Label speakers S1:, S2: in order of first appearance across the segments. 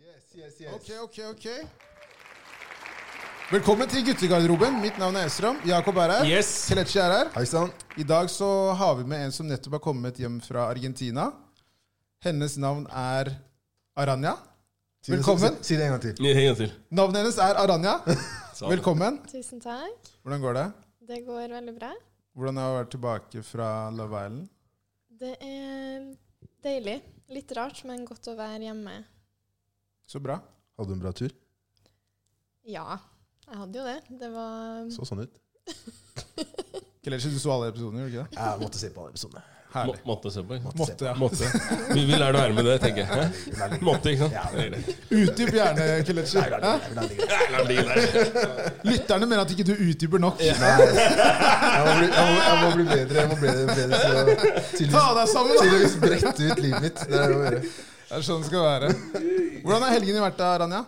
S1: yes,
S2: Ok, ok, ok. Velkommen til guttegarderoben. Mitt navn er Esram. Jakob er her.
S3: Yes.
S2: Kelechi er her.
S1: Hei sann.
S2: I dag så har vi med en som nettopp har kommet hjem fra Argentina. Hennes navn er Aranya.
S1: Si det-
S2: Velkommen.
S1: Si, si det en gang til.
S3: En gang til.
S2: Navnet hennes er Aranya.
S3: Sa han.
S2: Velkommen.
S4: Tusen takk.
S2: Hvordan går det?
S4: Det går veldig bra.
S2: Hvordan har du vært tilbake fra Love Island?
S4: Det er deilig. Litt rart, men godt å være hjemme.
S2: Så bra.
S1: Hadde du en bra tur?
S4: Ja, jeg hadde jo det. Det var
S1: Så sånn ut.
S2: Kelechi, du så alle episodene, gjorde du ikke det?
S1: Jeg måtte se på alle episodene.
S3: Må,
S2: Herlig.
S3: måtte se på. ikke?
S2: Måtte, ja.
S3: Måtte. Vi, vi lærer å være med det, tenker jeg. Hæ? Måtte, ikke sant?
S1: Ja,
S3: Det er greit.
S2: Utdyp gjerne, Kelechi. Hæ? Lytterne mener at ikke du utdyper nok.
S1: Jeg må bli, jeg må, jeg må bli bedre. Jeg må bli bedre til å
S2: Ta
S1: tydeligvis-
S2: deg sammen, da!
S1: tydeligvis brette ut livet mitt. Det er det jeg må gjøre.
S2: Det er sånn det skal være. Hvordan har helgen din vært, da, Ranja?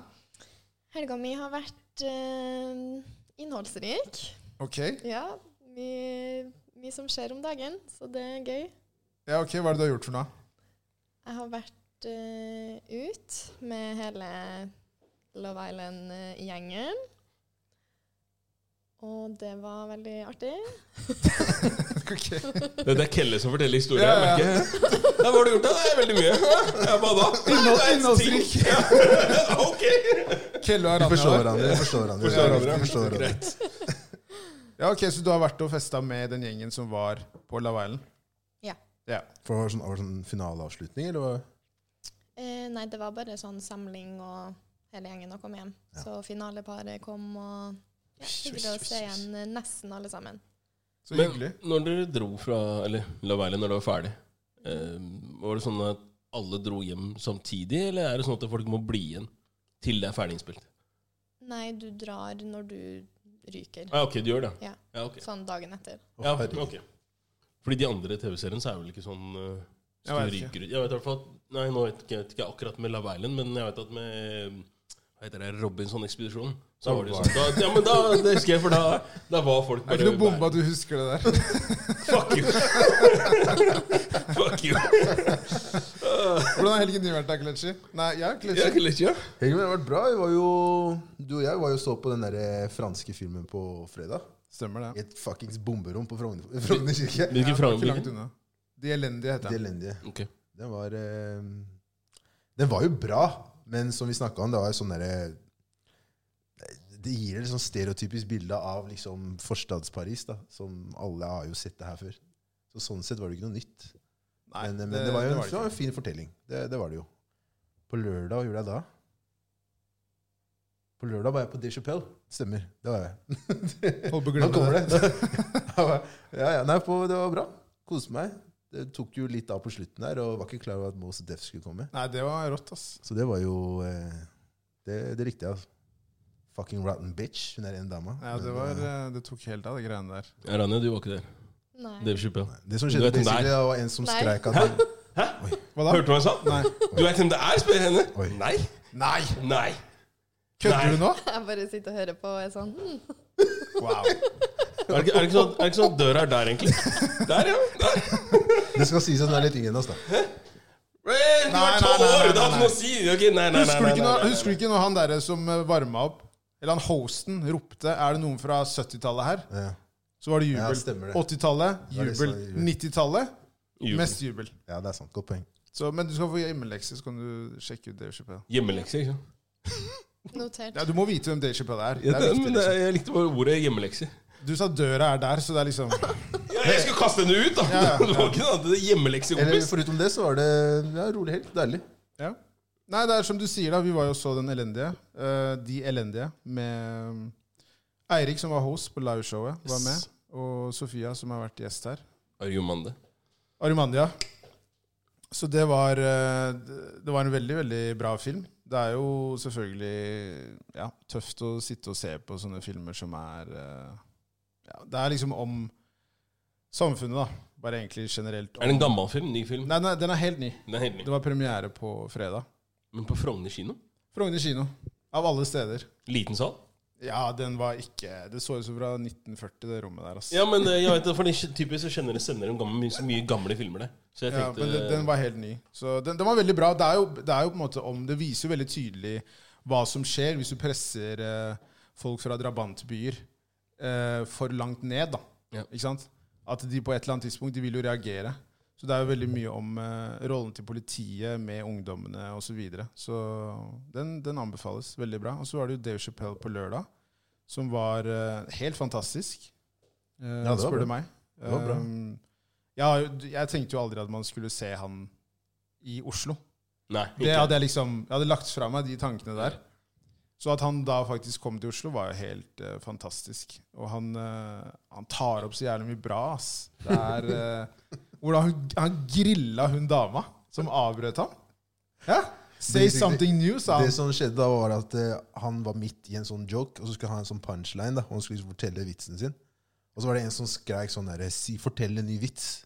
S4: Helga mi har vært eh, innholdsrik.
S2: Ok.
S4: Ja, mye, mye som skjer om dagen, så det er gøy.
S2: Ja, ok. Hva er det du har gjort for noe?
S4: Jeg har vært eh, ut med hele Love Island-gjengen. Og det var veldig artig.
S2: Ok.
S3: Det det er Kelle som forteller historien.
S2: Ja, ja.
S3: Ja, ja. Hva har du gjort? da? Det er veldig mye. Jeg bada.
S2: Innhold-
S3: Det er
S2: innholdsrik.
S3: ting. Ja. Ok.
S2: Kelle og
S1: Vi forstår
S2: Ranja.
S1: hverandre. Vi forstår hverandre.
S3: Forstår hverandre.
S1: Vi forstår hverandre.
S3: Greit.
S2: Ja, ok, Så du har vært og festa med den gjengen som var på Love Island?
S4: Ja.
S2: ja.
S1: For var det sånn, var det sånn finaleavslutning, eller hva?
S4: Eh, nei, det var bare sånn samling, og hele gjengen kom hjem.
S1: Ja.
S4: Så finaleparet kom, og ja, hyggelig å se igjen eh, nesten alle sammen.
S2: Så
S3: Men
S2: hyggelig.
S3: når dere dro fra Eller La være når det var ferdig, eh, var det sånn at alle dro hjem samtidig, eller er det sånn at folk må bli igjen til det er ferdig innspilt?
S4: Nei, du drar når du ryker.
S3: Ah, ok, du gjør det?
S4: Ja.
S3: ja ok.
S4: Sånn dagen etter.
S1: Å,
S3: Ja,
S1: herregud.
S3: ok. Fordi de andre TV-seriene så er vel ikke sånn uh,
S2: Jeg vet ikke.
S3: Jeg vet i hvert fall at Nei, nå vet ikke, jeg vet ikke akkurat med Love Island, men jeg vet at med eh, hva heter det, Robinson-ekspedisjonen Så var det jo sånn da, Ja, men da, det husker jeg, for da, da var folk
S2: Det er
S3: bare
S2: ikke noe bombe at du husker det der.
S3: Fuck you! Fuck you!
S2: Hvordan har helgen din vært, da, Kelechi? Nei, ja,
S3: Jeg
S2: Kelechi.
S3: kunne ikke gjøre
S1: Helgen min har vært bra. Vi var jo, du og jeg var jo og så på den der eh, franske filmen på fredag.
S2: Stemmer
S1: I
S2: det.
S1: et fuckings bomberom på Frogner Frogner kirke.
S3: Hvilken
S2: Ja,
S3: frang-
S2: ikke langt unna. De elendige,
S1: Det
S2: heter den.
S1: elendige.
S3: Ok.
S1: Den var eh, Den var jo bra, men som vi snakka om, det var jo sånn derre Det gir et sånn stereotypisk bilde av liksom forstads-Paris, da. Som alle har jo sett det her før. Så sånn sett var det ikke noe nytt.
S2: Nei,
S1: men, men det, var jo en,
S2: det
S1: det var
S2: ikke.
S1: en fin fortelling. Det, det var det jo. På lørdag, hva gjorde jeg da? På lørdag var jeg på De Chapelle. Stemmer. Det var jeg.
S2: Holdt på å
S1: Nå
S2: glemme
S1: kommer
S2: det.
S1: det. ja, ja, nei, på, det var bra. Koste meg. Det tok jo litt av på slutten der, og var ikke klar over at Mos Def skulle komme.
S2: Nei, det var rått, ass.
S1: Så det var jo eh, Det, det likte jeg. altså. Fucking rotten bitch. Hun er en dame.
S2: Ja, det, var, eh, det tok helt av, de greiene der.
S3: Ja, Rania, du var ikke der.
S4: Nei.
S3: Dave Chappelle.
S1: det som
S3: Du
S1: skjedde,
S3: vet hun der.
S1: basically, det var en som
S4: Nei.
S1: skreik at han,
S2: Hva da?
S3: Hørte du hva jeg sa?
S2: Nei.
S3: Du vet hvem det er, spør jeg henne.
S1: Oi.
S3: Nei.
S2: Nei!
S3: Nei. Nei.
S2: Kødder du nå?
S4: Jeg bare sitter og hører på og er sånn hm,
S2: Wow.
S3: Er det, ikke- er, det ikke sånn, er det ikke sånn at døra er der, egentlig? Der, ja. Der.
S1: Det skal sies at hun er litt yngre enn oss, da.
S3: Men, du
S2: Nei,
S3: er
S2: nei,
S3: tolv
S2: nei, nei,
S3: år! Det
S2: nei,
S3: har ikke
S2: nei.
S3: noe å si! Ok, nei, nei, nei,
S2: Husker du
S3: nei,
S2: ikke
S3: nei,
S2: når,
S3: nei.
S2: husker du ikke når han derre som varma opp, eller han hosten, ropte Er det noen fra 70-tallet her?
S1: Ja.
S2: Så var det
S1: Ja,
S2: jubel.
S1: stemmer det.
S2: 80-tallet,
S1: var litt
S2: jubel.
S1: sånn jubel.
S2: 90-tallet,
S3: Jubel.
S2: mest jubel.
S1: ja, det er sant. Godt poeng.
S2: Så, men du skal få hjemmelekse, så kan du sjekke ut Dave Chappelle.
S3: Hjemmelekse, ikke sant?
S4: notert.
S2: Ja, du må vite hvem Dave Chappelle er. Det
S3: Ja,
S2: er viktig,
S3: men det,
S2: liksom.
S3: jeg likte bare ordet hjemmelekse.
S2: Du sa døra er der, så det er liksom
S3: Ja, jeg skulle kaste henne ut, da!
S2: Ja, ja,
S3: Det var ikke noe annet enn hjemmelekse,
S1: Eller
S3: kompis.
S1: Foruten det så var det ja, rolig helg. Deilig.
S2: ja. Nei, det er som du sier, da. Vi var jo og så Den elendige. eh, de elendige med mm, Eirik, som var host på liveshowet, var med.
S3: Yes.
S2: Og Sofia, som har vært gjest her.
S3: Argumande.
S2: Arimandia. Så det var eh, Det var en veldig, veldig bra film. Det er jo selvfølgelig ja, tøft å sitte og se på sånne filmer som er eh, ja, Det er liksom om samfunnet, da. Bare egentlig generelt.
S3: Er det en gammel film? Ny film?
S2: Nei, nei, den er helt ny.
S3: Den er helt ny.
S2: Det var premiere på fredag.
S3: Men på Frogner kino?
S2: Frogner kino. Av alle steder.
S3: Liten sal?
S2: Ja, den var ikke Det så ut som fra 1940, det rommet der. Altså.
S3: Ja, men eh, jeg vet det, for de typisk så kjenner jeg sender dem gammel, my- så mye gamle filmer, det. Så jeg
S2: Ja,
S3: tenkte eh,
S2: men den, den var helt ny. Så den, den var veldig bra. Det er, jo, det er jo på en måte om Det viser jo veldig tydelig hva som skjer hvis du presser eh, folk fra drabantbyer eh, for langt ned. da
S3: Ja.
S2: Ikke sant? At de på et eller annet tidspunkt De vil jo reagere. Så det er jo veldig mye om eh, rollen til politiet med ungdommene osv. Så, videre. så den, den anbefales. Veldig bra. Og så var det jo Dave Chappelle på lørdag, som var eh, helt fantastisk. Eh,
S1: Ja, det var
S2: spør
S1: bra.
S2: du meg.
S1: Det var bra.
S2: Um, jeg har jo- jeg tenkte jo aldri at man skulle se han i Oslo.
S3: Nei.
S2: Det
S3: ikke.
S2: hadde jeg liksom Jeg hadde lagt fra meg de tankene der. Så at han da faktisk kom til Oslo, var jo helt eh, fantastisk. Og han, eh, han tar opp så jævlig mye bra, ass. Det er eh, Hvordan hun, han grilla hun dama som avbrøt ham. Ja? Say
S1: Basically,
S2: something new, sa
S1: Det
S2: han.
S1: som skjedde da, var at eh, han var midt i en sånn joke, og så skulle han ha en sånn punchline, da, og han skulle liksom fortelle vitsen sin. Og så var det en som skreik sånn derre si, 'Fortell en ny vits'.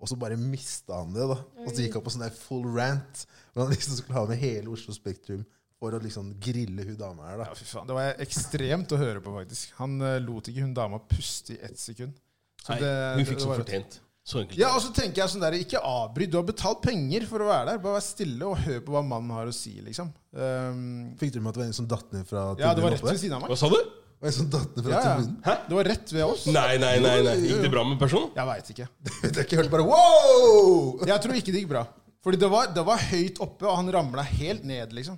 S1: Og så bare mista han det, da. Og så gikk han på sånn der full rant. Hvor han liksom skulle ha med hele Oslo Spektrum for å liksom grille hun dama her,
S2: Ja,
S1: da.
S2: fy faen. Det var ekstremt å høre på, faktisk. Han eh, lot ikke hun dama puste i ett sekund. Så
S3: Nei,
S2: det-
S3: hun
S2: det-
S3: fikk
S2: det
S3: som
S2: var-
S3: fortjent. Så enkelt.
S2: Ja, og så tenker jeg sånn der, ikke avbryt. Du har betalt penger for å være der. Bare vær stille og hør på hva mannen har å si, liksom. Um,
S1: Fikk du med at det var en som datt ned fra
S2: ja, det var rett
S1: oppe
S2: ved
S1: der?
S2: siden av meg.
S3: Hva sa du?
S1: Det var En som datt ned fra
S2: Ja, ja.
S1: tribunen?
S3: Hæ?
S2: Det var rett ved oss.
S3: Nei, nei, nei. nei. Gikk det bra med personen?
S2: Jeg veit ikke.
S1: Det er ikke helt bare wow!
S2: Jeg tror ikke det gikk bra. Fordi det var, det var høyt oppe, og han ramla helt ned, liksom.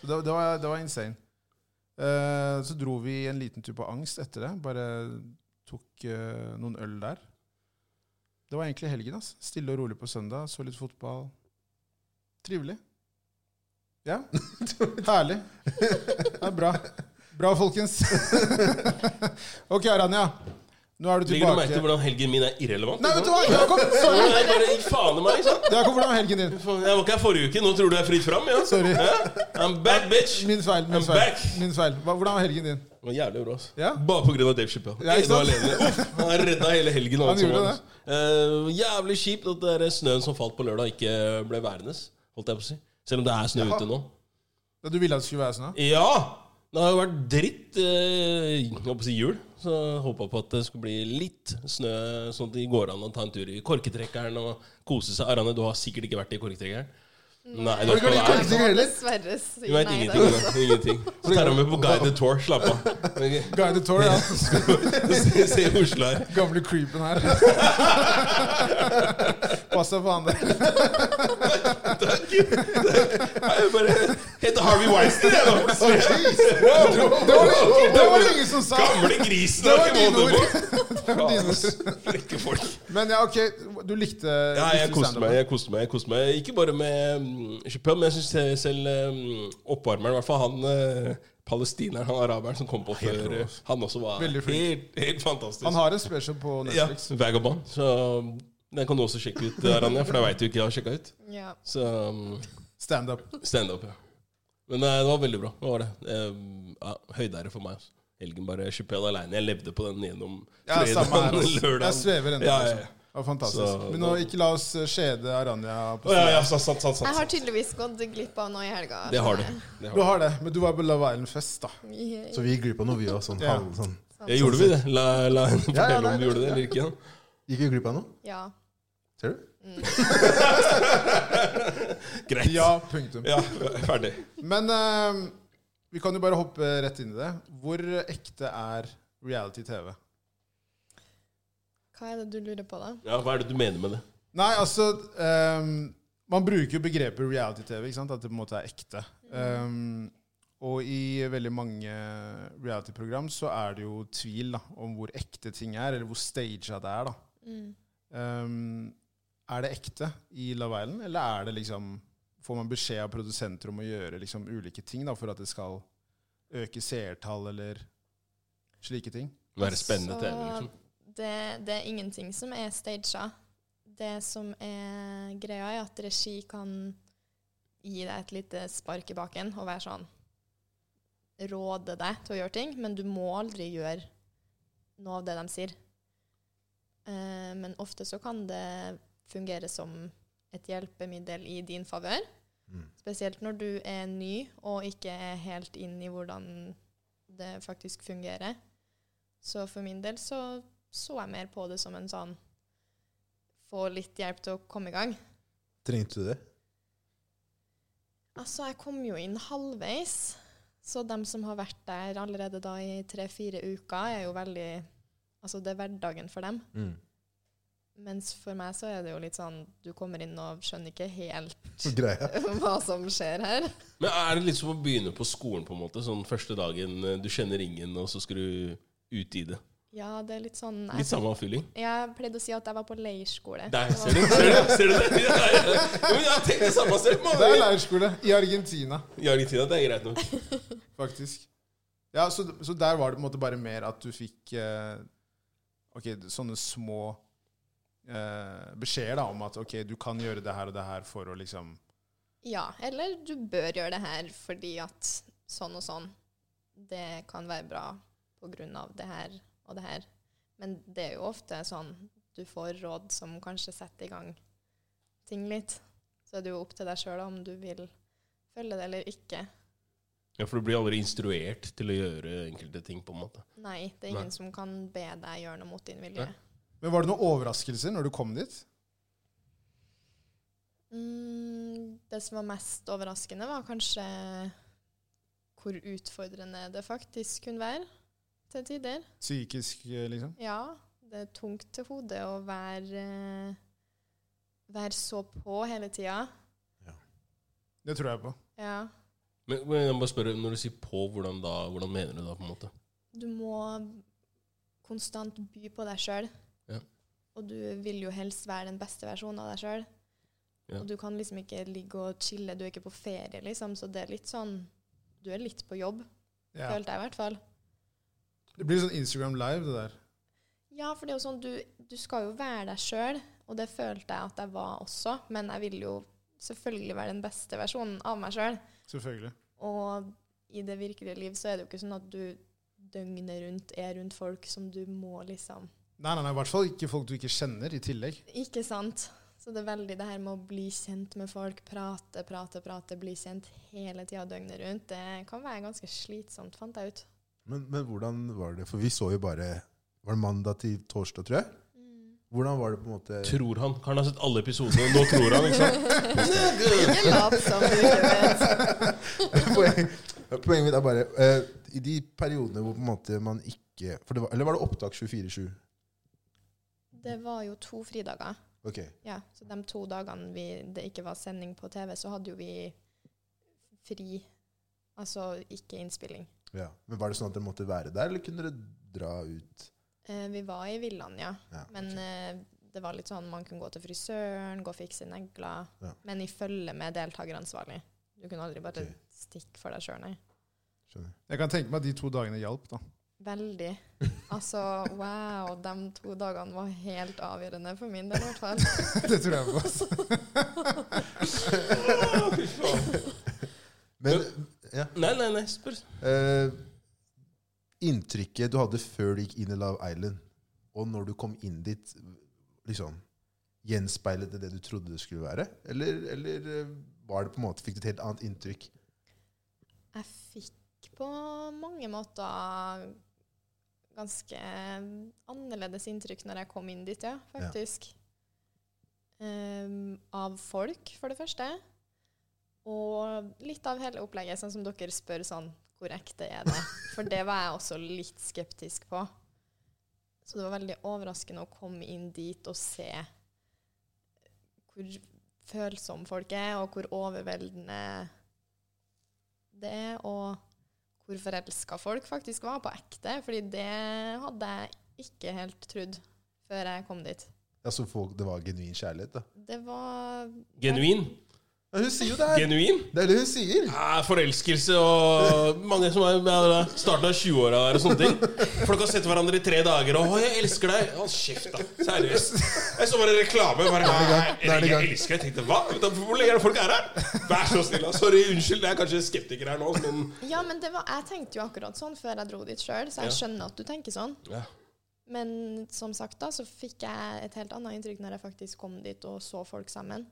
S2: Så det, det, var, det var insane. Eh, så dro vi en liten tur på angst etter det. Bare tok eh, noen øl der. Det var egentlig helgen. ass. Stille og rolig på søndag. Så litt fotball. Trivelig. Ja. Herlig. Det er bra. Bra, folkens. ok, Rania. Nå er du
S3: Legger du merke
S2: tilbake.
S3: til hvordan helgen min er irrelevant?
S2: Nei, vet du hva? Jakob, sorry.
S3: Nei, jeg bare gikk faen i meg, ikke sant?
S2: Jakob, hvordan var helgen din?
S3: Faen, Jeg var ikke her forrige uke. Nå tror du jeg er fritt fram, ja?
S2: Sorry.
S3: Ja? I'm back, bitch.
S2: Min feil. min
S3: I'm
S2: feil,
S3: back.
S2: min feil. Hva- Hvordan var helgen din?
S3: Det var jævlig bra, altså.
S2: Ja?
S3: Bare på grunn av Dave Chappelle.
S2: Ja, ikke
S3: Ene og
S2: sant?
S3: alene. Uff, Han redda hele helgen. og
S2: Han
S3: alt som
S2: gjorde
S3: var. Eh, jævlig kjipt at det der snøen som falt på lørdag, ikke ble værende. Holdt jeg på å si. Selv om det er snø
S2: Jaha.
S3: ute nå.
S2: Da Du ville at det skulle være snø?
S3: Ja! Det har jo vært dritt eh, jeg holdt på å si jul. Så jeg håpa på at det skulle bli litt snø, sånn at det går an å ta en tur i korketrekkeren og kose seg. Arane, du har sikkert ikke vært i korketrekkeren? Nei, du har
S1: Har du
S3: ikke
S1: ikke vært i
S3: vært
S1: korketrekkeren? Sier heller.
S4: Dessverre
S3: Du
S4: sier
S3: veit
S4: nei
S3: ingenting.
S4: der.
S3: da. ingenting. Så tar han med på guided tour. Slapp av. Okay.
S2: Guided tour, ja.
S3: Se, se Oslo her.
S2: Gamle creepen her. Pass deg for han der.
S3: Takk. Nei, jeg bare heter Harvey Weinstein, jeg nå.
S2: Det var, det, det var ingen som sa!
S3: Gamle grisen.
S2: Det var
S3: har ikke
S2: dine
S3: måte på.
S2: var dine
S3: Faen, ass. Frekke folk.
S2: Men ja, ok, du likte
S3: Ja, jeg
S2: likte
S3: koste
S2: stand-upen.
S3: meg. jeg koste meg, jeg koste meg Ikke bare med mm, Chappelle, men jeg syns selv mm, oppvarmeren, i hvert fall han eh, palestineren, han araberen som kom på før, eh, han også var
S2: Veldig flink.
S3: helt, helt fantastisk.
S2: Han har en special på
S3: ja,
S2: Netflix.
S3: Vagabond. Så den kan du også sjekke ut, eh, Rania, for det veit du ikke jeg har sjekka ut.
S4: Ja.
S3: Så mm,
S2: Standup.
S3: Standup, ja. Men eh, det var veldig bra. Det var det. Eh, ja, høydere for meg. Altså. Helgen bare Chappelle aleine. Jeg levde på den gjennom
S2: Ja, samme her.
S3: fredagen,
S2: altså. Jeg
S3: lørdagen.
S2: svever ennå.
S3: Ja, ja,
S2: liksom.
S3: ja.
S2: Det var fantastisk.
S3: Så-
S2: Men nå, ikke la oss eh, skjede Aranya
S3: Å,
S2: på
S3: ja, ja, sant, sant, sant,
S4: Jeg
S3: sant.
S4: har tydeligvis gått glipp av noe i helga.
S3: Det har du. Det
S2: Du
S3: har du.
S2: har det, men du var på Love Island-fest, da.
S4: Yeah.
S1: Så vi gikk glipp av noe, vi òg. Sånn,
S2: Ja.
S1: halv- sånn.
S3: Ja, gjorde vi det? La, la henne
S1: Ja, ja,
S3: fortelle
S1: nei,
S3: om vi gjorde det eller ikke. Ja.
S1: Gikk vi glipp av noe?
S4: Ja. Mm.
S1: Ser du?
S3: Greit.
S2: Ja, punktum.
S3: Ja, ferdig.
S2: Men eh, vi kan jo bare hoppe rett inn i det. Hvor ekte er reality-TV?
S4: Hva er det du lurer på, da?
S3: Ja, Hva er det du mener med det?
S2: Nei, altså eh, Man bruker jo begrepet reality-TV, ikke sant? At det på en måte er ekte. Eh, og i veldig mange reality-program så er det jo tvil da, om hvor ekte ting er, eller hvor staged det er. da.
S4: Mm.
S2: Um, er det ekte i Love Island, eller er det liksom Får man beskjed av produsenter om å gjøre liksom ulike ting da, for at det skal øke seertall eller slike ting?
S3: Være spennende
S4: Så-
S3: TV, liksom.
S4: Det, det er ingenting som er staged. Det som er greia, er at regi kan gi deg et lite spark i baken og være sånn Råde deg til å gjøre ting, men du må aldri gjøre noe av det de sier. Eh, men ofte så kan det fungere som et hjelpemiddel i din favør.
S1: Mm.
S4: Spesielt når du er ny og ikke er helt inn i hvordan det faktisk fungerer. Så for min del så så jeg mer på det som en sånn Få litt hjelp til å komme i gang.
S1: Trengte du det?
S4: Altså, jeg kom jo inn halvveis, så dem som har vært der allerede da i tre-fire uker, er jo veldig Altså, det er hverdagen for dem.
S2: Mm.
S4: Mens for meg så er det jo litt sånn Du kommer inn og skjønner ikke helt
S1: Greia.
S4: hva som skjer her.
S3: Men er det litt som å begynne på skolen, på en måte? Sånn første dagen eh, du kjenner ingen, og så skal du ut i det.
S4: Ja, det er litt sånn
S3: Litt
S4: Jeg,
S3: samme oppfylling.
S4: jeg pleide å si at jeg var på leirskole.
S3: Der, ser du? Ser du, ser du det? Ja, ja. Jo, men jeg har tenkt det samme selv.
S2: Det er
S3: man.
S2: leirskole i Argentina,
S3: I Argentina, det er greit nok.
S2: faktisk. Ja, så, så der var det på en måte bare mer at du fikk eh, Ok, sånne små eh, beskjeder da, om at ok, du kan gjøre det her og det her for å liksom
S4: Ja, eller du bør gjøre det her fordi at sånn og sånn, det kan være bra på grunn av det her og det her. Men det er jo ofte sånn du får råd som kanskje setter i gang ting litt. Så er det jo opp til deg sjøl om du vil følge det eller ikke.
S3: Ja, For du blir aldri instruert til å gjøre enkelte ting, på en måte.
S4: Nei, det er
S3: Nei.
S4: ingen som kan be deg gjøre noe mot din vilje.
S3: Nei.
S2: Men var det noen overraskelser når du kom dit?
S4: Mm, det som var mest overraskende, var kanskje hvor utfordrende det faktisk kunne være til tider.
S2: Psykisk, eh, liksom?
S4: Ja, det er tungt til hodet å være, eh, være så på hele tida.
S2: Det tror jeg på.
S4: Ja.
S3: Men, men jeg må bare spørre, når du sier 'på', hvordan da? Hvordan mener du da, på en måte?
S4: Du må konstant by på deg sjøl.
S3: Ja.
S4: Og du vil jo helst være den beste versjonen av deg sjøl.
S3: Ja.
S4: Og du kan liksom ikke ligge og chille, du er ikke på ferie, liksom. Så det er litt sånn Du er litt på jobb,
S2: Ja.
S4: følte jeg i hvert fall.
S2: Det blir sånn Instagram live, det der.
S4: Ja, for det er jo sånn, du, du skal jo være deg sjøl, og det følte jeg at jeg var også. Men jeg vil jo selvfølgelig være den beste versjonen av meg sjøl.
S2: Selvfølgelig.
S4: Og i det virkelige liv så er det jo ikke sånn at du døgnet rundt er rundt folk som du må liksom
S2: Nei, nei, nei, i hvert fall ikke folk du ikke kjenner, i tillegg.
S4: Ikke sant? Så det er veldig det her med å bli kjent med folk, prate, prate, prate, bli kjent hele tida døgnet rundt. Det kan være ganske slitsomt, fant jeg ut.
S1: Men, men hvordan var det? For vi så jo bare Var det mandag til torsdag, tror jeg? Hvordan var det på en måte
S3: Tror han. Karen har sett alle episodene, nå tror han, ikke sant?
S4: Ikke lat som du ikke vet.
S1: Poen- Poenget mitt er bare eh, I de periodene hvor på en måte man ikke for det var, Eller var det opptak 24-7?
S4: Det var jo to fridager.
S1: Ok.
S4: Ja, så de to dagene vi, det ikke var sending på TV, så hadde jo vi fri. Altså ikke innspilling.
S1: Ja. Men Var det sånn at dere måtte være der, eller kunne dere dra ut?
S4: Eh, vi var i villaen, ja.
S1: Ja,
S4: Men
S1: ok.
S4: eh, det var litt sånn man kunne gå til frisøren, gå og fikse negler.
S1: Ja.
S4: Men i følge med deltakeransvarlig. Du kunne aldri bare
S1: Ok.
S4: stikke for deg sjøl, nei.
S1: Skjønner.
S2: Jeg kan tenke meg at de to dagene hjalp, da.
S4: Veldig. Altså, wow, de to dagene var helt avgjørende for min del, i hvert fall.
S2: det tror jeg på. altså.
S1: Men ja.
S3: Nei, nei, nei, spør.
S1: eh, Inntrykket du hadde før du gikk inn i Love Island, og når du kom inn dit, liksom gjenspeilet det det du trodde det skulle være? Eller, eller eh, var det på en måte, fikk du et helt annet inntrykk?
S4: Jeg fikk på mange måter ganske annerledes inntrykk når jeg kom inn dit, ja,
S1: Ja.
S4: faktisk. Ehm, av folk, for det første. Og litt av hele opplegget, sånn som dere spør sånn Hvor ekte er det? For det var jeg også litt skeptisk på. Så det var veldig overraskende å komme inn dit og se hvor følsomme folk er, og hvor overveldende det er, og hvor forelska folk faktisk var på ekte. Fordi det hadde jeg ikke helt trodd før jeg kom dit.
S1: Altså, folk, det var genuin kjærlighet, da.
S4: Det var
S3: Genuin.
S1: Ja, hun sier jo det her!
S3: Genuin.
S1: Det er det hun sier!
S3: Ja, forelskelse og mange som er ja, starten av 20-åra der og sånne ting. Folk har sett hverandre i tre dager og 'Å, jeg elsker deg'. Å, kjeft, da. Seriøst. Jeg så bare reklame. Bare, «Nei,
S1: Da er det i gang.
S3: jeg elsker deg. Jeg tenkte hva? Vet du Hvor lenge er det folk er her? Vær så snill, da. Sorry, unnskyld. Jeg er kanskje skeptiker her nå, men
S4: Ja, men det var, jeg tenkte jo akkurat sånn før jeg dro dit sjøl, så jeg skjønner at du tenker sånn.
S3: ja.
S4: Men som sagt, da, så fikk jeg et helt annet inntrykk når jeg faktisk kom dit og så folk sammen.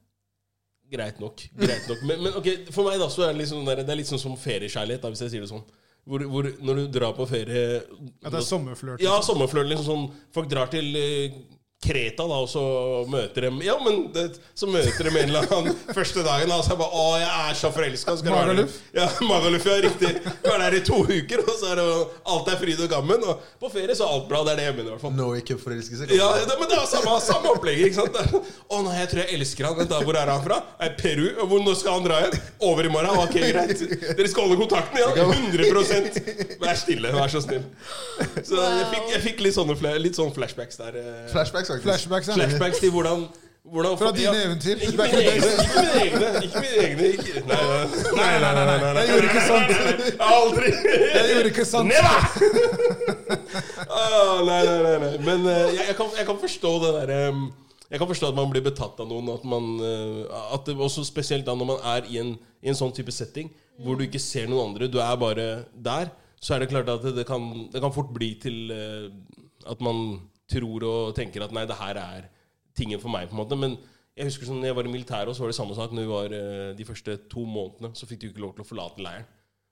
S3: liksom Greit nok. greit nok Men, men ok, for meg da så er det litt sånn, der, det er litt sånn som feriekjærlighet, da, hvis jeg sier det sånn. Hvor, hvor, når du drar på ferie
S2: At det er sommerflørt.
S3: Ja, sommerflørt. Liksom sånn, folk drar til eh, Kreta, da, og så møter dem Ja, men det, så møter dem en eller annen første dagen, da, og så er jeg bare Å, jeg er så forelska! Skal du være-
S2: Magaluf?
S3: Ja, Magaluf, ja, riktig. Du er der i to uker, og så er det jo- alt er fryd og gammen. Og på ferie så er alt bra. Det er det jeg mener, i hvert fall.
S1: Norway Cup-forelskelse.
S3: Ja, det, men det er samme, samme opplegget, ikke sant? Det er sånn, Å nei, jeg tror jeg elsker han. Vent da, hvor er han fra? Er Peru? Og Hvor, når skal han dra igjen? Over i morgen? Ok, greit. Dere skal holde kontakten igjen? 100 Vær stille, vær så snill. Så jeg fikk, jeg fikk litt, sånne, fla- litt sånne flashbacks der. eh,
S1: Flashbacks, faktisk.
S2: Flashbacks, ja.
S3: Flashbacks til hvordan, hvordan
S2: Fra dine eventyr.
S3: Ikke
S2: Back in
S3: mine
S2: the
S3: egne. Ikke mine egne. Ikke mine egne. Ikke, nei, nei, nei, nei, nei, nei, nei.
S2: Jeg gjorde ikke sånn. sånt.
S3: Nei, nei, nei. Aldri.
S2: Jeg gjorde ikke sant.
S3: Never! Ah, nei, nei, nei, nei. Men eh, jeg, jeg, kan, jeg kan forstå det derre Jeg kan forstå at man blir betatt av noen. At man, eh, at det, også spesielt da når man er i en, i en sånn type setting hvor du ikke ser noen andre, du er bare der, så er det klart at det, det, kan, det kan fort bli til eh, at man tror og tenker at nei, det her er tingen for meg, på en måte. Men jeg husker sånn, når jeg var i militæret, og så var det samme sak. Når vi var eh, De første to månedene så fikk du ikke lov til å forlate leiren.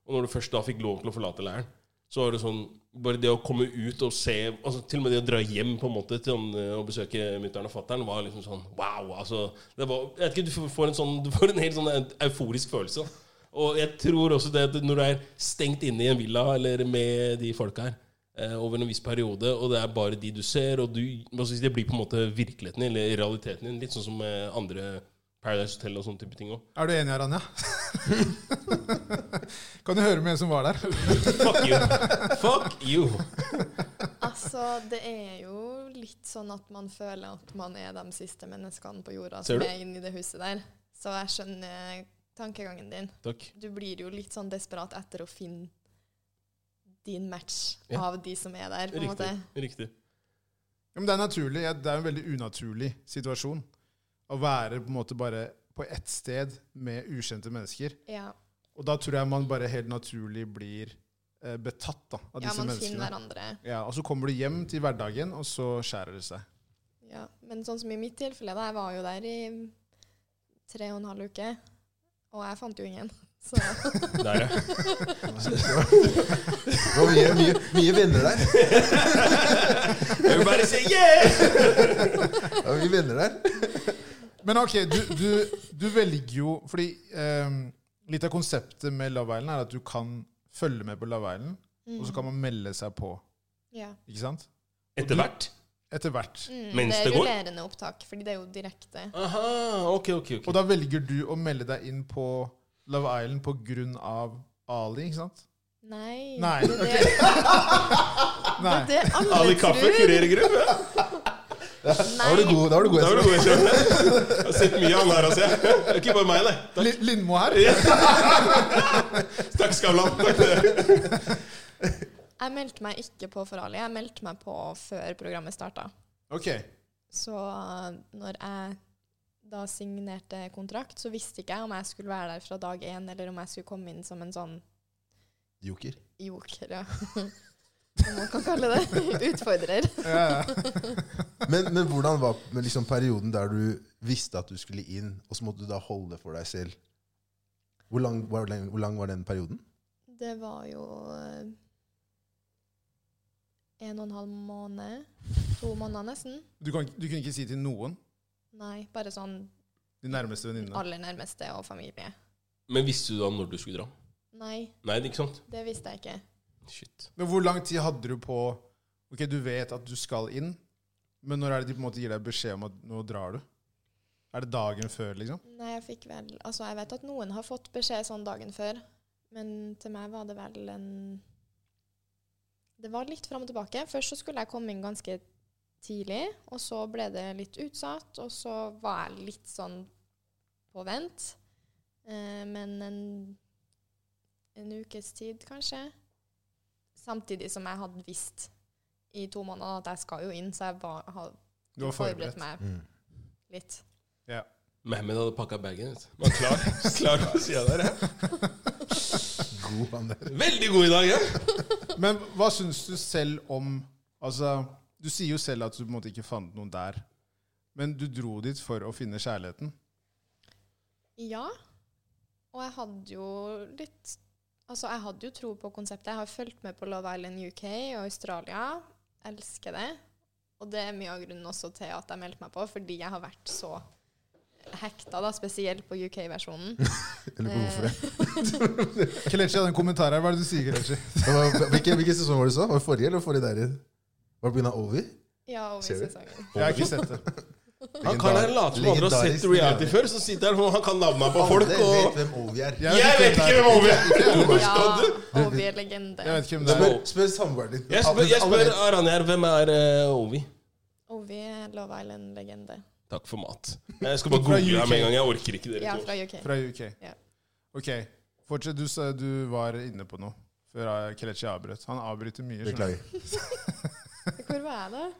S3: Og når du først da fikk lov til å forlate leiren, så var det sånn Bare det å komme ut og se altså Til og med det å dra hjem på en måte til han, eh, og besøke mutter'n og fatter'n var liksom sånn wow. altså det var, jeg vet ikke, Du får- får en sånn Du får en helt sånn euforisk følelse. Og jeg tror også det at når du er stengt inne i en villa eller med de folka her eh, over en viss periode, og det er bare de du ser, og du, altså det blir på en måte virkeligheten din, eller realiteten din, litt sånn som eh, andre Paradise Hotel og sånne type ting òg.
S2: Er du enig her, Anja? kan du høre med en som var der?
S3: Fuck you! Fuck you!
S4: Altså, det er jo litt sånn at man føler at man er de siste menneskene på jorda
S3: Ser
S4: som
S3: du?
S4: er inni det huset der. Så jeg skjønner tankegangen din.
S3: Takk.
S4: Du blir jo litt sånn desperat etter å finne din match
S3: Ja.
S4: av de som er der, på en måte.
S3: Riktig. riktig.
S2: Ja, men det er naturlig. Ja, Det er en veldig unaturlig situasjon. Å være på en måte bare på ett sted med ukjente mennesker.
S4: Ja,
S2: Og da tror jeg man bare helt naturlig blir eh, betatt da, av
S4: ja
S2: disse
S4: man finner
S2: menneskene.
S4: hverandre.
S2: Ja, og så kommer du hjem til hverdagen, og så skjærer det seg.
S4: Ja. Men sånn som i mitt tilfelle, da, jeg var jo der i tre og en halv uke, og jeg fant jo ingen. Så
S3: Der, ja.
S1: Det var mye, mye, mye venner der.
S3: Everybody say yeah!
S1: Det var mye venner der.
S2: Men ok, du, du, du velger jo Fordi eh, litt av konseptet med Love Island er at du kan følge med på Love Island, og så kan man melde seg på.
S4: Mm. ja.
S2: Ikke sant?
S3: Etter hvert.
S2: Etter hvert.
S4: Mm,
S3: Mens
S4: det er
S3: det går?
S4: rullerende opptak, fordi det er jo direkte.
S3: Aha, ok, ok.
S4: Mm.
S3: ok.
S2: Og da velger du å melde deg inn på Love Island på grunn av Ali, ikke sant?
S4: Nei.
S2: Nei,
S4: Det, er det,
S2: Nei.
S4: det er alle
S3: Ali Kaffe,
S4: tror.
S3: kurergruppe. Ja.
S1: Da var du
S4: Nei.
S1: god, da var du god
S3: Da var
S1: Espen.
S3: du god, Espen. Jeg har sett mye av han her, altså. Det er Ikke bare meg, nei. Takk.
S2: Li- Lindmo her.
S3: Takk, Skavlan. Takk.
S4: Jeg meldte meg ikke på for Ali. Jeg meldte meg på før programmet starta.
S2: Ok.
S4: Så uh, når jeg da signerte kontrakt, så visste ikke jeg om jeg skulle være der fra dag én, eller om jeg skulle komme inn som en sånn
S1: Joker.
S4: joker, ja. Om man kan kalle det. Utfordrer.
S2: Ja, ja.
S1: Men, men hvordan var men liksom perioden der du visste at du skulle inn, og så måtte du da holde for deg selv? Hvor lang, hvor lang, hvor lang var den perioden?
S4: Det var jo uh, en og en halv måned. To måneder nesten.
S2: Du, kan, du kunne ikke si til noen?
S4: Nei, bare sånn
S2: De nærmeste venninnene?
S4: aller nærmeste og familie.
S3: Men visste du da når du skulle dra?
S4: Nei,
S3: Nei, det er ikke sant?
S4: det visste jeg ikke.
S3: Shit.
S2: Men hvor lang tid hadde du på Ok, du vet at du skal inn, men når er det de på en måte gir deg beskjed om at nå drar du? Er det dagen før, liksom?
S4: Nei, jeg fikk vel Altså, jeg vet at noen har fått beskjed sånn dagen før, men til meg var det vel en Det var litt fram og tilbake. Først så skulle jeg komme inn ganske tidlig, og så ble det litt utsatt, og så var jeg litt sånn på vent. Eh, men en, en ukes tid, kanskje. Samtidig som jeg hadde visst i to måneder at jeg skal jo inn, så jeg var, hadde
S2: Du var forberedt.
S4: forberedt meg
S1: Mm.
S4: litt.
S3: Mehmed hadde pakka bagen. vet du. Var klar. klar på sida der, ja.
S1: God mann der.
S3: Veldig god i dag, ja.
S2: Men hva syns du selv om Altså, du sier jo selv at du på en måte ikke fant noen der, men du dro dit for å finne kjærligheten.
S4: Ja. Og jeg hadde jo litt Altså, jeg hadde jo tro på konseptet. Jeg har fulgt med på Love Island UK og Australia. Elsker det. Og det er mye av grunnen også til at jeg meldte meg på, fordi jeg har vært så hekta, da, spesielt på UK-versjonen.
S1: Eller hvorfor det?
S2: Kelechi hadde en kommentar her. Hva er det du sier, Kelechi?
S1: Eh. Det var- Hvilken, hvilken sesong var det så? Var det forrige eller forrige der? igjen? Var det på grunn av Ovi?
S4: Eh, Ja, over
S1: Ser du?
S4: sesongen.
S2: Jeg har ikke sett det.
S3: Han kan her late som andre har sett
S1: Legendarisk.
S3: reality før, så sitter han og han kan navna på folk.
S1: Alle vet
S3: og...
S1: hvem Ovi er.
S2: Jeg
S3: Jeg vet ikke hvem Ovi er! Hvor
S4: Ja,
S3: skal du?
S4: og vi er legende.
S2: Jeg vet ikke hvem det er.
S1: Spør, spør samboeren din.
S3: Jeg spør, jeg
S1: Alle
S3: spør
S1: vet.
S3: Aranjar, hvem er eh, Ovi?
S4: Og vi er Love Island-legende.
S3: Takk for mat. Jeg skal bare
S2: Fra
S3: google
S2: UK.
S3: her med en gang. Jeg orker ikke dere
S4: Ja,
S3: to.
S4: fra UK.
S2: Fra UK.
S4: Ja.
S2: Ok, fortsett. Du, sa- du var inne på noe før eh, Kelechi avbrøt. Han avbryter mye. skjønner du.
S1: Beklager.
S4: Hvor var jeg da?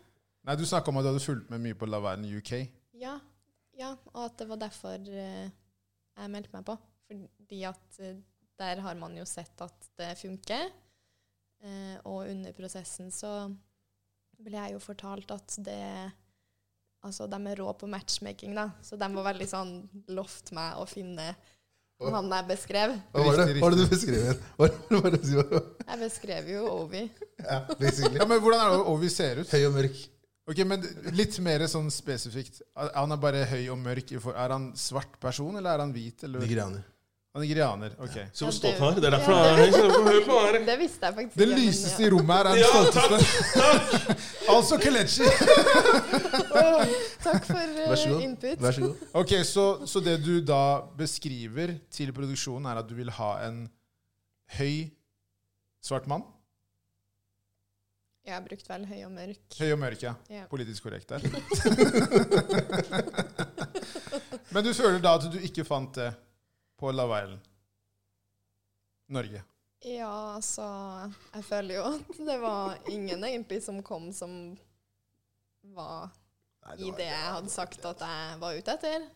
S2: Nei, Du snakka om at du hadde fulgt med mye på Love Island UK.
S4: Ja, ja, og at det var derfor eh, jeg meldte meg på. Fordi at eh, der har man jo sett at det funker. Eh, og under prosessen så ble jeg jo fortalt at det Altså, de er rå på matchmaking, da. Så de var veldig sånn lovt meg å finne han jeg beskrev.
S1: Hva var det,
S2: Riktig,
S1: hva var det du beskrev igjen? Hva var det du sa?
S4: Jeg beskrev jo Ovi.
S1: Ja, basically.
S2: Ja, men Hvordan er det Ovi ser ut?
S1: Høy og mørk.
S2: Ok, men Litt mer sånn spesifikt. Er Han er bare høy og mørk. i for- Er han svart person, eller er han hvit? Eller?
S1: Nigerianer.
S2: Han er nigerianer. ok.
S4: Ja,
S3: Som
S4: det-
S3: stolt her. Det er derfor
S4: Ja,
S3: han er her. Hør på han her.
S4: Det visste jeg faktisk
S2: Det
S4: men
S2: lyseste
S4: ja.
S2: i rommet her er den
S3: Ja,
S2: stolteste. Altså Kelechi.
S4: Takk for eh,
S1: Vær så god.
S4: input.
S1: Vær så god.
S2: Ok, så, så det du da beskriver til produksjonen, er at du vil ha en høy svart mann?
S4: Jeg har brukt vel høy og mørk.
S2: Høy og mørk, ja.
S4: Ja.
S2: Politisk korrekt der. Men du føler da at du ikke fant det på Love Island? Norge.
S4: Ja, altså Jeg føler jo at det var ingen egentlig som kom som var i det jeg hadde sagt at jeg var ute etter.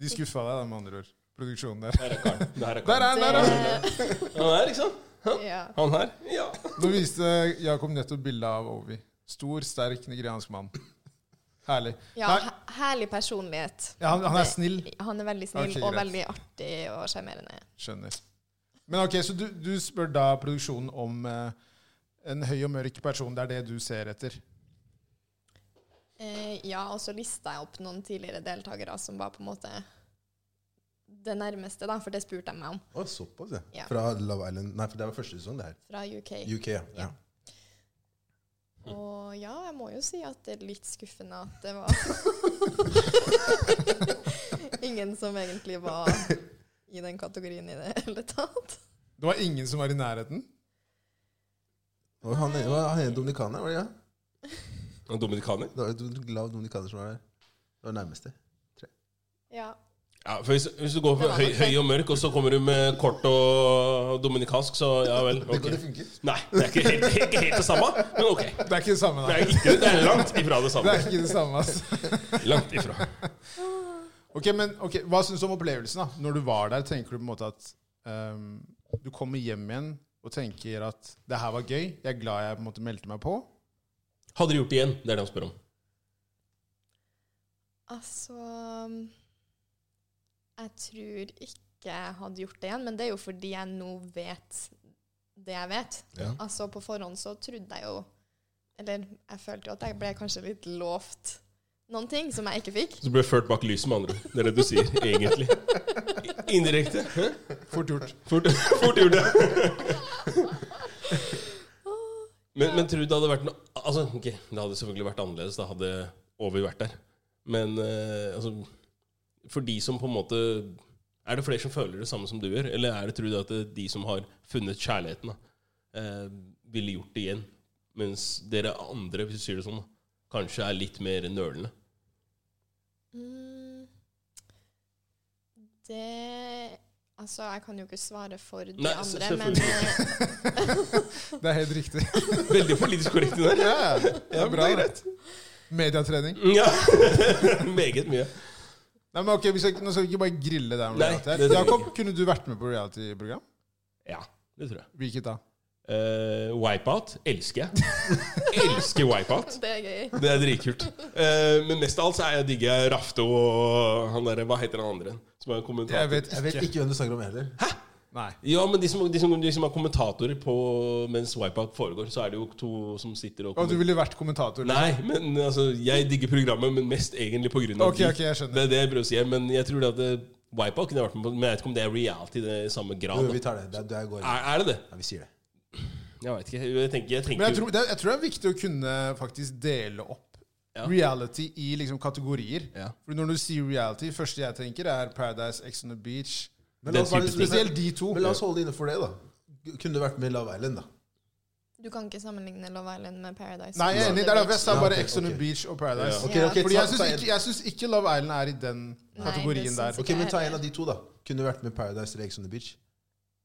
S2: De skuffa deg, da, med andre ord. Produksjonen der.
S3: Der er karen. Der er
S2: Der
S3: karen. Eh,
S2: er den! der er den.
S3: Han her, ikke sant?
S4: ja.
S3: Han her? Ja.
S2: Nå viste Jakob nettopp bilde av Ovi. Stor, sterk nigeriansk mann. Herlig.
S4: ja,
S2: Nei.
S4: he- herlig personlighet.
S2: Ja, han, han er snill.
S4: Han er veldig snill
S2: Ok,
S4: og
S2: greit.
S4: veldig artig og sjarmerende.
S2: Skjønner. Men ok, Så du, du spør da produksjonen om eh, en høy og mørk person. Det er det du ser etter?
S4: Eh, ja, og så lista jeg opp noen tidligere deltakere som var på en måte det nærmeste, da, for det spurte jeg meg om
S1: Å, såpass, ja.
S4: Ja.
S1: Fra Love Island Nei, for det var første sesong, det her.
S4: fra UK.
S1: UK, ja. ja.
S4: Og ja, jeg må jo si at det er litt skuffende at det var ingen som egentlig var i den kategorien i det hele tatt.
S2: Det var ingen som var i nærheten?
S1: Og han, var han ene dominikaner, var det ja?
S3: Han er Dominikaner?
S1: Det var en lav dominikaner som var der. Det var nærmeste.
S4: Ja,
S3: Ja, for hvis, hvis du går
S4: Det
S3: for
S4: var
S3: høy,
S4: nok det.
S3: høy og mørk, og så kommer du med kort og dominikansk, så ja vel.
S1: Det
S3: ok.
S1: går, det funker.
S3: Nei, det er ikke helt, ikke helt det samme, men ok.
S2: Det er ikke det samme,
S3: Det
S2: nei.
S3: er, ikke, det er langt ifra det
S2: Det
S3: samme.
S2: er ikke det samme, ass.
S3: Langt ifra.
S2: Ok, men ok, Hva syns du om opplevelsen? da? Når du var der, tenker du på en måte at ehm, du kommer hjem igjen og tenker at det her var gøy, jeg er glad jeg på en måte meldte meg på?
S3: Hadde de gjort det igjen? Det er det han spør om.
S4: altså Jeg tror ikke jeg hadde gjort det igjen, men det er jo fordi jeg nå vet det jeg vet.
S1: Ja.
S4: Altså På forhånd så trodde jeg jo Eller jeg følte jo at jeg ble kanskje litt lovt noen ting som jeg ikke fikk.
S3: Så ble ført bak lyset, med andre ord. Det er det du sier, egentlig. Indirekte. Hæ?
S2: Fort gjort.
S3: Fort, fort gjort, ja. Men, men tror du det hadde vært noe Altså, ok, det hadde selvfølgelig vært annerledes. Da hadde Ovi vært der. Men eh, altså For de som på en måte Er det flere som føler det samme som du gjør? Eller er det, tror du at det er de som har funnet kjærligheten, da, eh, ville gjort det igjen? Mens dere andre, hvis du sier det sånn, da, kanskje er litt mer nølende?
S4: Mm. Det Altså, jeg kan jo ikke svare for de
S3: Nei, s-
S4: andre, men
S3: selvfølgelig.
S4: eh,
S2: Det er helt riktig.
S3: Veldig politisk korrekt i der.
S2: Ja, det er bra.
S3: det er
S2: da. Mediatrening.
S3: Ja. Meget mye.
S2: Nei, men ok, vi skal, ikke- Nå skal vi ikke bare grille deg om
S3: Nei,
S2: reality.
S3: det
S2: her.
S3: skal vi
S2: Jakob,
S3: ikke.
S2: kunne du vært med på reality-program?
S3: Ja, det tror jeg.
S2: Hvilket da?
S3: Eh, wipeout elsker jeg. elsker Wipeout.
S4: det er gøy.
S3: Det er dritkult. Eh, men mest av alt så er jeg digger jeg Rafto og han derre Hva heter han andre? Som er kommentator.
S2: Jeg vet
S1: Jeg vet
S2: ikke.
S1: ikke hvem du snakker om heller.
S2: Nei.
S3: Ja, men de som, de som, de som er kommentatorer på mens wipeout foregår, så er det jo to som sitter og
S2: Og du ville vært kommentator?
S3: Nei, men altså, jeg digger programmet, men mest egentlig på grunn av
S2: Ok, ok, jeg skjønner.
S3: Det er det jeg prøver å si her, men jeg tror det at det- Wipeout kunne jeg vært med på, men jeg vet ikke om det er reality i det i samme grad.
S1: Du,
S3: da.
S1: vi tar det. Det er, det er, går.
S3: Er, er det det?
S1: Ja, vi sier det.
S3: Jeg veit ikke. Jeg tenker, jeg tenker
S2: Men jeg tror, det, er- jeg tror det er viktig å kunne faktisk dele opp
S3: Ja.
S2: reality i liksom kategorier.
S3: Ja.
S2: For når du sier reality, det første jeg tenker, er Paradise, Ex on the Beach.
S1: Men
S3: Den
S1: la, oss være,
S3: type ting.
S1: spesielt,
S2: Spesielt de to.
S1: men la oss holde det innenfor det, da. Kunne du vært med i Love Island, da?
S4: Du kan ikke sammenligne Love Island med Paradise.
S2: Nei, jeg er enig. Det er derfor jeg sa
S1: Ja,
S2: bare
S1: ok,
S2: Ex on the
S1: ok.
S2: Beach og Paradise.
S4: Ok, ok,
S2: Fordi
S1: ta-
S2: jeg syns
S1: ta en.
S2: ikke, jeg synes ikke Love Island er i den
S4: Nei,
S2: kategorien
S4: det
S2: der.
S4: synes
S1: Ok, men Ta en av de to, da. Kunne du vært med i Paradise eller Ex on the Beach?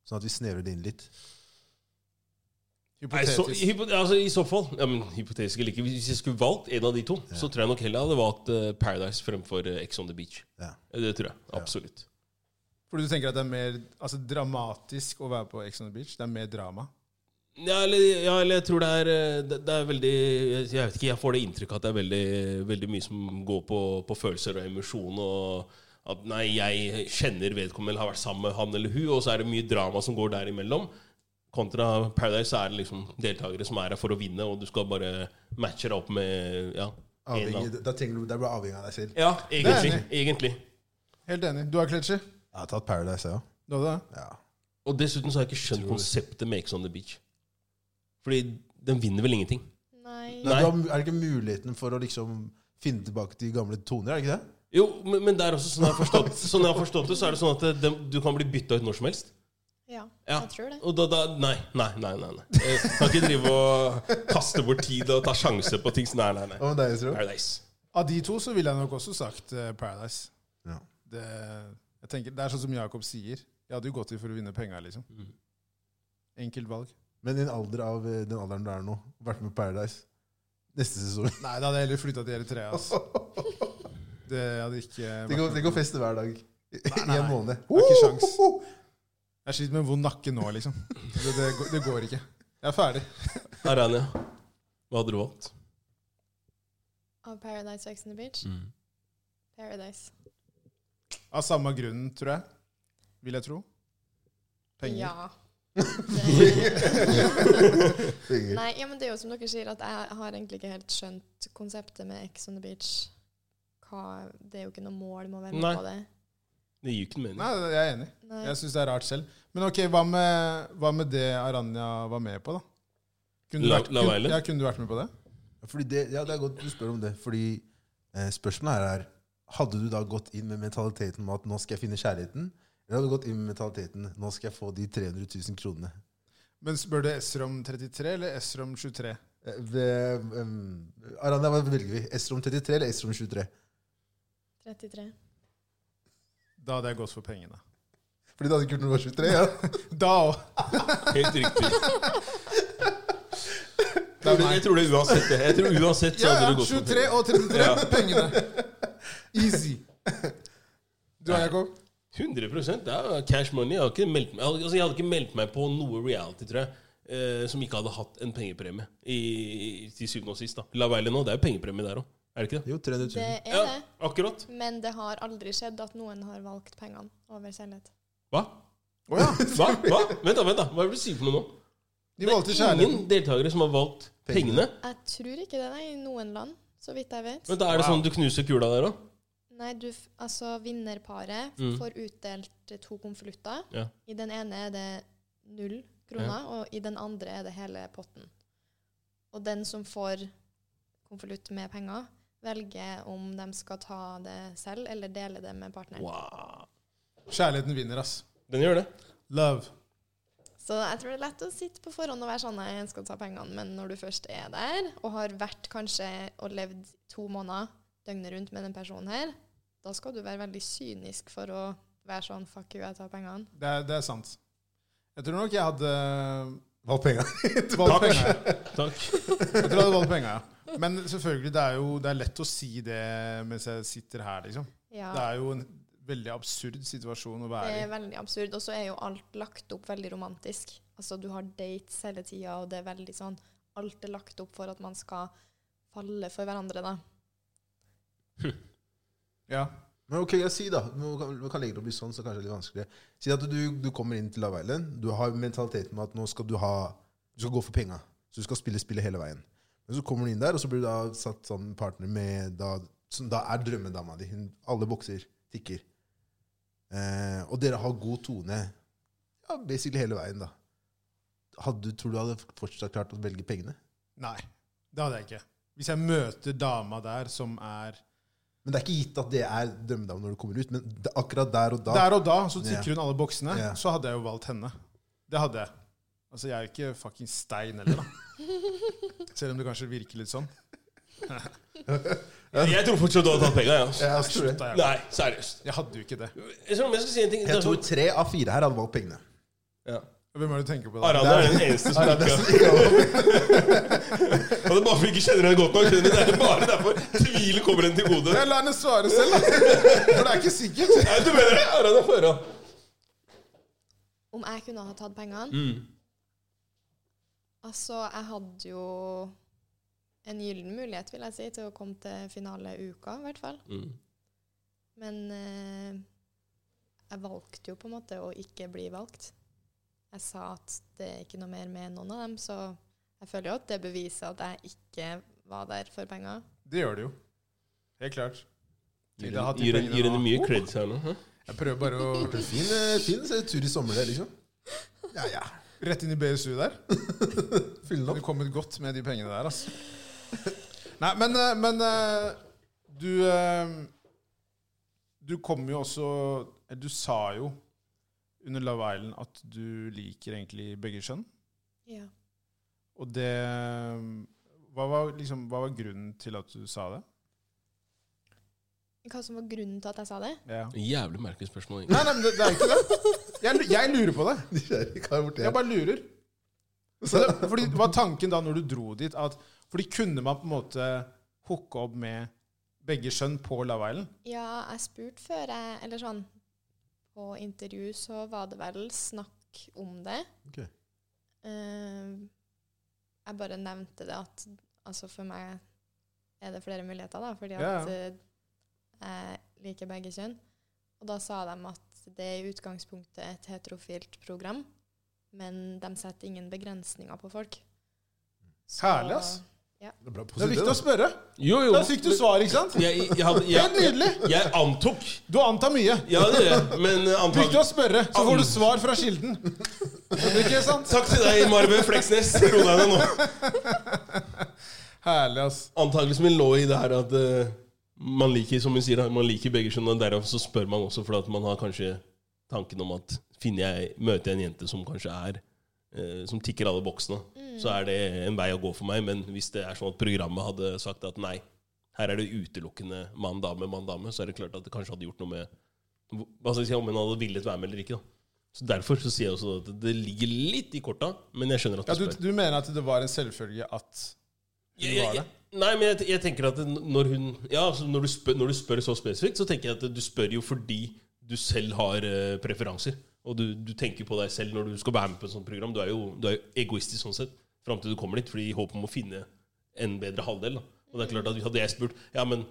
S1: Sånn at vi snevrer det inn litt.
S3: Nei, så,
S2: Hypotetisk.
S3: hypo, altså, I så fall ja, men, Hypotetisk eller ikke. Hvis jeg skulle valgt en av de to, så tror jeg nok heller jeg hadde valgt eh, Paradise fremfor eh, Ex on the Beach. Eh,
S1: Ja.
S3: Det tror jeg. Absolutt.
S2: Fordi du tenker at det er mer altså, dramatisk å være på Ex on the Beach? Det er mer drama?
S3: Ja, eller, ja, eller jeg tror det er eh, Det, det er veldig Jeg jeg vet ikke, jeg får det inntrykket at det er veldig, veldig mye som går på, på følelser og emosjon. Og at nei, jeg kjenner vedkommende eller har vært sammen med han eller hun, og så er det mye drama som går derimellom. Kontra Paradise så er det liksom deltakere som er her for å vinne, og du skal bare matche deg opp med ja, en eller annen.
S1: Avhengig, da tenker du, Det er bare avhengig av deg selv.
S3: Ja, egentlig.
S2: Det er
S3: egentlig.
S2: Helt enig. Du har Kletcher?
S1: Jeg har tatt Paradise, jeg òg.
S2: Du hadde det?
S1: Ja.
S3: Og dessuten så har jeg ikke skjønt konseptet med Ex on the Beach. Fordi den vinner vel ingenting.
S4: Nei.
S1: Nei,
S3: Nei.
S1: du har, er det ikke muligheten for å liksom finne tilbake til gamle toner? er det ikke det?
S3: Jo, men, men det er også sånn jeg har forstått, sånn jeg har forstått det, så er det sånn at det, dem- du kan bli bytta ut når som helst.
S4: Ja,
S3: Ja.
S4: jeg tror det.
S3: Og da, da Nei, nei, nei. nei, nei. Jeg kan ikke drive og kaste bort tid og ta sjanse på ting. som- Nei, nei, nei.
S1: Hva med deg, Esro?
S3: Paradise.
S2: Av de to så ville jeg nok også sagt eh, Paradise.
S1: Ja.
S2: Det, jeg tenker, det er sånn som Jakob sier. Jeg hadde jo gått til for å vinne penga, liksom.
S3: Mm.
S2: Enkelt valg.
S1: Men i en alder av eh, den alderen du er nå, vært med på Paradise neste sesong
S2: Nei, da hadde jeg heller flytta til Eritrea. Altså. Det hadde ikke vært
S1: Tenk å-
S2: noe-
S1: Tenk å feste hver dag. I
S2: nei,
S1: en
S2: nei.
S1: måned.
S2: Det er ikke sjans. Jeg sliter med vond nakke nå, liksom. Det, det, går- det går ikke. Jeg er ferdig.
S3: Arania, hva hadde du valgt?
S4: Av Paradise og Ex on the Beach.
S3: Mm.
S2: Mm.
S4: Paradise.
S2: Av samme grunnen, tror jeg. Vil jeg tro. Penger.
S4: Ja. Det-
S1: Penger.
S4: Nei, ja, men det er jo som dere sier, at jeg har egentlig ikke helt skjønt konseptet med Ex on the Beach. Hva, det er jo ikke noe mål med å være med
S3: Nei.
S4: på det.
S3: Det gir jo ikke mening.
S2: Nei, jeg er enig.
S4: Nei.
S2: Jeg syns det er rart selv. Men ok, hva med, hva med det Aranya var med på, da? Kunne du
S3: La-
S2: vært,
S3: La
S2: kunne,
S3: Island?
S2: ja, kunne du vært med på det?
S1: Fordi det, ja, det er godt du spør om det. Fordi eh, spørsmålet her er Hadde du da gått inn med mentaliteten om at nå skal jeg finne kjærligheten? Eller hadde du gått inn med mentaliteten nå skal jeg få de 300 000 kronene?
S2: Men spør du Esser om 33 eller Esser om 23?
S1: Eh, ved, em, Aranda, hva velger vi? S-rom 33 eller S-rom 23?
S4: 33.
S2: Da hadde jeg gått for pengene.
S1: Fordi du hadde ikke gjort noe med 23? ja.
S2: Da òg!
S3: Helt riktig. Jeg tror det uansett. det. Jeg tror uansett så
S2: Ja,
S3: hadde
S2: ja.
S3: du gått for
S2: 23 og 33. Pengene. Easy. Du og Jakob?
S3: 100 det er cash money. Jeg hadde ikke meldt meg, altså, jeg hadde ikke meldt meg på noe reality, tror jeg, eh, som ikke hadde hatt en pengepremie i, i, til syvende og sist. da. La være nå, det er jo pengepremie der òg. Er det ikke det?
S1: Jo, 300 000.
S4: Det er
S3: Ja,
S4: det.
S3: akkurat.
S4: Men det har aldri skjedd at noen har valgt pengene over kjærlighet.
S3: Hva?
S2: Å ja.
S3: Hva? Hva? Vent, da, vent da. Hva er det du sier for noe nå?
S2: De
S3: Det
S2: valgte
S3: er
S2: kjærligheten.
S3: ingen deltakere som har valgt pengene.
S1: Pengene.
S4: Jeg tror ikke det, nei, i noen land, så vidt jeg vet.
S3: Men da Er det
S2: Wow.
S3: sånn du knuser kula der òg?
S4: Nei, du, f- altså vinnerparet
S3: Mm.
S4: får utdelt to konvolutter.
S3: Ja.
S4: I den ene er det null kroner, og i den andre er det hele potten. Og den som får konvolutt med penger, velger om de skal ta det selv eller dele det med partneren.
S3: Wow.
S2: Kjærligheten vinner, ass.
S3: Den gjør det.
S2: Love.
S4: Så jeg tror det er lett å sitte på forhånd og være sånn jeg skal ta pengene, men når du først er der, og har vært kanskje og levd to måneder døgnet rundt med den personen her, da skal du være veldig kynisk for å være sånn fuck you, jeg tar pengene.
S2: Det er, det er sant. Jeg tror nok jeg hadde
S1: Valg penga.
S2: valgt penger.
S3: Takk.
S2: Jeg tror jeg hadde valgt penger, ja. Men selvfølgelig, det er jo det er lett å si det mens jeg sitter her, liksom.
S4: Ja,
S2: Det er jo en veldig absurd situasjon å
S4: det
S2: være
S4: er
S2: i.
S4: veldig absurd. Og så er jo alt lagt opp veldig romantisk. Altså, du har dates hele tida, og det er veldig sånn Alt er lagt opp for at man skal falle for hverandre, da.
S2: Ja.
S1: Men ok, jeg sier da, vi kan, vi kan legge det opp litt sånn, så kanskje det er litt vanskeligere. Si at du, du kommer inn til Love Island, du har mentaliteten med at nå skal du ha, du skal gå for penga, så du skal spille spillet hele veien. Men så kommer du inn der, og så blir du da satt sammen partner med, da, som da er drømmedama di, Hun- alle bokser, tikker. Eh, og dere har god tone, ja, basically hele veien da. Hadde, du- tror du hadde fortsatt klart å velge pengene?
S2: Nei, det hadde jeg ikke. Hvis jeg møter dama der som er
S1: Men det er ikke gitt at det er drømmedama når du kommer ut, men det, akkurat der og da.
S2: Der og da, så tikker
S1: Ja.
S2: hun alle boksene.
S1: Ja.
S2: Så hadde jeg jo valgt henne. Det hadde jeg. Altså, jeg er jo ikke fucking stein heller, da. Selv om det kanskje virker litt sånn.
S3: Jeg tror fortsatt du hadde tatt penga, ja.
S1: Ja, jeg tror det.
S2: Da jeg,
S3: Nei, seriøst.
S2: jeg hadde jo ikke det.
S3: Jeg tror om jeg skal si en ting
S1: Jeg tror tre av fire her hadde valgt pengene.
S3: ja.
S2: Hvem er det du tenker på da?
S3: Harald er den eneste som ikke Og det er bare fordi vi ikke kjenner henne godt nok. skjønner du? Det er bare derfor tvilen kommer henne til gode.
S2: Jeg lar henne svare selv, da. For det er ikke sikkert.
S3: Nei, du mener det? Harald er for, ja.
S4: Om jeg kunne ha tatt pengene?
S3: Mm.
S4: Altså, jeg hadde jo en gyllen mulighet, vil jeg si, til å komme til finaleuka, i hvert fall.
S3: Mm.
S4: Men eh, jeg valgte jo på en måte å ikke bli valgt. Jeg sa at det er ikke noe mer med noen av dem, så jeg føler jo at det beviser at jeg ikke var der for penger.
S2: Det gjør det jo. Helt klart.
S3: Gir
S2: Jeg har hatt de
S3: henne-
S2: pengene
S3: gir henne
S2: nå.
S3: mye creds her nå. hæ?
S2: Jeg prøver bare å
S1: Fin, eh, fin se, tur i sommer, det, liksom. Ja, ja.
S2: Rett inn i BSU der.
S1: Fyll den
S2: Du
S1: opp.
S2: kom ut godt med de pengene der, altså. Nei, men, eh, men eh, du eh, Du kom jo også eh, Du sa jo under Love Island at du liker egentlig begge kjønn.
S4: Ja.
S2: Og det hva var, liksom, hva var grunnen til at du sa det?
S4: Hva som var grunnen til at jeg sa det?
S2: Ja.
S3: Jævlig merkelig spørsmål. egentlig.
S2: Nei, nei, men det, det er ikke det. Jeg, jeg lurer på det.
S1: Nysgjerrig kar borti
S2: Jeg
S1: her.
S2: bare lurer. Så det, fordi, var tanken da når du dro dit at Fordi kunne man på en måte hooke opp med begge kjønn på Love Island?
S4: Ja, jeg spurte før jeg Eller sånn På intervju så var det vel snakk om det.
S1: Ok.
S4: Eh, jeg bare nevnte det at altså for meg er det flere muligheter, da, fordi at
S2: Ja, ja.
S4: eh, jeg liker begge kjønn. Og da sa de at det er i utgangspunktet et heterofilt program, men de setter ingen begrensninger på folk. Så-
S2: Herlig, ass.
S1: Det er bra
S2: Det er
S1: positivt. altså.
S2: viktig å
S1: da.
S2: spørre.
S3: Jo, jo.
S2: Da fikk du svar, ikke sant?
S3: Jeg, jeg,
S2: Helt
S3: hadde- jeg,
S2: nydelig.
S3: jeg antok
S2: Du antar mye.
S3: Ja, det gjør jeg, men
S2: Viktig
S3: eh, antak
S2: å spørre, så får du svar fra kilden. Ikke sant?
S3: Takk til deg, Marve Fleksnes. Ro deg ned nå.
S2: Herlig, ass.
S3: Antakelsen min lå i det her at eh, man liker som hun sier, da, man liker begge kjønn, og derav så spør man også fordi at man har kanskje tanken om at finner jeg, møter jeg en jente som kanskje er eh, som tikker alle boksene, så er det en vei å gå for meg. Men hvis det er sånn at programmet hadde sagt at nei, her er det utelukkende mann, dame, mann, dame, så er det klart at det kanskje hadde gjort noe med hva skal jeg si, om hun hadde villet være med eller ikke. da. Så Derfor så sier jeg også at det ligger litt i korta, men jeg skjønner at
S2: Ja,
S3: du
S2: du,
S3: spør.
S2: du mener at det var en selvfølge at
S3: Jeg, jeg, jeg, nei, men jeg, jeg tenker at når hun Ja, altså når, du spør, når du spør så spesifikt, så tenker jeg at du spør jo fordi du selv har eh, preferanser. Og du, du tenker på deg selv når du skal være med på et sånt program. Du er jo, du er jo egoistisk sånn sett fram til du kommer dit, fordi i håp om å finne en bedre halvdel. Da. Og det er klart at hadde jeg spurt Ja, men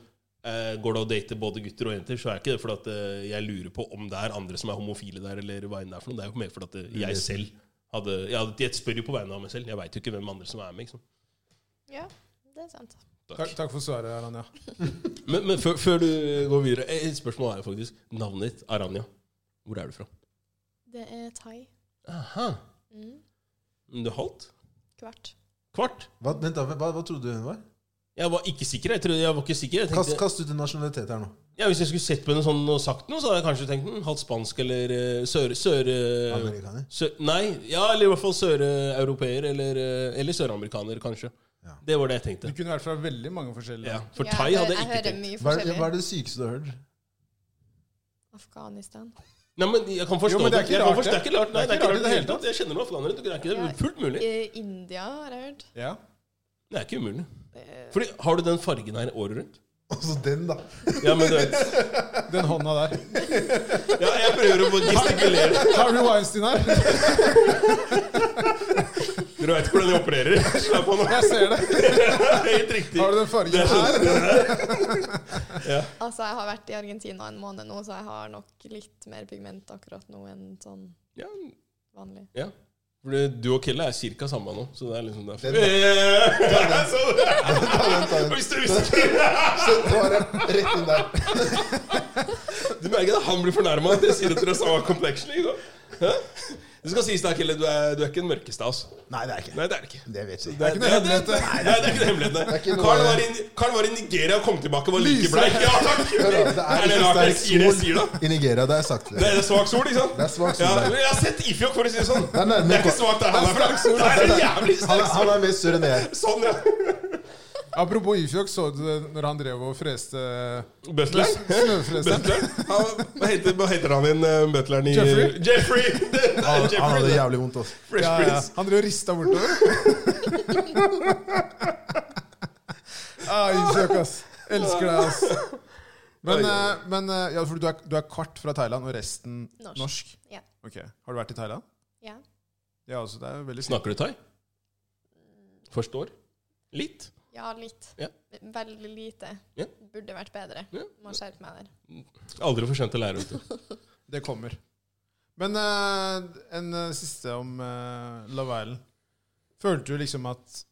S3: eh, går det å date både gutter og jenter, så er ikke det fordi at eh, jeg lurer på om det er andre som er homofile der, eller hva enn det er for noe. Det er jo mer fordi at eh, jeg selv hadde ja, Jeg spør jo på vegne av meg selv. Jeg veit jo ikke hvem andre som er med. Ikke sant?
S4: Ja, det er sant.
S2: Takk, takk for svaret, Aranja.
S3: Men, men før, før du går videre, eh, et spørsmål er jo faktisk navnet ditt, Aranja. Hvor er du fra?
S4: Det er thai.
S3: Aha.
S4: Mm.
S3: Men du er halvt?
S4: Kvart.
S3: Kvart?
S1: Hva, vent da, hva, hva trodde du hun var?
S3: Jeg var ikke sikker. Jeg trodde jeg var ikke sikker. Jeg
S1: Kast,
S3: tenkte,
S1: kast ut en nasjonalitet her nå.
S3: ja, hvis jeg skulle sett på henne sånn og sagt noe, så hadde jeg kanskje tenkt hm, halvt spansk eller eh, sør... sør, eh,
S1: Amerikaner.
S3: sør nei, ja, eller i hvert fall søreuropeer eller, eh, eller søramerikaner, kanskje.
S1: Ja.
S3: Det var det jeg
S2: Du
S3: tenkte.
S2: kunne vært fra veldig mange forskjellige
S3: Ja,
S2: land.
S3: for
S4: Ja,
S3: thai
S4: hører-
S3: hadde jeg ikke
S4: hører
S3: tenkt.
S4: mye
S1: Hva er, det, hva
S4: forskjellig.
S1: er det sykeste du har hørt?
S4: Afghanistan.
S3: Nei, men jeg kan forstå
S2: Jo, men det er ikke
S3: Jeg kan
S2: rart,
S3: forstå- det. er ikke rart, Nei, det er ikke rart i det hele tatt. Jeg kjenner noen afghanere. Det er ikke det.
S4: Ja.
S3: er Fullt mulig.
S4: I India, har jeg hørt. Eh,
S2: Ja.
S3: Det er ikke umulig.
S4: Det-
S3: Fordi, har du den fargen her året rundt?
S1: Også den, da.
S3: Ja, men du vet
S2: Den hånda der.
S3: ja, Jeg prøver å gestikulere.
S2: Harvey Weinstein her.
S3: dere veit hvordan jeg opererer. Slapp av nå.
S2: Jeg ser det.
S3: Helt riktig.
S2: Har du den
S3: Det
S2: fargen
S3: er sånn.
S2: her?
S4: Altså, jeg har vært i Argentina en måned nå, så jeg har nok litt mer pigment akkurat nå enn sånn
S3: Ja,
S4: vanlig.
S3: Fordi du og Kelle er cirka samme nå, så det er liksom derfor.
S1: Den-
S3: Eh,
S1: den, ta
S3: så-
S1: den.
S3: Hvis du husker
S1: Så var det rett inn der.
S3: Du merker at han blir fornærma at jeg sier at dere har samme complexion. Ikke? sant? Hæ? Det skal sies da, Kelle, du er, du er ikke den mørkeste av oss.
S1: Nei, det er ikke det.
S3: Nei, det er det ikke.
S1: Det vet jeg.
S3: Det er
S2: ikke noe hemmelighet,
S3: det.
S2: det.
S3: Nei, det er ikke noe hemmelighet.
S1: ikke noe-
S3: Karl var, i, Karl var i Nigeria og kom tilbake og var like
S2: Lyse.
S3: bleik. Ja, takk!
S1: Hør da, det
S3: Er det rart
S1: er ikke
S3: jeg sier
S1: sterk
S3: det jeg sier, da?
S1: sol i Nigeria. Det har jeg sagt.
S3: Det
S1: Det.
S3: er svak sol, ikke sant?
S1: Det er svak sol,
S3: Ja,
S1: det.
S3: men jeg har sett Ifjok, for å si det sånn.
S1: Det er nærmere
S3: Det er ikke
S1: Karl.
S3: svakt der han er fra. Nei, det er jævlig
S1: Han,
S3: sterk
S1: er-
S3: sol.
S1: han er mer sur enn jeg.
S3: Sånn, ja.
S2: Apropos Ifjok, så du det når han drev og freste
S3: Butler.
S2: snøfreste?
S3: Butler? Han- Hva heter, hva heter han igjen, eh, butleren i
S2: Jeffrey.
S3: Jeffrey! Det er
S1: Han, han
S3: Jeffrey,
S1: hadde
S3: det.
S1: jævlig vondt altså. også.
S3: Fresh
S2: Ja, ja.
S3: Prince.
S2: Han drev og rista bortover. ah, Ifjok, ass. Elsker deg, ass. Men,
S3: Oi, oi,
S2: eh, men eh, ja, for du, er, du er kvart fra Thailand og resten
S4: Norsk.
S2: norsk.
S4: Ja.
S2: Ok, Har du vært i Thailand?
S4: Ja.
S2: Ja, altså, det er jo veldig fint.
S3: Snakker du thai? Forstår? Litt.
S4: Ja, litt.
S3: Ja.
S4: Veldig lite.
S3: Ja.
S4: Burde vært bedre.
S3: Ja.
S4: Må skjerpe meg der.
S3: Aldri for sent å lære, vet du.
S2: Det kommer. Men eh, en eh, siste om uh, Love Island. Følte du liksom at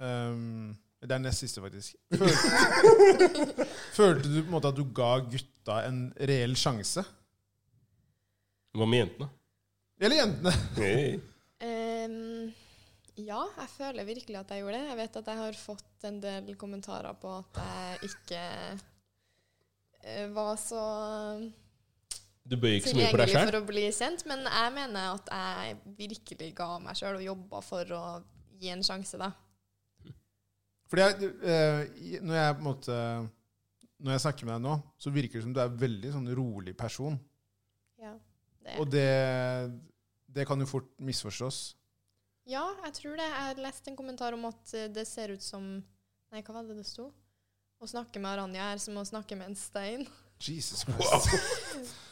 S2: ehm, Det er nest siste, faktisk. Følte, følte du på en måte at du ga gutta en reell sjanse?
S3: Hva med jentene?
S2: Eller jentene?
S4: Ehm, ja, jeg føler virkelig at jeg gjorde det. Jeg vet at jeg har fått en del kommentarer på at jeg ikke eh, var så
S3: Du bøyer ikke så mye på deg
S4: tilgjengelig
S3: sjøl?
S4: for å bli kjent, men jeg mener at jeg virkelig ga meg sjøl og jobba for å gi en sjanse, da.
S2: Fordi jeg, eh, i- når jeg på en måte Når jeg snakker med deg nå, så virker det som du er en veldig sånn rolig person.
S4: Ja,
S2: Og det, det kan jo fort misforstås.
S4: ja jeg tror det. Jeg leste en kommentar om at eh, det ser ut som Nei, hva var det det sto? Å snakke med Aranja er som å snakke med en stein.
S2: Jesus Christ.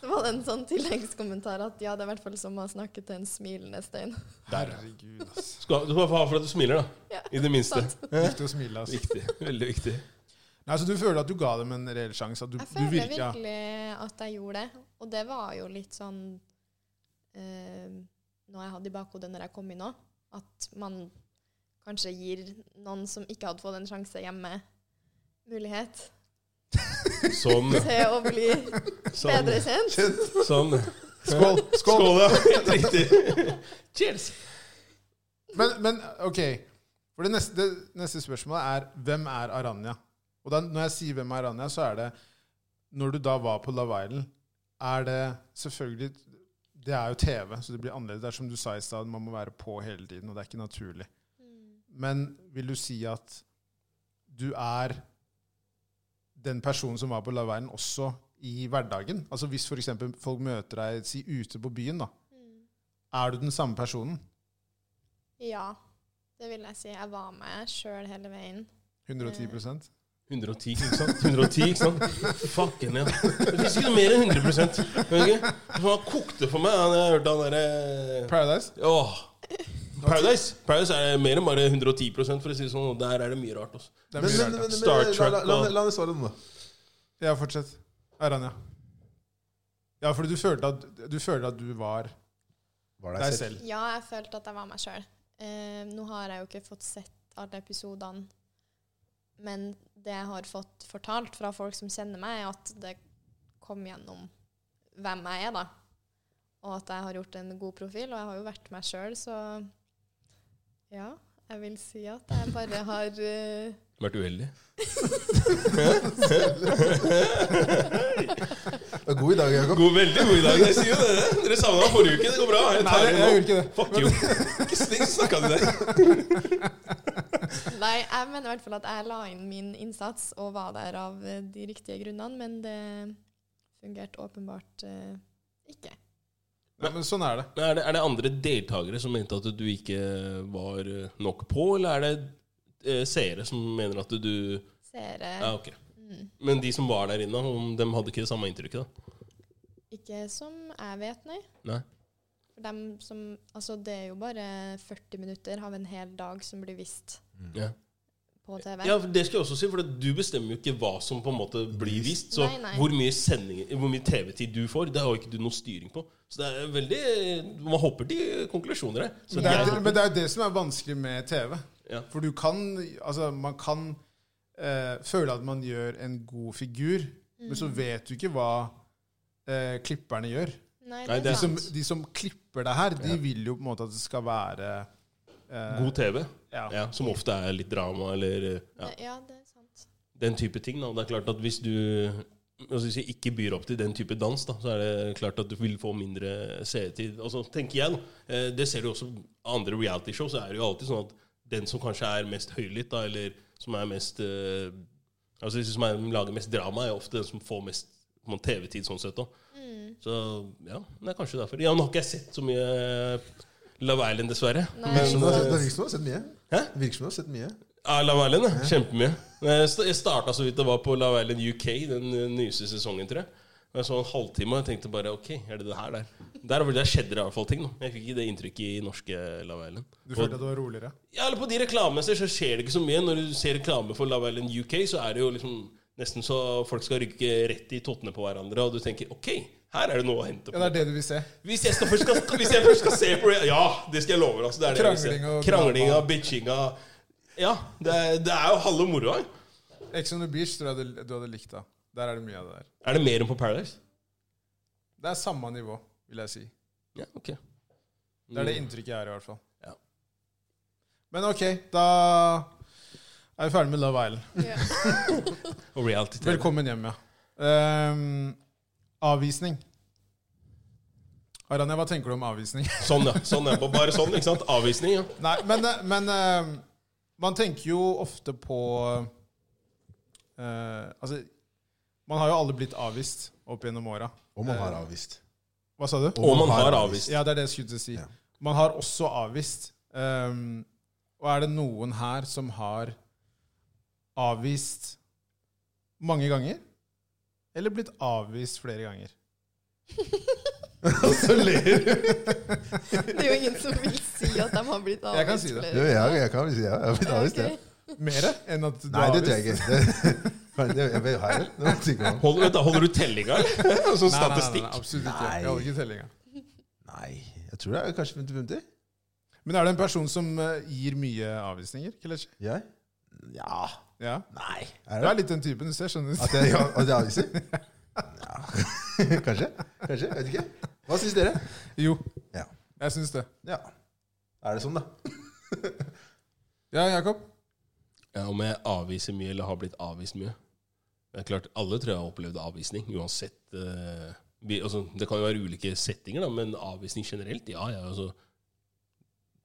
S4: Så var det en sånn tilleggskommentar at ja, det er i hvert fall som å snakke til en smilende stein.
S2: Herregud, ass.
S3: Skal, du skal få ha for at du smiler, da.
S4: Ja,
S3: I det minste.
S4: sant.
S2: Viktig å smile, ass.
S3: Viktig. Veldig viktig.
S2: Nei, så Du føler at du ga dem en reell sjanse? At du,
S4: Jeg
S2: du
S4: føler
S2: virka
S4: virkelig at jeg gjorde det. Og det var jo litt sånn eh, Noe jeg hadde i bakhodet når jeg kom inn òg. At man kanskje gir noen som ikke hadde fått en sjanse hjemme, mulighet
S3: Sånn.
S4: til å bli
S3: Sånn.
S4: bedre kjent.
S3: sånn.
S2: Skål! skål.
S3: Skål, ja. Helt riktig. Cheers.
S2: Men, men ok, for det neste, det neste spørsmålet er hvem er Aranya? Og da, når jeg sier hvem er Aranya, så er det Når du da var på Love Island, er det selvfølgelig Det er jo TV, så det blir annerledes. Det er som du sa i stad, man må være på hele tiden, og det er ikke naturlig.
S4: Mm,
S2: Men vil du si at du er den personen som var på Love Island, også i hverdagen? Altså hvis f.eks. folk møter deg si, ute på byen, da.
S4: mm.
S2: Er du den samme personen?
S4: Ja, det vil jeg si. Jeg var med sjøl hele veien.
S2: 110
S3: 110, ikke sant? 110, ikke sant? Fucken, ja. Det fins ikke noe mer enn 100 okay? Han kokte for meg. Han, jeg hørte han derre
S2: Paradise?
S3: Åh. Paradise Paradise er mer enn bare 110 for å si det sånn. og Der er det mye rart. Også.
S2: Det er
S1: Men,
S2: mye
S1: men,
S2: rart.
S1: men, men,
S3: Star
S1: la-
S3: Trek
S1: la- la-
S3: og-
S1: La meg svare nå.
S2: da. Ja, fortsett. Aranja. Ja, fordi du følte at du, følte at du var
S1: Var
S2: deg selv.
S4: Ja, jeg følte at jeg var meg sjøl. Eh, nå har jeg jo ikke fått sett alle episodene, men det jeg har fått fortalt fra folk som kjenner meg, er at det kom gjennom hvem jeg er, da. Og at jeg har gjort en god profil, og jeg har jo vært meg sjøl, så ja. Jeg vil si at jeg bare har eh,
S3: Vært uheldig.
S1: Du er god i dag, Jakob.
S3: God, veldig god i dag. Jeg sier jo det. Dere savna meg forrige uke. Det går bra. Jeg
S2: Nei,
S3: tar
S2: jeg
S3: det nå.
S2: gjorde ikke det.
S3: Fuck you. Ikke snikk, snakka til deg.
S4: Nei, jeg mener i hvert fall at jeg la inn min innsats og var der av eh, de riktige grunnene, men det fungerte åpenbart eh, ikke.
S2: Nei, men sånn er det.
S3: Men er, det, er det andre deltakere som mente at du ikke var eh, nok på, eller er det eh, seere som mener at du
S4: seere
S3: Ja, ok.
S4: mm,
S3: Men de som var der inne, om de hadde ikke det samme inntrykket, da?
S4: Ikke som jeg vet, nei.
S3: Nei.
S4: For dem som, altså det er jo bare 40 minutter av en hel dag som blir vist
S2: Mm.
S3: Ja.
S4: på TV.
S3: Ja, for det skal jeg også si, for at du bestemmer jo ikke hva som på en måte blir vist. Så
S4: Nei, nei.
S3: hvor mye, sendinger- hvor mye TV-tid du får, det har jo ikke du noe styring på. Så det er veldig Man hopper til konklusjoner her. Så
S2: Men det, er,
S3: jeg-
S2: men det er jo det som er vanskelig med TV.
S3: Ja.
S2: For du kan Altså, man kan eh, føle at man gjør en god figur, men så vet du ikke hva eh, klipperne gjør.
S4: Nei,
S3: Nei, det er
S4: det er
S2: De som,
S4: sant.
S2: de som klipper det her, de vil jo på en måte at det skal være eh,
S3: God TV,
S2: Ja.
S3: ja, som ofte er litt drama eller ja,
S4: Ja. ja, det er sant.
S3: den type ting. Da. Det er klart at hvis du altså, hvis jeg ikke byr opp til den type dans, da, så er det klart at du vil få mindre seertid. Altså, tenker jeg, da. Eh, Det ser du også på andre realityshow, så er det jo alltid sånn at den som kanskje er mest høylytt, da, eller som er mest eh, Altså som er, lager mest drama, er ofte den som får mest på en TV-tid sånn sett da. Så ja, det er kanskje derfor. Ja, nå har ikke jeg sett så mye eh, Love Island, dessverre.
S4: Nei,
S1: Men
S4: så-
S1: det det virker som du har sett mye.
S3: Hæ?
S1: Det virker som du har sett mye.
S3: Ja, Love Island, ja. Kjempemye. Jeg sta- Jeg starta så vidt det var på Love Island UK, den eh, nyeste sesongen, tror jeg. Og Jeg så en halvtime og jeg tenkte bare OK, er det det her der? Der, var- der skjedde det i hvert fall ting. Da. Jeg fikk ikke det inntrykket i norske Love Island.
S2: Du følte at det var roligere?
S3: Ja, eller på de reklamene så skjer det ikke så mye. Når du ser reklame for Love Island UK, så er det jo liksom nesten så folk skal rykke rett i tottene på hverandre, og du tenker OK, her er det noe å hente
S2: Ja,
S3: på.
S2: det er det du vil se.
S3: Hvis jeg, skal først skal, hvis jeg først skal se på det Ja, det skal jeg love. deg, Altså, det er det jeg vil se.
S2: Krangling og
S3: Kranglinga,
S2: drama.
S3: bitchinga Ja, det er, det er jo halve moroa.
S2: Ex on the beach tror jeg du, du hadde likt, da. Der er det mye av det der.
S3: Er det mer enn på Paradise?
S2: Det er samme nivå, vil jeg si.
S3: Ja, ok. Mm.
S2: Det er det inntrykket jeg har, i hvert fall.
S3: Ja.
S2: Men ok, da er vi ferdig med Love Island.
S4: Ja.
S3: Og reality TV.
S2: Velkommen hjem, ja. Ehm, avvisning. Aranja, hva tenker du om avvisning?
S3: Sånn, ja. sånn ja. Bare sånn, ikke sant? Avvisning, ja.
S2: Nei, men, eh, men eh, man tenker jo ofte på eh, Altså, man har jo alle blitt avvist opp gjennom åra.
S1: Og man har avvist.
S2: Hva sa du?
S3: Og man har avvist.
S2: Ja, det er det jeg skulle til å si.
S1: Ja.
S2: Man har også avvist. Ehm, og er det noen her som har avvist mange ganger? Eller blitt avvist flere ganger?
S1: Og så ler du.
S4: Det er jo ingen som vil si at de har blitt avvist.
S2: Jeg kan si det.
S1: Jo, Jeg, jeg kan vel si ja. Jeg har blitt avvist, jeg.
S2: Mer enn at du
S1: Nei,
S2: har
S1: det
S2: avvist?
S1: tror jeg ikke. Det, Nei, det, jeg vet, her, det vet jeg ikke om.
S3: Holder, du- holder du tellinga,
S2: Nei, nei,
S3: eller? Sånn
S2: nei, nei,
S3: statistikk?
S2: nei, absolutt ikke.
S1: Nei.
S2: Jeg holder ikke tellinga.
S1: Nei, jeg tror det er kanskje 50-50.
S2: Men er det en person som eh, gir mye avvisninger? Kelechi?
S1: Jeg? Ja.
S2: Ja.
S1: Nei.
S2: Du
S1: Er det?
S2: er litt den typen du ser, skjønner du.
S1: At jeg, ja, at jeg avviser? Ja. Kanskje. Kanskje. Jeg vet ikke. Hva syns dere?
S2: Jo,
S1: Ja.
S2: jeg syns det.
S1: ja. Er det sånn, da?
S2: Ja, Jakob?
S3: Ja, om jeg avviser mye eller har blitt avvist mye. Det er klart, Alle tror jeg har opplevd avvisning, uansett. eh, vi, altså, det kan jo være ulike settinger, da, men avvisning generelt, ja. ja altså,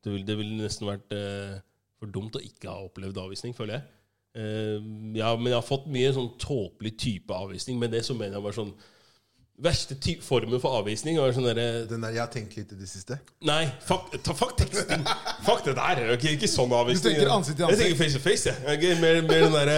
S3: det ville det ville nesten vært eh, for dumt å ikke ha opplevd avvisning, føler jeg. Eh, ja, men jeg har fått mye sånn tåpelig type avvisning. Med det så mener jeg bare sånn Verste ty formen for avvisning var sånn derre
S1: Den der, jeg har tenkt litt i det siste.
S3: Nei, fuck, ta, fuck teksting. Fuck det der. ok, ikke sånn avvisning.
S2: Du tenker ansikt til ansikt.
S3: Jeg tenker face to face. jeg. Ok, mer, mer den derre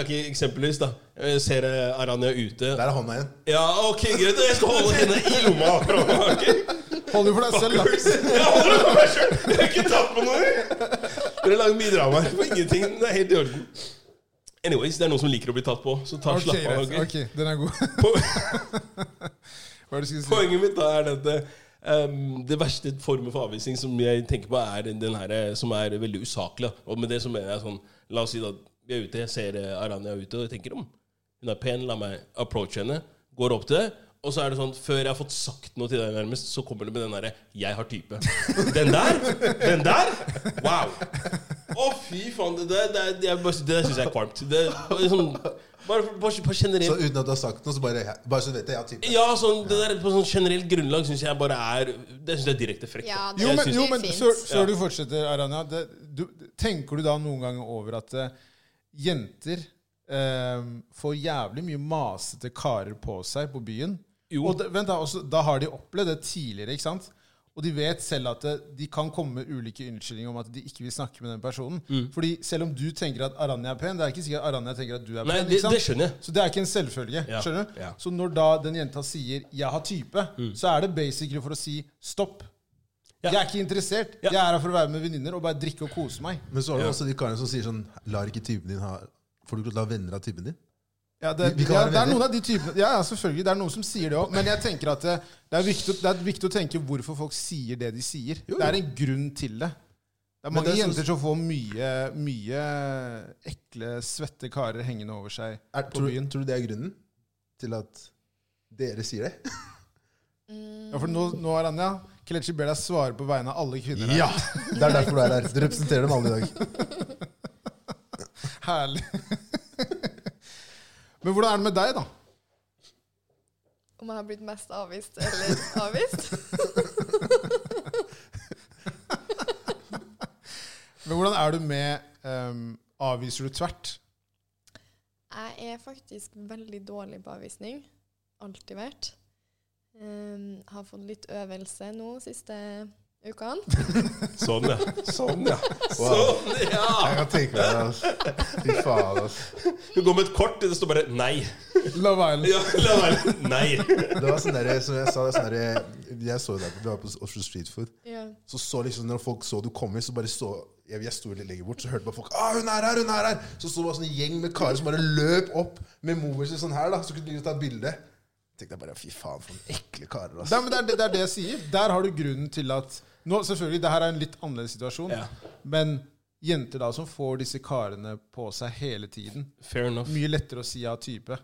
S3: Ok, Eksempelvis, da. Jeg ser eh, Aranya ute.
S1: Der er hånda igjen.
S3: Ja, ok, greit. Jeg skal holde henne i lomma. akkurat, ok?
S2: Hold jo for deg selv, da.
S3: Jeg holder henne for meg selv. Jeg har ikke tatt på noe. Dere lager mye drama her. For ingenting. Det er helt i orden. Anyways, det er noen som liker å bli tatt på, så ta
S2: Ok,
S3: slapp av.
S2: greit.
S3: ok?
S2: ok, den er god.
S3: På-
S2: Hva er det du skulle si?
S3: Poenget mitt da er dette. ehm, det verste formen for avvisning som jeg tenker på, er den her eh, som er veldig usaklig. da. Og med det så mener jeg sånn La oss si at vi er ute, jeg ser eh, Aranya ute, og jeg tenker om hun er pen, la meg approache henne. Går opp til det. Og så er det sånn, Før jeg har fått sagt noe til deg, nærmest, så kommer det med den derre 'jeg har type'. Den der? Den der? Wow! Å, fy faen. Det der, det, det, jeg bare- det der syns jeg er kvalmt. Det, er sånn, bare, bare, bare generelt
S1: Så uten at du har sagt noe, så bare, bare så du vet det. Jeg har typen.
S3: ja, sånn, det der på sånn generelt grunnlag syns jeg bare er Det synes jeg er direkte frekt.
S4: Ja,
S3: da.
S4: det
S2: Jo,
S3: Jeg
S2: men,
S3: synes-
S2: jo, men
S4: fint.
S2: før, før
S3: Ja.
S2: du fortsetter, Aranya, det, du, tenker du da noen ganger over at eh, jenter eh, får jævlig mye masete karer på seg på byen?
S3: Jo.
S2: Og det, vent da, også, da har de opplevd det tidligere, ikke sant? Og de vet selv at eh, de kan komme med ulike unnskyldninger om at de ikke vil snakke med den personen.
S3: Mm.
S2: Fordi selv om du tenker at Aranya er pen, det er ikke sikkert at Aranya tenker at du er pen.
S3: Nei, det,
S2: ikke sant?
S3: det skjønner jeg.
S2: Så det er ikke en selvfølge.
S3: Ja,
S2: skjønner du?
S3: ja.
S2: Så når da den jenta sier 'jeg har type', så er det basically for å si 'stopp,
S3: Ja.
S2: Jeg er ikke interessert.
S3: Ja.
S2: Jeg er her for å være med venninner og bare drikke og kose meg.
S1: Men så har du
S3: Ja.
S1: også de karene som sier sånn Lar ikke typen din ha Får du ikke la venner av typen din?
S2: Ja, det,
S1: Vi- vi kan
S2: ja,
S1: være
S2: det er
S1: venner.
S2: noen av de typene Ja, ja, selvfølgelig. Det er noen som sier det òg. Men jeg tenker at det, det, er viktig, det er viktig å tenke hvorfor folk sier det de sier.
S1: Jo, jo.
S2: Det er en grunn til det. Det er
S1: Men
S2: mange
S1: det er så-
S2: jenter som får mye, mye ekle, svette karer hengende over seg
S1: Er,
S2: på
S1: tror,
S2: byen.
S1: tror du det er grunnen til at dere sier det?
S2: Ja, for nå, nå er Anja Kelechi ber deg svare på vegne av alle kvinner her.
S1: Ja! Det er derfor du er her. Du representerer dem alle i dag.
S2: Herlig. Men hvordan er det med deg, da?
S4: Om man har blitt mest avvist eller avvist?
S2: Men hvordan er du med ehm, Avviser du tvert?
S4: Jeg er faktisk veldig dårlig på avvisning. Alltid vært. Ehm, har fått litt øvelse nå siste ukene.
S3: Sånn, ja. Sånn, ja.
S1: Wow.
S3: Sånn, ja.
S1: Jeg kan tenke meg det, altså. Fy faen, altså.
S3: Hun går med et kort, det står bare 'nei'.
S2: Love Island.
S3: Ja, la være. Nei.
S1: Det var sånn der, som jeg sa, det er sånn der, jeg så det der, vi var på Oslo Street Food.
S4: Ja.
S1: Så så liksom når folk så du kom inn, så bare så Jeg, jeg sto litt lenger bort, så hørte bare folk ah, hun er her, hun er her! Så så det bare sånn en gjeng med karer som bare løp opp med mobilen sin sånn her, da. Så kunne de ta et bilde. Tenkte jeg bare fy faen, for noen ekle karer, altså.
S2: Nei, men det, er, det det er det jeg sier. Der har du grunnen til at nå, Selvfølgelig, det her er en litt annerledes situasjon,
S3: Ja.
S2: men jenter da som får disse karene på seg hele tiden
S3: Fair enough.
S2: Mye lettere å si ja type.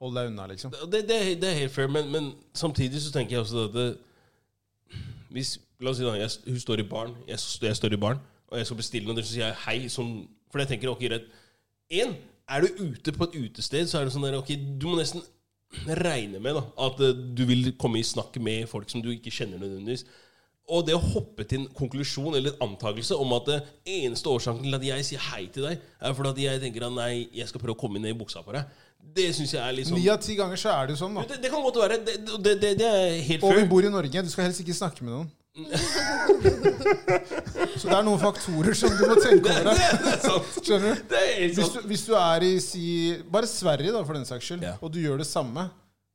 S2: Hold deg unna, liksom.
S3: Det, det, er- det er helt fair, men, men samtidig så tenker jeg også at det, hvis, La oss si da, jeg, hun står i baren, jeg, s- jeg står i baren, og jeg skal bestille noe, og så sier jeg hei sånn For jeg tenker, ok, greit. En, er du ute på et utested, så er det sånn der, ok, du må nesten regne med da, at eh, du vil komme i snakk med folk som du ikke kjenner nødvendigvis. Og det å hoppe til en konklusjon eller en antakelse om at det eneste årsaken til at jeg sier hei til deg, er fordi at jeg tenker at nei, jeg skal prøve å komme ned i buksa på deg, det syns jeg er litt sånn
S2: Ni av ti ganger så er det jo sånn,
S3: jo,
S2: da.
S3: Det, det kan godt være. Det, det, det, det er helt
S2: Og vi
S3: fair.
S2: bor i Norge. Du skal helst ikke snakke med noen.
S3: Mm.
S2: Så det er noen faktorer som du må tenke
S3: Det,
S2: over.
S3: det,
S2: her.
S3: er sant.
S2: Skjønner du?
S3: Det er helt
S2: Hvis
S3: sant.
S2: du, hvis du er i si, bare Sverige, da, for den saks skyld,
S3: Ja.
S2: og du gjør det samme,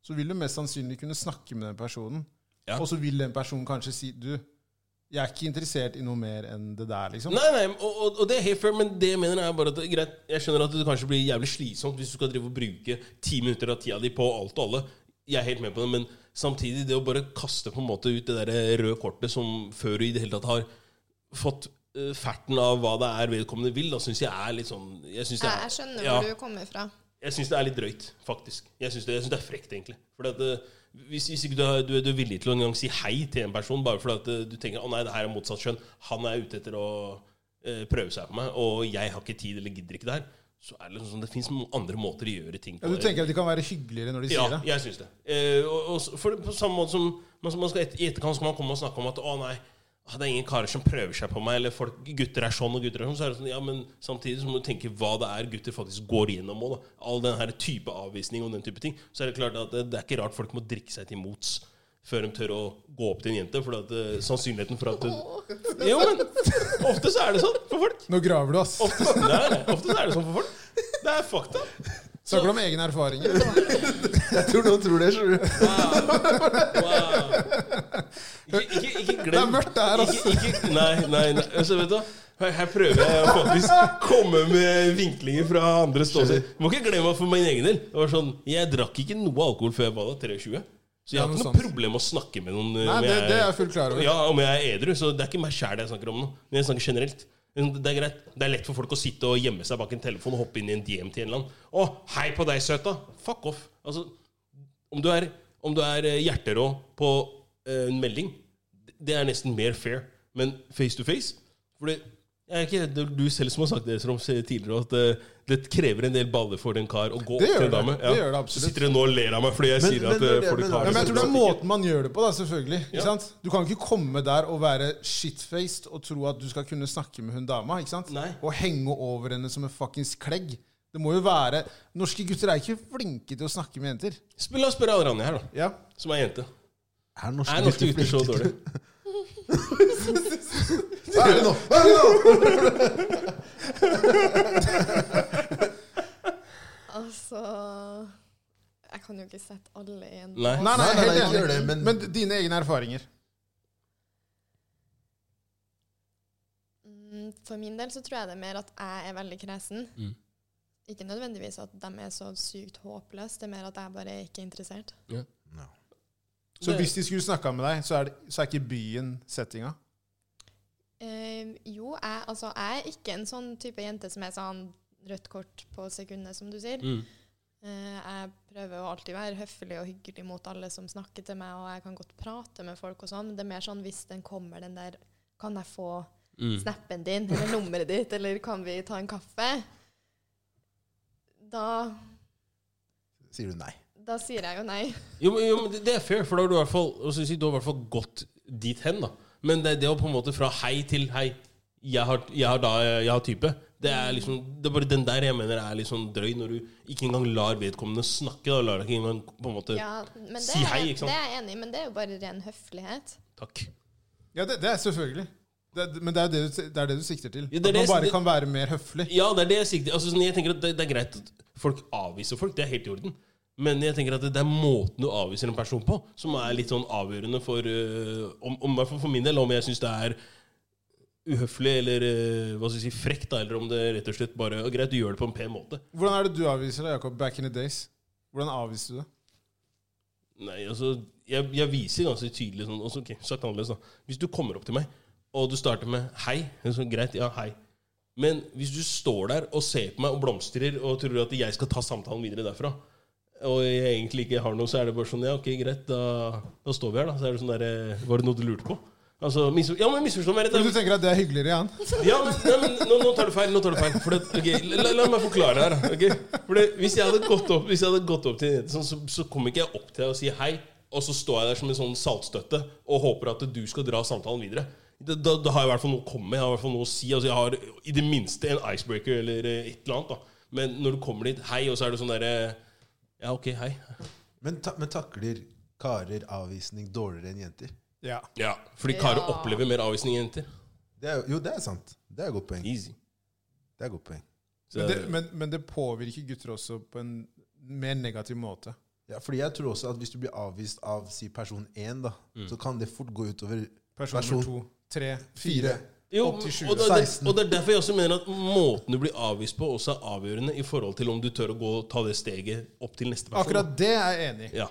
S2: så vil du mest sannsynlig kunne snakke med den personen.
S3: Ja.
S2: Og så vil den personen kanskje si Du, jeg er ikke interessert i noe mer enn det der, liksom.
S3: Nei, nei, og, og, og det er helt fair, men det jeg mener er bare at greit, jeg skjønner at det kanskje blir jævlig slitsomt hvis du skal drive og bruke ti minutter av tida di på alt og alle. Jeg er helt med på det, men samtidig det å bare kaste på en måte ut det der røde kortet som før du i det hele tatt har fått eh, ferten av hva det er vedkommende vil, da syns jeg er litt sånn Jeg syns det,
S4: Jeg,
S3: er-
S4: jeg skjønner
S3: Ja.
S4: hvor du kommer fra.
S3: Jeg syns det er litt drøyt, faktisk. Jeg syns det, jeg synes det er frekt, egentlig. Fordi at eh, hvis, hvis ikke du er, du, er, du er villig til å engang si hei til en person bare fordi at eh, du tenker 'Å nei, det her er motsatt kjønn', han er ute etter å eh, prøve seg på meg, og jeg har ikke tid eller gidder ikke det her, så er det liksom sånn Det fins andre måter å gjøre ting på.
S2: Ja, du tenker at de kan være hyggeligere når de
S3: Ja,
S2: sier det?
S3: jeg syns det. Eh, og, og, s- for det, på samme måte som man, man skal et, I etterkant skal man komme og snakke om at 'Å nei, ah, det er ingen karer som prøver seg på meg', eller folk, 'gutter er sånn og gutter er sånn'. Så er det sånn, ja, men samtidig så må du tenke hva det er gutter faktisk går gjennom òg. All den her type avvisning og den type ting. Så er det klart at det, det er ikke rart folk må drikke seg til mots før de tør å gå opp til en jente. For at, eh, sannsynligheten for at du Jo, men ofte så er det sånn for folk.
S2: Nå graver du, ass.
S3: Ofte, nei, nei, ofte så er det sånn for folk. Det er fakta.
S2: Snakker du om egne erfaringer?
S1: Jeg tror noen tror det, skjønner du.
S3: Wow. Ikke, ikke, ikke glem
S2: Det er mørkt der, altså.
S3: Ikke, ikke, nei, nei, nei. Altså, vet du, hva? her, her prøver jeg å faktisk komme med vinklinger fra andre ståsted. Du må ikke glemme at for min egen del. Det var sånn, Jeg drakk ikke noe alkohol før jeg var da 23. Så jeg
S2: Ja,
S3: har
S2: men sånn.
S3: ikke noe
S2: sant.
S3: problem med å snakke med noen. eh,
S2: Nei,
S3: om
S2: det,
S3: jeg-
S2: det er jeg fullt klar over.
S3: ja, om jeg er edru, så det er ikke meg sjæl jeg snakker om nå. Men jeg snakker generelt. Det er greit. Det er lett for folk å sitte og gjemme seg bak en telefon og hoppe inn i en DM til en eller annen. Å, hei på deg, søta! Fuck off. Altså, om du er, om du er eh, hjerterå på eh, en melding, det er nesten mer fair. Men face to face For det jeg er ikke, det er du selv som har sagt det som tidligere, at eh, det krever en del baller for en kar å gå opp
S2: Det
S3: til
S2: gjør
S3: en dame.
S2: det. Det gjør det absolutt.
S3: Så sitter dere nå og ler av meg fordi jeg
S1: Men-
S3: sier
S1: men
S3: at
S1: det er
S3: eh,
S1: det-
S3: folk
S1: men-
S3: har
S2: Ja, men jeg
S3: sånn.
S2: tror det er måten man gjør det på, da, selvfølgelig. Ikke
S3: Ja.
S2: sant? Du kan ikke komme der og være shitfaced og tro at du skal kunne snakke med hun dama. ikke sant?
S3: Nei.
S2: Og henge over henne som en fuckings klegg. Det må jo være Norske gutter er ikke flinke til å snakke med jenter.
S3: Sp- La oss spørre Rani her, da.
S2: Ja.
S3: Som er jente.
S1: Er
S3: Er norske gutter så dårlige?
S1: Er det nå? Er det nå?
S4: Altså Jeg kan jo ikke sette alle i en
S3: Nei.
S2: Nei, nei,
S1: Nei, nei,
S2: helt
S1: ikke gjør
S2: enig.
S1: det, men-
S2: Men dine egne erfaringer.
S4: Men Mm, for min del så tror jeg det er mer at jeg er veldig kresen.
S3: Mm.
S4: Ikke nødvendigvis at de er så sykt håpløse, det er mer at jeg bare er ikke interessert.
S1: Ja.
S2: Så
S3: Det-
S2: hvis de skulle snakka med deg, så er, det, så er ikke byen settinga?
S4: Eh, jo, jeg, altså, jeg er ikke en sånn type jente som er sånn rødt kort på sekundet, som du sier.
S3: Mm.
S4: Eh, jeg prøver å alltid være høflig og hyggelig mot alle som snakker til meg, og jeg kan godt prate med folk og sånn, men det er mer sånn hvis den kommer, den der Kan jeg få
S3: Mm.
S4: snappen din, eller nummeret ditt, eller kan vi ta en kaffe? Da,
S1: Sier du nei?
S4: da sier jeg jo nei.
S3: Jo, men- jo, men det- det er fair, for da har du i hvert fall, og så vil jeg si, du har i hvert fall gått dit hen. da Men det, det å på en måte fra hei til hei Jeg har, jeg har, da, jeg har type. Det er liksom Det er bare den der jeg mener er litt sånn drøy, når du ikke engang lar vedkommende snakke. Da lar deg ikke engang på en måte
S4: Ja, men det,
S3: Si hei,
S4: er-
S3: ikke sant?
S4: det er jeg enig i, men det er jo bare ren høflighet.
S3: Takk.
S2: Ja, det, det er selvfølgelig. Det, er- men det er det, du, det er det du sikter til.
S3: Ja, det
S2: At man
S3: er det-
S2: bare
S3: det-
S2: kan være mer høflig.
S3: Ja, det er det jeg sikter altså, sånn, Jeg tenker at det, det er greit at folk avviser folk. Det er helt i orden. Men jeg tenker at det, det er måten du avviser en person på, som er litt sånn avgjørende for øh, om, om, i hvert fall for min del, om jeg syns det er uhøflig eller øh, hva skal jeg si, frekt, da, eller om det rett og slett bare er greit, du gjør det på en pen måte.
S2: Hvordan er det du avviser det, Jakob? Back in the days. Hvordan avviste du det?
S3: Nei, altså, jeg, jeg viser ganske tydelig sånn altså, ok, Sagt annerledes, da. Hvis du kommer opp til meg, og du starter med 'hei', så greit, ja, hei. Men hvis du står der og ser på meg og blomstrer og tror at jeg skal ta samtalen videre derfra, og jeg egentlig ikke har noe, så er det bare sånn Ja, ok, greit, da, da står vi her, da. Så er det sånn derre Var det noe du lurte på? Altså, misfor, ja, men misforstå meg rett.
S2: Fordi
S3: da.
S2: du tenker at det er hyggeligere igjen?
S3: Ja, men, ja, men nå, nå tar du feil. nå tar du feil For det, ok, la, la meg forklare her. ok? For det, hvis, jeg hadde gått opp, hvis jeg hadde gått opp til en jente sånn, så, så kommer ikke jeg opp til deg og sier hei, og så står jeg der som en sånn saltstøtte og håper at du skal dra samtalen videre. Da, da, da har jeg i hvert fall noe å komme med. Jeg har i hvert fall noe å si altså Jeg har i det minste en icebreaker eller eh, et eller annet. da Men når du kommer dit, hei, og så er det sånn derre Ja, ok, hei.
S1: Men, ta, men takler karer avvisning dårligere enn jenter?
S2: Ja.
S3: Ja, Fordi karer
S4: Ja.
S3: opplever mer avvisning enn jenter.
S1: Det er, jo- jo, det er sant. Det er et godt poeng.
S3: Easy.
S1: Det er et godt poeng.
S3: Så,
S2: Men det, men, men det påvirker gutter også på en mer negativ måte.
S1: Ja, fordi jeg tror også at hvis du blir avvist av si person 1, da,
S3: Mm.
S1: så kan det fort gå utover
S2: Person
S1: Person.
S2: nummer to, tre, fire.
S1: fire.
S3: Jo,
S2: Opp
S3: og,
S2: til 20.
S3: det, er der-
S1: 16.
S3: og det er derfor jeg også mener at måten du blir avvist på, også er avgjørende i forhold til om du tør å gå og ta det steget opp til neste person.
S2: Akkurat det er jeg enig i.
S3: Ja.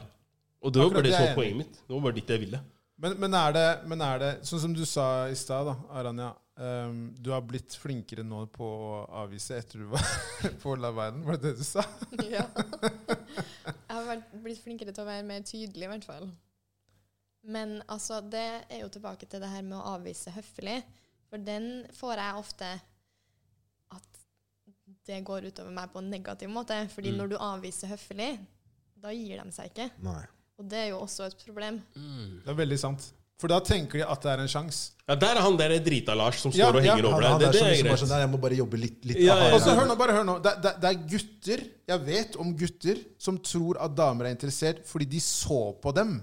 S3: Og det var
S2: Akkurat
S3: bare det
S2: det er jeg
S3: som var
S2: enig i.
S3: poenget mitt. Det var bare dit jeg ville.
S2: Men, men, er det, men er det Sånn som du sa i stad, da, Aranya. ehm, du har blitt flinkere nå på å avvise etter du var på La Verden. Var det det du sa?
S4: Ja. Jeg har vært, blitt flinkere til å være mer tydelig, i hvert fall. Men altså, det er jo tilbake til det her med å avvise høflig. For den får jeg ofte at det går utover meg på en negativ måte. Fordi
S3: Mm.
S4: når du avviser høflig, da gir de seg ikke.
S1: Nei.
S4: Og det er jo også et problem.
S2: Det er veldig sant. For da tenker de at det er en sjanse.
S3: Ja, der er han der drita Lars som står
S2: Ja,
S3: og
S2: ja,
S3: henger
S1: Han,
S3: over
S1: han
S3: deg. Det, det
S1: er sånn
S3: er
S1: som bare
S3: greit.
S1: sånn der, jeg må bare jobbe litt, litt
S3: Ja, ja,
S1: hardere.
S2: Altså, hør nå, bare hør nå. Det, det, det er gutter Jeg vet om gutter som tror at damer er interessert fordi de så på dem.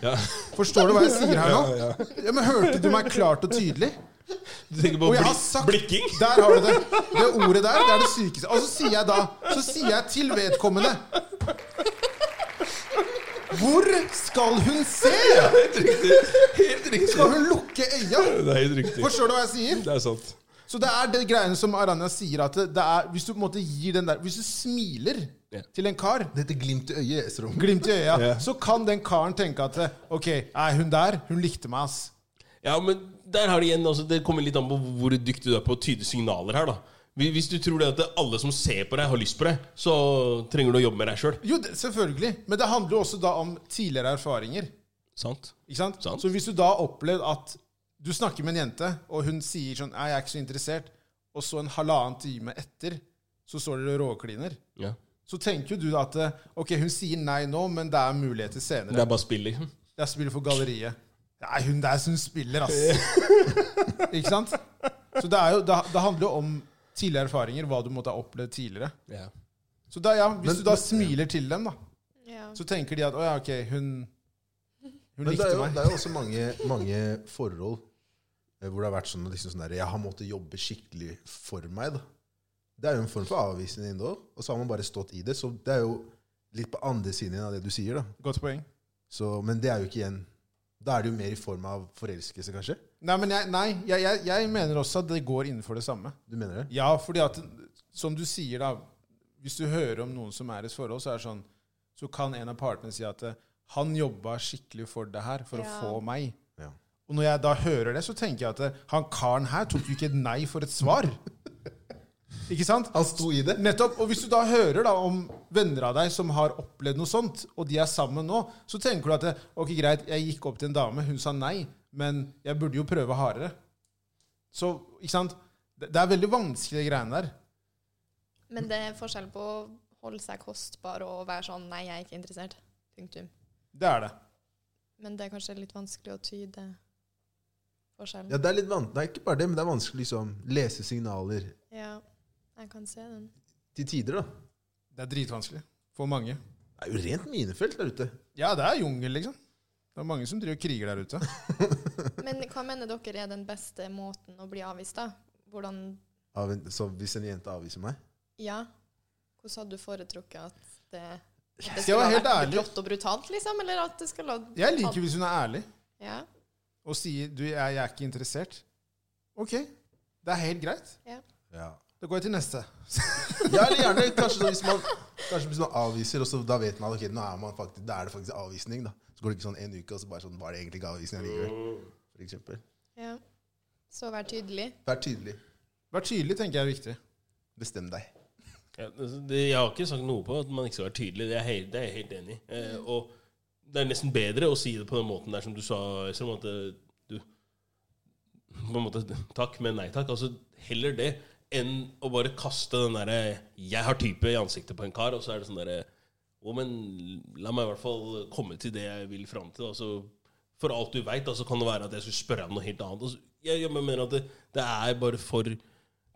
S3: Ja.
S2: Forstår du hva jeg sier her nå? Ja, men Hørte du meg klart og tydelig?
S3: Du tenker på
S2: Og jeg har
S3: blikk-
S2: sagt-
S3: blikking?
S2: Der har du det. Det ordet der, det er det sykeste. Og så sier jeg da Så sier jeg til vedkommende Hvor skal hun se? Skal hun lukke øya?
S3: Det er helt riktig.
S2: Forstår du hva jeg sier?
S3: Det er sant.
S2: Så det er det greiene som Aranya sier, at det er Hvis du på en måte gir den der Hvis du smiler
S3: Ja.
S2: til en kar
S1: Det heter glimt i øyet, Esrom.
S2: Glimt i øya.
S3: Ja.
S2: Så kan den karen tenke at OK, nei, hun der, hun likte meg, ass.
S3: Ja, men der har det igjen altså, Det kommer litt an på hvor dyktig du er på å tyde signaler her, da. Hvis hvis du tror det at alle som ser på deg, har lyst på deg, så trenger du å jobbe med deg sjøl.
S2: Jo, det, selvfølgelig. Men det handler jo også da om tidligere erfaringer.
S3: Sant?
S2: Ikke sant?
S3: Sant.
S2: Så hvis du da har opplevd at du snakker med en jente, og hun sier sånn «Nei, 'Jeg er ikke så interessert', og så en halvannen time etter så står dere og råkliner,
S3: Ja.
S2: så tenker jo du da at eh, 'ok, hun sier nei nå, men det er muligheter
S3: Det
S2: senere'.
S3: er bare spill, liksom.
S2: Jeg spiller for galleriet. Nei, hun der som spiller, ass. ikke sant? Så det, er jo, det, det handler jo om tidligere erfaringer, hva du måtte ha opplevd tidligere.
S3: Ja.
S2: Så da, ja, Hvis
S1: Men-
S2: du da smiler til dem, da,
S4: Ja.
S2: så tenker de at 'å ja, ok, hun, hun
S1: Men det
S2: likte
S1: er jo, det
S2: meg'.
S1: er jo også mange, mange forhold eh, hvor det har vært sånn, liksom sånn der, jeg har måttet jobbe skikkelig for meg. Da. Det er jo en form for avvisning ennå, og så har man bare stått i det. Så det er jo litt på andre siden av det du sier. Da.
S2: Godt poeng.
S1: Så, men det er jo ikke igjen Da er det jo mer i form av forelskelse, kanskje.
S2: Nei, men jeg, nei, jeg, jeg, jeg mener også at det går innenfor det samme.
S1: Du mener det?
S2: Ja, fordi at Som du sier, da. Hvis du hører om noen som er i et forhold, så er det sånn Så kan en av partene si at eh, han jobba skikkelig for det her, for
S4: Ja.
S2: å få meg.
S1: Ja.
S2: Og når jeg da hører det, så tenker jeg at eh, han karen her tok jo ikke et nei for et svar. ikke sant?
S1: Han sto i det?
S2: Nettopp. Og hvis du da hører da om venner av deg som har opplevd noe sånt, og de er sammen nå, så tenker du at eh, ok, greit, jeg gikk opp til en dame, hun sa nei, men jeg burde jo prøve hardere. Så, ikke sant? Det det er veldig vanskelig, de greiene der.
S4: Men det er forskjell på å holde seg kostbar og være sånn 'nei, jeg er ikke interessert'. Punktum.
S2: Det er det.
S4: Men det er kanskje litt vanskelig å tyde forskjellen.
S1: Ja, det er litt van Nei, ikke bare det, men det er vanskelig å liksom, lese signaler
S4: Ja, jeg kan se den.
S1: til tider, da.
S2: Det er dritvanskelig for mange.
S1: Det er jo rent minefelt der ute.
S2: Ja, det er jungel, liksom. Det er mange som driver og kriger der ute.
S4: Men hva mener dere er den beste måten å bli avvist, da? Hvordan
S1: Av en, så hvis en jente avviser meg
S4: Ja. Hvordan hadde du foretrukket at det, at det
S2: Jeg skal være helt ærlig.
S4: blått og brutalt, liksom? Eller at det skulle ha
S2: Jeg liker hvis hun er ærlig
S4: Ja.
S2: og sier du, jeg, jeg er ikke interessert. Ok, det er helt greit.
S1: ja.
S2: Da går jeg til neste.
S1: Ja, eller gjerne kanskje sånn hvis man, kanskje hvis man avviser, og så da vet man at ok, nå er man faktisk, da er det faktisk avvisning. da. Så går det ikke sånn en uke, og så bare sånn, var det egentlig ikke avvisning allikevel. For eksempel.
S4: ja. Så vær tydelig.
S1: Vær tydelig.
S2: Vær tydelig, tenker jeg er viktig.
S1: Bestem deg.
S3: Ja, altså, det, jeg har ikke sagt noe på at man ikke skal være tydelig. Det er, helt, det er jeg helt enig i. Eh, og det er nesten bedre å si det på den måten der som du sa, Øystein. At eh, du På en måte takk, men nei takk. Altså heller det enn å bare kaste den derre 'jeg har type' i ansiktet på en kar, og så er det sånn derre å, men la meg i hvert fall komme til det jeg vil fram til. Altså, for alt du veit, så kan det være at jeg skulle spørre om noe helt annet. Altså, jeg, jeg mener at det, det er bare for det,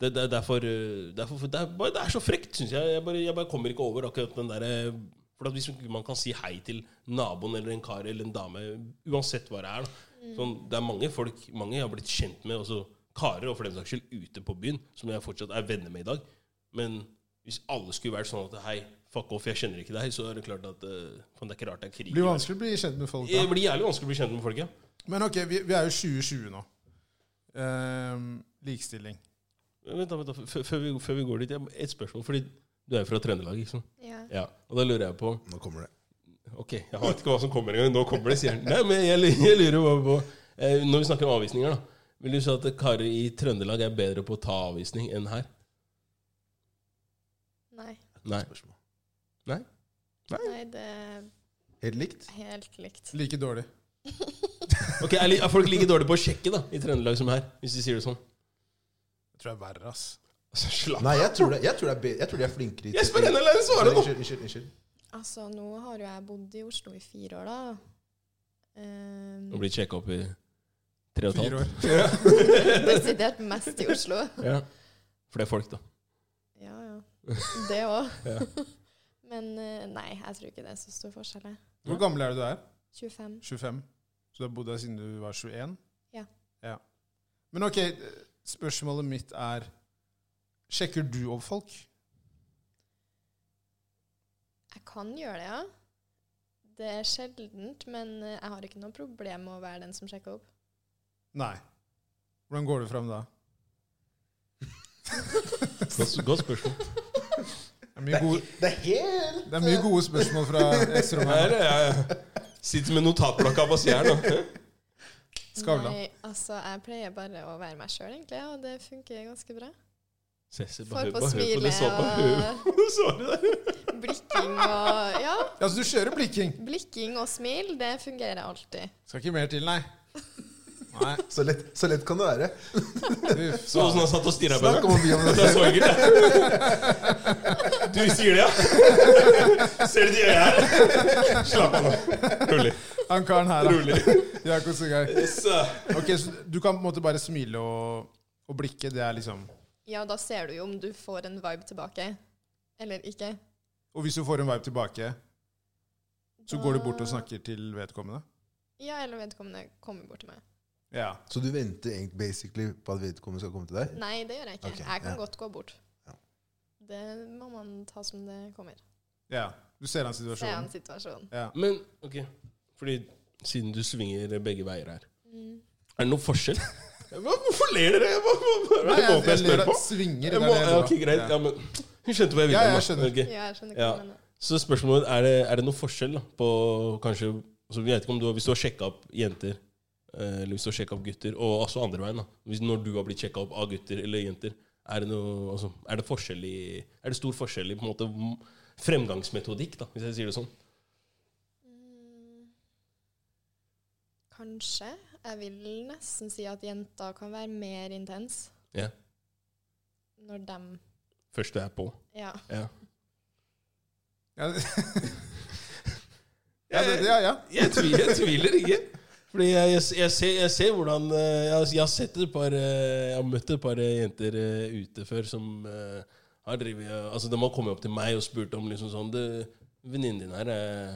S3: det, det, er for, øh, det, er for, det, er bare, det er så frekt, syns jeg. Jeg bare, jeg bare kommer ikke over akkurat den derre For at hvis ikke man kan si hei til naboen eller en kar eller en dame, uansett hva det er da. sånn, Det er mange folk mange jeg har blitt kjent med, også karer, og for den saks skyld ute på byen, som jeg fortsatt er venner med i dag. Men hvis alle skulle vært sånn at hei, fuck off, jeg kjenner ikke deg, så er det klart at øh, faen, det er ikke rart det er krig.
S2: Det blir
S3: i verden.
S2: vanskelig å bli kjent med folk.
S3: Det
S2: da.
S3: blir jævlig vanskelig å bli kjent med folk, ja.
S2: Men ok, vi, vi er jo 2020 nå. Ehm, likestilling.
S3: Vent da, vent da, før- før vi, før vi går dit, jeg- et spørsmål. Fordi du er jo fra Trøndelag, ikke sant?
S4: Ja.
S3: Ja. Og da lurer jeg på
S1: Nå kommer det.
S3: Ok, jeg vet ikke hva som kommer engang. Nå kommer det, sier han. Nei, men jeg, lu- jeg lurer bare på eh, Når vi snakker om avvisninger, da. Vil du si at karer i Trøndelag er bedre på å ta avvisning enn her?
S4: Nei.
S3: Nei.
S1: Spørsmål.
S4: Nei, det er
S1: Helt likt.
S4: helt likt.
S2: Like dårlig.
S3: Ok, er, li- er folk like dårlige på å sjekke da, i Trøndelag som her? Hvis de sier det sånn?
S2: Jeg tror det er verre, ass.
S3: Altså, slapp
S1: Nei, jeg tror, det, jeg, tror det er be, jeg tror de er flinkere i
S3: Jeg spør henne, la henne svare nå!
S1: Unnskyld, unnskyld. unnskyld.
S4: Altså, nå har jo jeg bodd i Oslo i fire år, da. Ehm,
S3: Nå blir sjekka opp i tre og et
S2: Fire
S3: halvt.
S2: år.
S4: Ehm, Desidert mest i Oslo.
S3: Ja. For det er folk, da.
S4: Ja, ja. Det òg.
S3: Ja.
S4: Men eh, nei, jeg tror ikke det er så stor forskjell. jeg.
S2: Hvor gammel er du du er?
S4: 25.
S2: 25. Så du har bodd her siden du var 21?
S4: Ja.
S2: ja. Men ok, eh, spørsmålet mitt er Sjekker du opp folk?
S4: Jeg kan gjøre det, ja. Det er sjeldent, men eh, jeg har ikke noe problem med å være den som sjekker opp.
S2: Nei. Hvordan går du fram da?
S3: Godt, godt spørsmål.
S2: Det er mye gode,
S1: Det er helt
S2: det er mye gode spørsmål fra Esrom
S3: Ja,
S2: her.
S3: eh, ja, ja. Sitter med notatblokka på sida her nå.
S2: Skavlan.
S4: Nei, altså, jeg pleier bare å være meg sjøl, egentlig, ja, og det funker ganske bra.
S3: Se, se, bare
S4: Får
S3: hør bare
S4: på
S3: hør på det
S4: smilet
S3: såpa.
S4: og blikking og Ja,
S2: Altså, du kjører blikking.
S4: blikking og smil, det fungerer alltid.
S2: Skal ikke mer til, nei. Nei.
S1: Så lett, så lett kan det være.
S2: Uff.
S3: Så sånn. åssen han satt og stirra på
S1: Snakk
S3: henne.
S1: om å bli om det.
S3: Det er sorger, det. Du sier det, ja? Ser du de øya her? Slapp av nå. Rolig.
S2: Han karen her,
S3: Rolig.
S2: da. Jakob Sugai.
S3: Så,
S2: Ok, så du kan på en måte bare smile og, og blikke. Det er liksom
S4: Ja, da ser du jo om du får en vibe tilbake eller ikke.
S2: Og hvis du får en vibe tilbake, så går du bort og snakker til vedkommende?
S4: Ja, eller vedkommende kommer bort til meg.
S2: Ja.
S1: Så du venter egentlig basically på at vedkommende skal komme til deg?
S4: Nei, det gjør jeg ikke.
S1: Ok,
S4: Jeg kan
S1: ja.
S4: godt gå bort.
S1: Ja.
S4: Det må man ta som det kommer.
S2: ja. Du ser an
S4: Det er en
S2: situasjonen?
S4: situasjon.
S2: Ja.
S4: Mm.
S3: men ok, fordi siden du svinger begge veier her, Er det noen forskjell? Hva, hvorfor ler dere? Hva, hva, hva, hva,
S2: Nei,
S3: hva
S2: jeg,
S3: jeg
S2: jeg,
S3: spør på?
S2: svinger i
S3: Jeg
S2: det
S3: må,
S2: jeg
S3: ja,
S2: gjør
S3: ok,
S2: da.
S3: greit.
S2: Ja.
S3: Ja, men hun skjønte hva jeg ville.
S2: Ja, jeg
S3: da.
S2: skjønner.
S3: Ok.
S4: Ja, jeg skjønner hva
S3: Ja.
S4: du mener.
S3: Så spørsmålet er det, er det noen forskjell da, på kanskje altså, jeg vet ikke om du, har- Hvis du har sjekka opp jenter, eh, eller hvis du har sjekket opp gutter, og også andre veien da, hvis, Når du har blitt sjekka opp av gutter eller jenter, er det, noe, altså, er det, forskjell i, er det stor forskjell i på en måte, m- fremgangsmetodikk, da, hvis jeg sier det sånn?
S4: Mm. Kanskje. Jeg vil nesten si at jenter kan være mer intens
S3: Ja.
S4: når dem
S3: Først du er på.
S4: Ja.
S3: Ja.
S2: Ja, det- ja, det- ja, ja.
S3: Jeg tviler, jeg tviler ikke. Fordi jeg, jeg, jeg, ser, jeg ser hvordan eh, jeg, har- jeg har sett et par eh, Jeg har møtt et par eh, jenter eh, ute før som eh, har drevet Altså, de har kommet opp til meg og spurt om liksom sånn «Du, Venninnen din her, eh,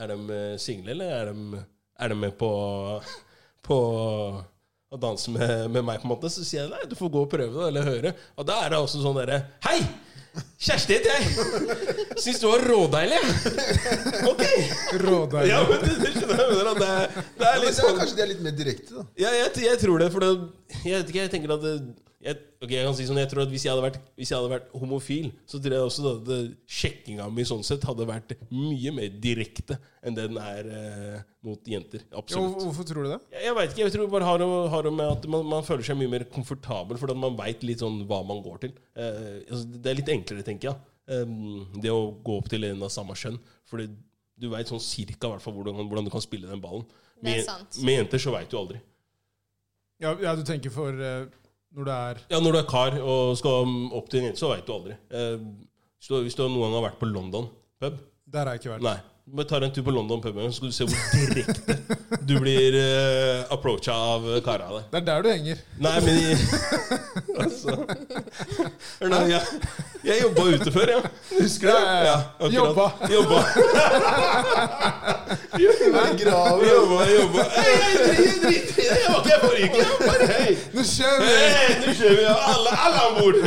S3: er de eh, single, eller er de, er de med på, på å danse med, med meg, på en måte? Så sier jeg nei, du får gå og prøve, da, eller høre. Og da er det også sånn derre Hei! Kjersti heter jeg! Syns du var rådeilig! Ok!
S2: Rådeilig.
S3: Ja, men du, du skjønner hva jeg mener. at Det, er- det er
S1: men
S3: litt
S1: det er
S3: sånn
S1: kanskje det er litt mer direkte, da.
S3: ja, jeg, jeg tror det, for det, jeg vet ikke, jeg tenker at det, jeg, Ok, jeg kan si sånn, jeg tror at hvis jeg hadde vært, hvis jeg hadde vært homofil, så tror jeg også at det- sjekkinga mi sånn sett hadde vært mye mer direkte enn det den er eh, mot jenter.
S2: Jo,
S3: Absolutt.
S2: hvorfor tror du det?
S3: Jeg, jeg vet ikke, jeg tror det bare har å- har å med at man, man føler seg mye mer komfortabel, fordi at man veit litt sånn hva man går til. Eh, altså, det er litt enklere, tenker jeg. eh, det å gå opp til en av samme kjønn. Fordi du veit sånn cirka hvertfall hvordan, hvordan du kan spille den ballen.
S4: Det er
S3: Med,
S4: sant.
S3: med jenter så veit du aldri.
S2: Ja, ja, du tenker for eh, når det er
S3: Ja, når du er kar og skal opp til en jente, så veit du aldri. Eh, hvis, du, hvis du noen gang har vært på London pub
S2: Der har jeg ikke vært.
S3: Nei. Bare tar en tur på London pub, så skal du se hvor direkte du blir uh, approacha av kara der.
S2: Det er der du henger.
S3: Nei, men i- altså, Hør nå, jeg, jeg jobba ute før, ja. Husker du?
S2: Ja, ja, ja.
S3: akkurat.
S2: Jobba.
S3: Jobba.
S1: Graver.
S3: jobba, jobba. Hei, hei, drit, drit, drit. Jeg var ikke her forrige uke. jeg var Bare hei.
S2: Nå kjører vi!
S3: Hei, nå kjører vi. Alle, alle om bord.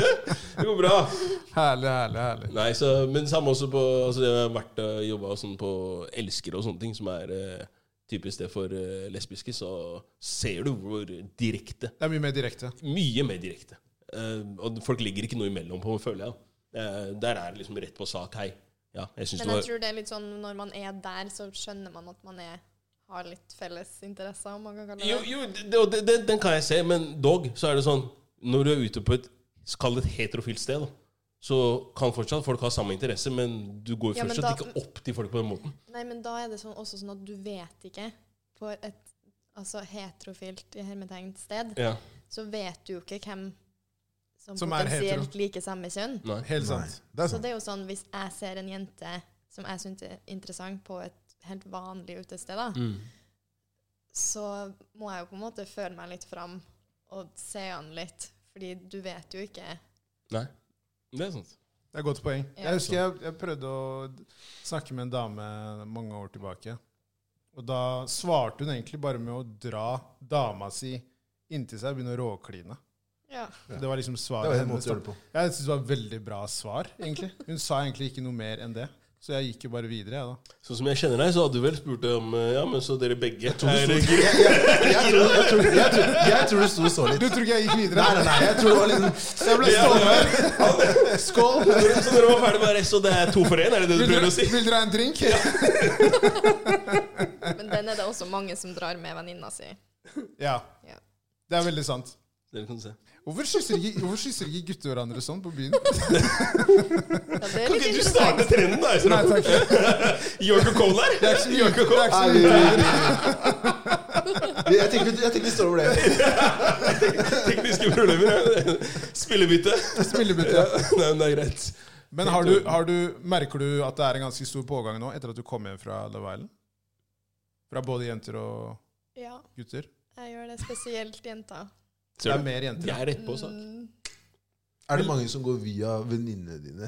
S3: Det går bra.
S2: Herlig, herlig, herlig.
S3: Nei, så, men samme også på altså Jeg har vært og jobba sånn på elskere og sånne ting, som er eh, typisk det for eh, lesbiske, så ser du hvor direkte
S2: Det er mye mer direkte.
S3: Mye mer direkte. Eh, og folk ligger ikke noe imellom på, føler jeg. Eh, der er det liksom rett på sak. Hei. Ja, jeg syns det
S4: Men jeg
S3: var
S4: tror det er litt sånn når man er der, så skjønner man at man er, har litt felles interesser, om man kan kalle det
S3: Jo,
S4: det.
S3: jo det, og det, det, den kan jeg se, men dog så er det sånn Når du er ute på et Kall det et heterofilt sted, da, så kan fortsatt folk ha samme interesse, men du går jo
S4: Ja, men
S3: fortsatt
S4: da-
S3: ikke opp til folk på den måten.
S4: Nei, men da er det sånn, også sånn at du vet ikke På et altså, heterofilt i hermetegnet sted,
S3: Ja,
S4: så vet du jo ikke hvem som,
S2: Som er hetero.
S4: potensielt liker samme kjønn.
S3: nei.
S2: Helt
S1: Nei,
S2: sant.
S1: det er
S4: Så
S1: sant.
S4: det er jo sånn, hvis jeg ser en jente som jeg syns er interessant på et helt vanlig utested, da,
S3: Mm.
S4: så må jeg jo på en måte føle meg litt fram og se an litt. Fordi du vet jo ikke
S3: Nei. Det er sant.
S2: Det er et godt poeng.
S4: Ja.
S2: Jeg husker jeg, jeg prøvde å snakke med en dame mange år tilbake. Og da svarte hun egentlig bare med å dra dama si inntil seg og begynne å råkline.
S4: Ja.
S1: Ja.
S2: Det var liksom
S1: Det
S2: svaret
S1: var en
S2: hennes.
S1: måte å gjøre
S2: da.
S1: det på.
S2: Jeg syns det var et veldig bra svar, egentlig. Hun sa egentlig ikke noe mer enn det. Så jeg gikk jo bare videre, jeg, da.
S3: Sånn som jeg kjenner deg, så hadde du vel spurt om eh, Ja, men så dere begge er
S1: Jeg, jeg, jeg, tror, jeg, tror, jeg, tror, jeg tror det sto så litt.
S2: Du tror ikke jeg gikk videre?
S1: Nei, nei, nei, jeg tror det var liksom- litt
S2: Jeg ble stående. Skål!
S3: Så dere var ferdig med det, så det er to for én? Er det det du
S2: Vil dere,
S3: prøver å si?
S2: vil dere ha en drink?
S4: Men den er det også mange som drar med venninna si.
S2: Ja.
S4: Ja.
S2: Det er veldig sant.
S3: Dere kan se.
S2: Hvorfor kysser ikke, hvorfor kysser ikke gutter hverandre sånn på byen?
S4: Ja, det er
S3: Kan ikke du
S4: litt interessant.
S3: starte trenden, da?
S2: Nei,
S3: Esra?
S2: takk. Det
S3: York og Cola?
S2: er ikke så mye, det er ikke så
S1: Nei,
S2: mye.
S1: vi- Jeg tenker vi- jeg tenker vi står over det.
S3: Tekniske problemer. Spillebytte.
S2: Spillebytte.
S3: Ja, nei, men det er greit.
S2: Men har du, har du, merker du at det er en ganske stor pågang nå, etter at du kom hjem fra Love Island? Fra både jenter og
S4: Ja,
S2: gutter?
S4: jeg gjør det spesielt jenta.
S2: Det
S3: Ser
S2: er
S3: du?
S2: mer jenter.
S3: Jeg er rett på sak.
S4: Mm,
S1: Er det mange som går via venninnene dine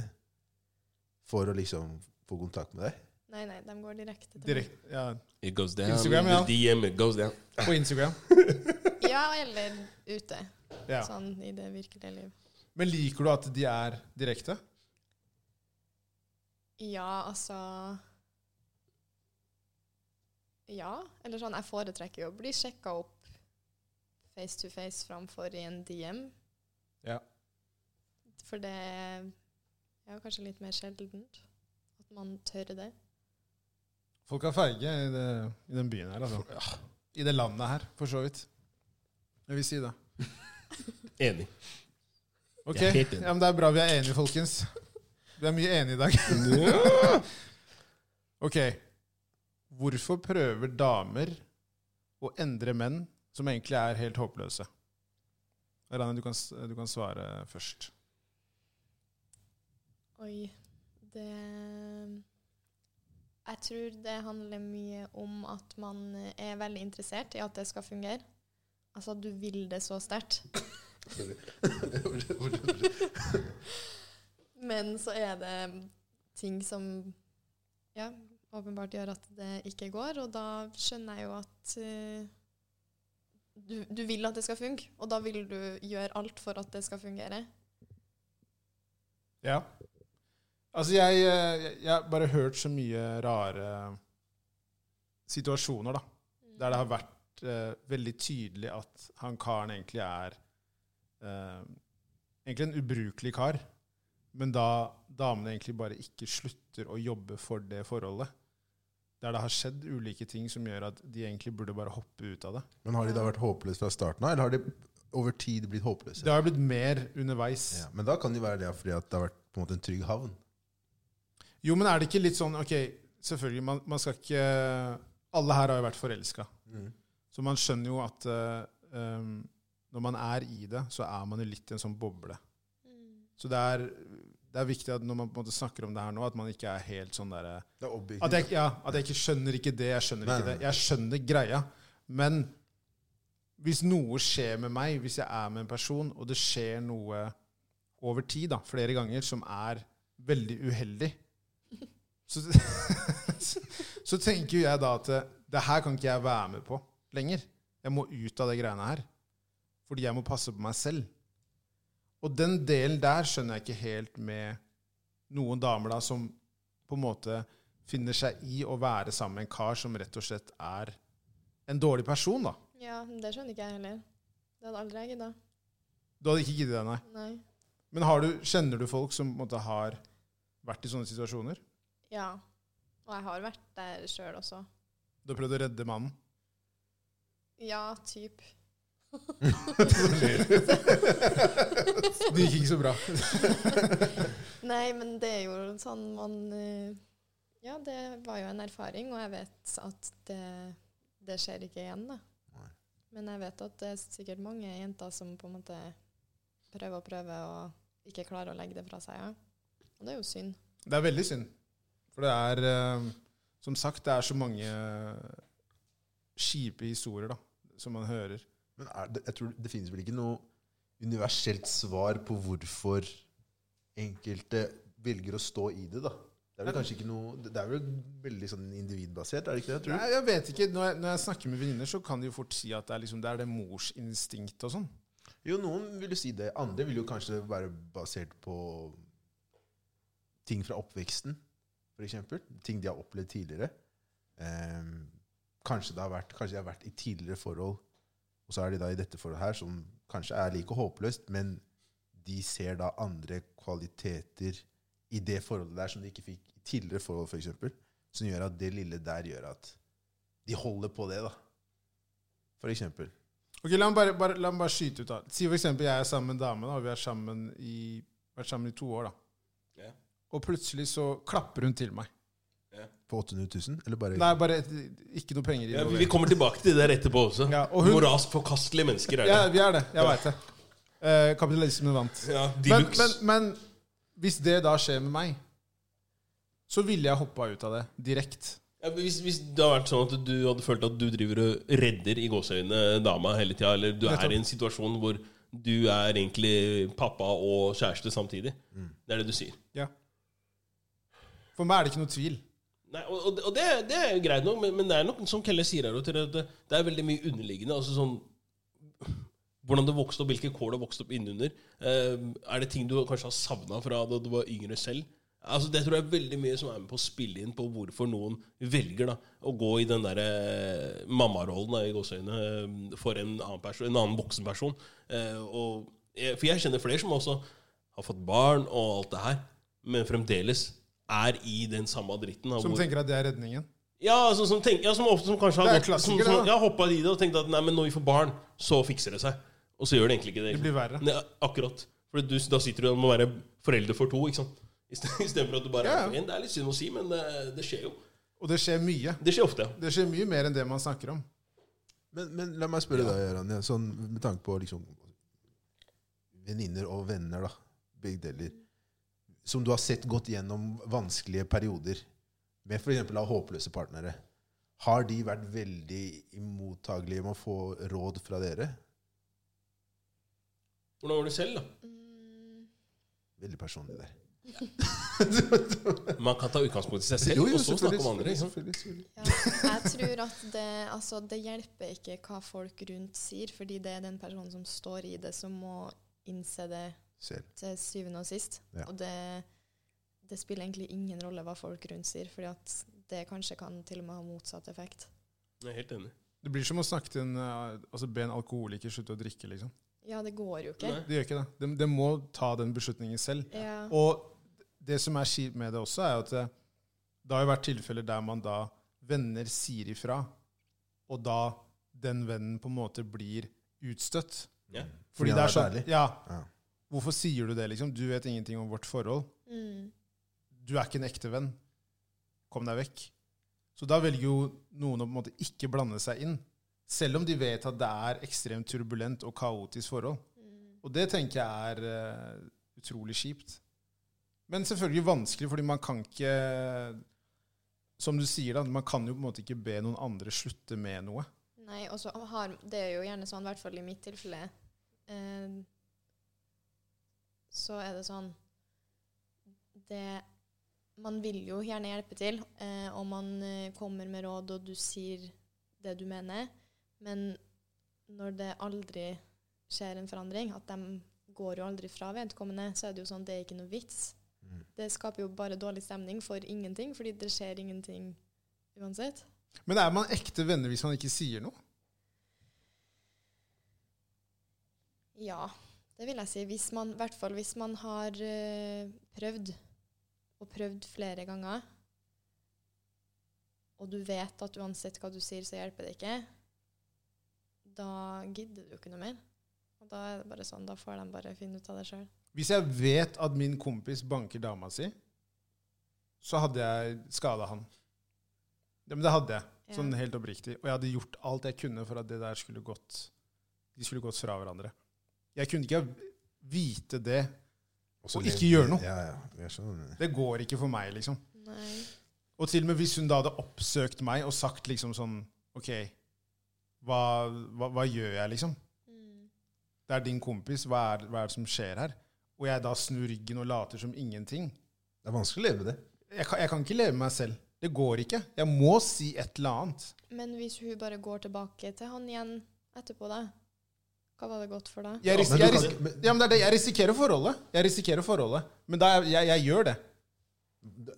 S1: for å liksom få kontakt med deg?
S4: Nei, nei, de går direkte til
S2: Direkt, ja.
S3: It goes down.
S2: Instagram, ja.
S3: The DM, it goes down.
S2: På Instagram.
S4: meg. Ja, eller ute.
S2: Ja.
S4: Sånn i det virkelige liv.
S2: Men liker du at de er direkte?
S4: Ja, altså Ja, eller sånn Jeg foretrekker jo å bli sjekka opp face to face framfor i en DM.
S2: Ja.
S4: For det er jo kanskje litt mer sjeldent at man tør det.
S2: Folk er feige i, det, i den byen her, altså. I det landet her, for så vidt. Jeg vil si det.
S3: Enig.
S2: Ok,
S3: Jeg er helt enig.
S2: ja, men Det er bra vi er enige, folkens. Vi er mye enige i dag. Ok. Hvorfor prøver damer å endre menn som egentlig er helt håpløse? Rane, du kan, s- du kan svare først.
S4: Oi, det Jeg tror det handler mye om at man er veldig interessert i at det skal fungere. Altså at du vil det så sterkt. Men så er det ting som ja, åpenbart gjør at det ikke går, og da skjønner jeg jo at eh, du, du vil at det skal funke, og da vil du gjøre alt for at det skal fungere.
S2: Ja. Altså, jeg, eh, jeg, jeg har bare hørt så mye rare situasjoner, da. Der det har vært eh, veldig tydelig at han karen egentlig er eh, Egentlig en ubrukelig kar. Men da damene egentlig bare ikke slutter å jobbe for det forholdet. Der det har skjedd ulike ting som gjør at de egentlig burde bare hoppe ut av det.
S1: Men har de da vært håpløse fra starten av, eller har de over tid blitt håpløse?
S2: Det har blitt mer underveis.
S1: Ja, men da kan det være det fordi at det har vært på en måte en trygg havn.
S2: Jo, men er det ikke litt sånn Ok, selvfølgelig, man, man skal ikke Alle her har jo vært forelska. Så man skjønner jo at eh, um, når man er i det, så er man jo litt i en sånn boble. Så det er, det er viktig at når man på en måte snakker om det her nå, at man ikke er helt sånn derre
S1: Det er
S2: at,
S1: objektivt.
S2: jeg- ja, at jeg ikke skjønner ikke det, jeg skjønner
S1: Nei,
S2: ikke
S1: nei,
S2: det. Jeg skjønner greia. Men hvis noe skjer med meg, hvis jeg er med en person, og det skjer noe over tid, da, flere ganger, som er veldig uheldig, så, så tenker jo jeg da at eh, det her kan ikke jeg være med på lenger. Jeg må ut av de greiene her. Fordi jeg må passe på meg selv. Og den delen der skjønner jeg ikke helt med noen damer da som på en måte finner seg i å være sammen med en kar som rett og slett er en dårlig person, da.
S4: Ja, men det skjønner ikke jeg heller. Det hadde aldri jeg gidda.
S2: Du hadde ikke giddet det, nei.
S4: Nei.
S2: Men har du, kjenner du folk som på en måte, har vært i sånne situasjoner?
S4: Ja. Og jeg har vært der sjøl også.
S2: Du har prøvd å redde mannen?
S4: Ja, typ.
S2: Det gikk ikke så bra.
S4: Nei, men det er jo sånn man eh, Ja, det var jo en erfaring, og jeg vet at det, det skjer ikke igjen, da.
S1: Nei.
S4: Men jeg vet at det er sikkert mange jenter som på en måte prøver og prøver og ikke klarer å legge det fra seg. Ja. Og det er jo synd.
S2: Det er veldig synd. For det er, eh, som sagt, det er så mange eh, kjipe historier da, som man hører.
S1: Men er det, jeg tror det finnes vel ikke noe universelt svar på hvorfor enkelte velger å stå i det, da. Det er vel kanskje ikke noe Det er vel veldig sånn individbasert, er det ikke det? Tror du?
S2: Nei, jeg vet ikke. Når jeg, når jeg snakker med venninner, så kan de jo fort si at det er, liksom, det, er det morsinstinktet og sånn.
S1: Jo, noen vil jo si det. Andre vil jo kanskje være basert på ting fra oppveksten, f.eks. Ting de har opplevd tidligere. Ehm, kanskje, det har vært, kanskje de har vært i tidligere forhold, og så er de da i dette forholdet her, som kanskje er like håpløst, men de ser da andre kvaliteter i det forholdet der som de ikke fikk i tidligere forhold, f.eks., som gjør at det lille der gjør at de holder på det, da. For eksempel.
S2: Ok, La meg bare, bare, la meg bare skyte ut. da. Si for eksempel jeg er sammen med en dame, da, og vi har sammen i, vært sammen i to år. da.
S3: Ja.
S2: Og plutselig så klapper hun til meg.
S1: På 800 000? Eller bare
S2: Nei, bare et, ikke noe penger
S3: Ja, vi,
S2: involvert.
S3: vi kommer tilbake til det der etterpå også.
S2: Ja, og hun-
S3: Moralsk forkastelige mennesker er det.
S2: Ja, vi er det. Jeg veit det. Eh, kapitalismen vant.
S3: Ja, de
S2: Men,
S3: luxe.
S2: men, men hvis det da skjer med meg, så ville jeg hoppa ut av det direkte.
S3: Ja, men hvis, hvis det hadde vært sånn at du hadde følt at du driver og redder i gåseøynene dama hele tida, eller du er
S2: Nettopp.
S3: i en situasjon hvor du er egentlig pappa og kjæreste samtidig Det er det du sier.
S2: Ja. For meg er det ikke noe tvil.
S3: Nei, og, og, og det, det er jo greit nok, men, men det er nok som Kelle sier her, at det, det er veldig mye underliggende. Altså sånn Hvordan det vokste opp, hvilke kår det vokste opp innunder. Eh, er det ting du kanskje har savna fra da du var yngre selv? Altså, det tror jeg er veldig mye som er med på å spille inn på hvorfor noen velger da, å gå i den derre eh, mammarollen da, i gåseøynene eh, for en annen, perso- en annen voksen person. Eh, og, jeg- for jeg kjenner flere som også har fått barn og alt det her, men fremdeles er i den samme dritten. da,
S2: Som
S3: hvor-
S2: tenker at det er redningen.
S3: ja, altså, som, tenk, ja, som ofte som kanskje
S2: Det
S3: har
S2: er
S3: gått, som,
S2: klassiker,
S3: som,
S2: det, da.
S3: ja, hoppet i det og tenkt at nei, men når vi får barn, så fikser det seg. Og så gjør det egentlig ikke det.
S2: Det blir verre.
S3: Nei, akkurat. For du, da sitter du og må være forelder for to, ikke sant? Istedenfor at du bare
S2: Ja,
S3: er
S2: ja.
S3: for én. Det er litt synd å si, men det, det skjer jo.
S2: Og det skjer mye.
S3: Det skjer ofte. ja.
S2: Det skjer mye mer enn det man snakker om.
S1: Men, men la meg spørre deg, Göran, ja, sånn, med tanke på liksom, venninner og venner, da, begge deler, som du har sett gått gjennom vanskelige perioder, med f.eks. av håpløse partnere, har de vært veldig mottagelige med å få råd fra dere?
S3: Hvordan var det selv, da?
S4: Mm,
S1: Veldig personlig der.
S3: Man kan ta utgangspunkt i seg selv, og så snakke om andre. Ikke sant?
S2: selvfølgelig, selvfølgelig.
S4: ja. Jeg tror at det, altså, det hjelper ikke hva folk rundt sier, fordi det er den personen som står i det, som må innse det
S1: Selv.
S4: til syvende og sist.
S1: Ja.
S4: Og det, det spiller egentlig ingen rolle hva folk rundt sier, fordi at det kanskje kan til og med ha motsatt effekt.
S3: Jeg er helt enig.
S2: Det blir som å snakke til en, eh, altså be en alkoholiker slutte å drikke, liksom.
S4: Ja, det går jo ikke.
S3: Nei.
S2: Det gjør ikke det. De, de må ta den beslutningen selv.
S4: Ja.
S2: Og det som er kjipt med det også, er jo at det, det har jo vært tilfeller der man da venner sier ifra, og da den vennen på en måte blir utstøtt.
S3: Ja.
S1: Fordi
S2: Fordi
S1: han
S2: det
S1: har
S2: er sånn
S1: vært ærlig.
S2: Ja.
S1: Ja.
S2: Hvorfor sier du det, liksom? Du vet ingenting om vårt forhold.
S4: Mm.
S2: Du er ikke en ekte venn. Kom deg vekk. Så da velger jo noen å på en måte ikke blande seg inn. Selv om de vet at det er ekstremt turbulent og kaotisk forhold.
S4: Mm.
S2: Og det tenker jeg er eh, utrolig kjipt. Men selvfølgelig vanskelig, fordi man kan ikke Som du sier, da, man kan jo på en måte ikke be noen andre slutte med noe.
S4: Nei, og så har Det er jo gjerne sånn, i hvert fall i mitt tilfelle, eh, så er det sånn Det Man vil jo gjerne hjelpe til, eh, og man eh, kommer med råd, og du sier det du mener, men når det aldri skjer en forandring, at de går jo aldri fra vedkommende, så er det jo sånn det er ikke noe vits.
S1: Mm.
S4: Det skaper jo bare dårlig stemning for ingenting, fordi det skjer ingenting uansett.
S2: Men er man ekte venner hvis man ikke sier noe?
S4: Ja, det vil jeg si. Hvis man, I hvert fall hvis man har eh, prøvd, og prøvd flere ganger, og du vet at uansett hva du sier, så hjelper det ikke, da gidder du ikke noe mer. Og da er det bare sånn, da får de bare finne ut av det sjøl.
S2: Hvis jeg vet at min kompis banker dama si, så hadde jeg skada han. Ja, men det hadde jeg,
S4: Ja.
S2: sånn helt oppriktig. Og jeg hadde gjort alt jeg kunne for at det der skulle gått, de skulle gått fra hverandre. Jeg kunne ikke vite det.
S1: Og så
S2: Og
S1: lev-
S2: ikke gjøre noe.
S1: Ja, ja. Jeg skjønner.
S2: Det går ikke for meg, liksom.
S4: Nei.
S2: Og til og med hvis hun da hadde oppsøkt meg og sagt liksom sånn OK, hva, hva, hva gjør jeg, liksom?
S4: Mm.
S2: Det er din kompis, hva er, hva er det som skjer her? Og jeg da snur ryggen og later som ingenting.
S1: Det er vanskelig å leve med det.
S2: Jeg kan, jeg kan ikke leve med meg selv. Det går ikke. Jeg må si et eller annet.
S4: Men hvis hun bare går tilbake til han igjen etterpå, da? Hva var det godt for da?
S2: Jeg, ris
S1: men du
S2: jeg,
S1: kan
S2: ris
S1: ikke- men-
S2: ja, men det er det. jeg risikerer forholdet. Jeg risikerer forholdet. Men da, jeg, jeg, jeg gjør det.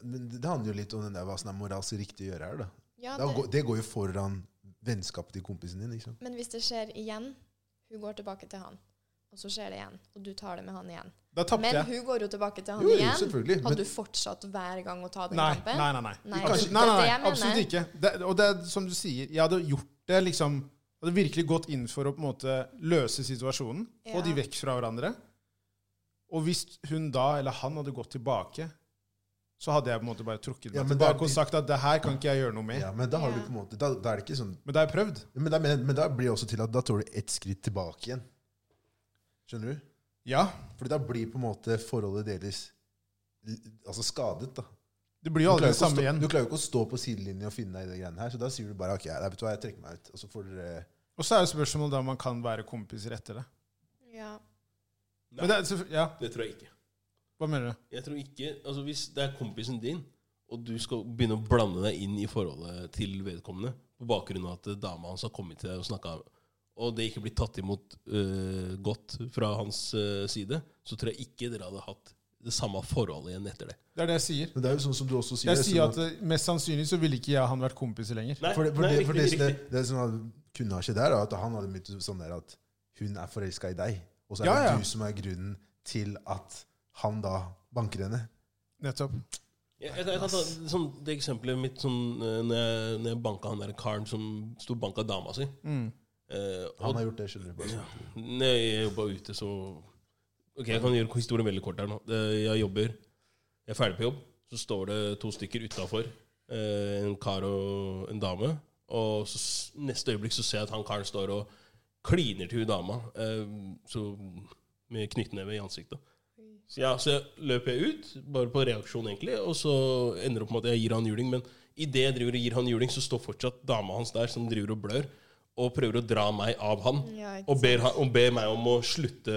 S1: Men det handler jo litt om den der, hva som er moralsk riktig å gjøre her. da.
S4: Ja,
S1: Da
S4: det,
S1: går- Det går jo foran vennskapet til kompisen din. ikke sant?
S4: men hvis det skjer igjen, hun går tilbake til han, og så skjer det igjen, og du tar det med han igjen.
S2: Da tapte
S4: Men
S2: jeg.
S4: hun går jo tilbake til han
S1: Jo, jo,
S4: igjen.
S1: selvfølgelig. Men,
S4: Hadde du fortsatt hver gang å ta den
S2: Nei, nei,
S4: kampen?
S2: nei. nei.
S4: Nei,
S2: Absolutt-
S4: det er
S2: nei, nei,
S4: det jeg
S2: nei
S4: mener.
S2: absolutt ikke. Det, og det er som du sier, jeg hadde gjort det liksom Hadde virkelig gått inn for å på en måte løse situasjonen, få
S4: Ja.
S2: de vekk fra hverandre. Og hvis hun da, eller han, hadde gått tilbake, så hadde jeg på en måte bare trukket meg
S1: Ja, men det er
S2: tilbake og
S1: de-
S2: sagt at det her kan ikke jeg gjøre noe med.
S1: ja, men da har du
S4: Ja.
S1: på en måte, da, da er det ikke sånn
S2: Men da har jeg prøvd.
S1: Men da, men, men da blir det også til at da tar du ett skritt tilbake igjen. Skjønner du?
S2: Ja.
S1: Fordi da blir på en måte forholdet deres l- altså skadet. da.
S2: Det blir
S1: Du
S2: jo aldri
S1: klarer,
S2: det
S1: jo ikke å
S2: samme
S1: stå,
S2: igjen.
S1: du klarer jo ikke å stå på sidelinjen og finne deg i det greiene her, så da sier du bare ok, nei, vet du hva, jeg trekker meg ut. Og så får dere
S2: Og så er jo spørsmålet da om man kan være kompiser etter det.
S4: Ja.
S3: Nei,
S2: Men det er, selvfø- ja,
S3: det tror jeg ikke.
S2: hva mener du?
S3: Jeg tror ikke, altså Hvis det er kompisen din, og du skal begynne å blande deg inn i forholdet til vedkommende på bakgrunn av at dama hans har kommet til deg og snakka, og det ikke blir tatt imot øh, godt fra hans øh, side, så tror jeg ikke dere hadde hatt det samme forholdet igjen etter det.
S2: Det er det jeg sier.
S1: Men det er jo sånn som du også sier.
S2: Jeg
S1: det er
S2: sier
S1: sånn
S2: at eh, mest sannsynlig så ville ikke jeg og han vært kompiser lenger.
S3: Nei,
S1: For det, for det, for det,
S3: riktig,
S1: det, det som hadde, kunne ha skjedd der, da, at han hadde begynt sånn der at hun er forelska i deg, og så er
S2: Ja,
S1: det
S2: ja.
S1: du som er grunnen til at han da banker henne.
S2: Nettopp.
S3: Jeg, jeg, jeg, kan ta sånn, det eksempelet mitt sånn, eh, når, jeg, når jeg banka han der karen som sto og banka dama si. Eh,
S1: Han
S3: og,
S1: har gjort det, skjønner du. Bare.
S3: ja, nei, jeg jobba ute, så Ok, jeg kan gjøre historien veldig kort her nå. Eh, Jeg jobber. Jeg er ferdig på jobb. Så står det to stykker utafor. En kar og en dame. Og så, s- neste øyeblikk så ser jeg at han karen står og kliner til hun dama. eh, Så med knyttneve i ansiktet. Så, ja, så jeg løper jeg ut, bare på reaksjon egentlig, og så ender det opp med at jeg gir han juling. Men idet jeg driver og gir han juling, så står fortsatt dama hans der, som driver og blør, og prøver å dra meg av han.
S4: Ja, ikke
S3: og, ber han og ber meg om å slutte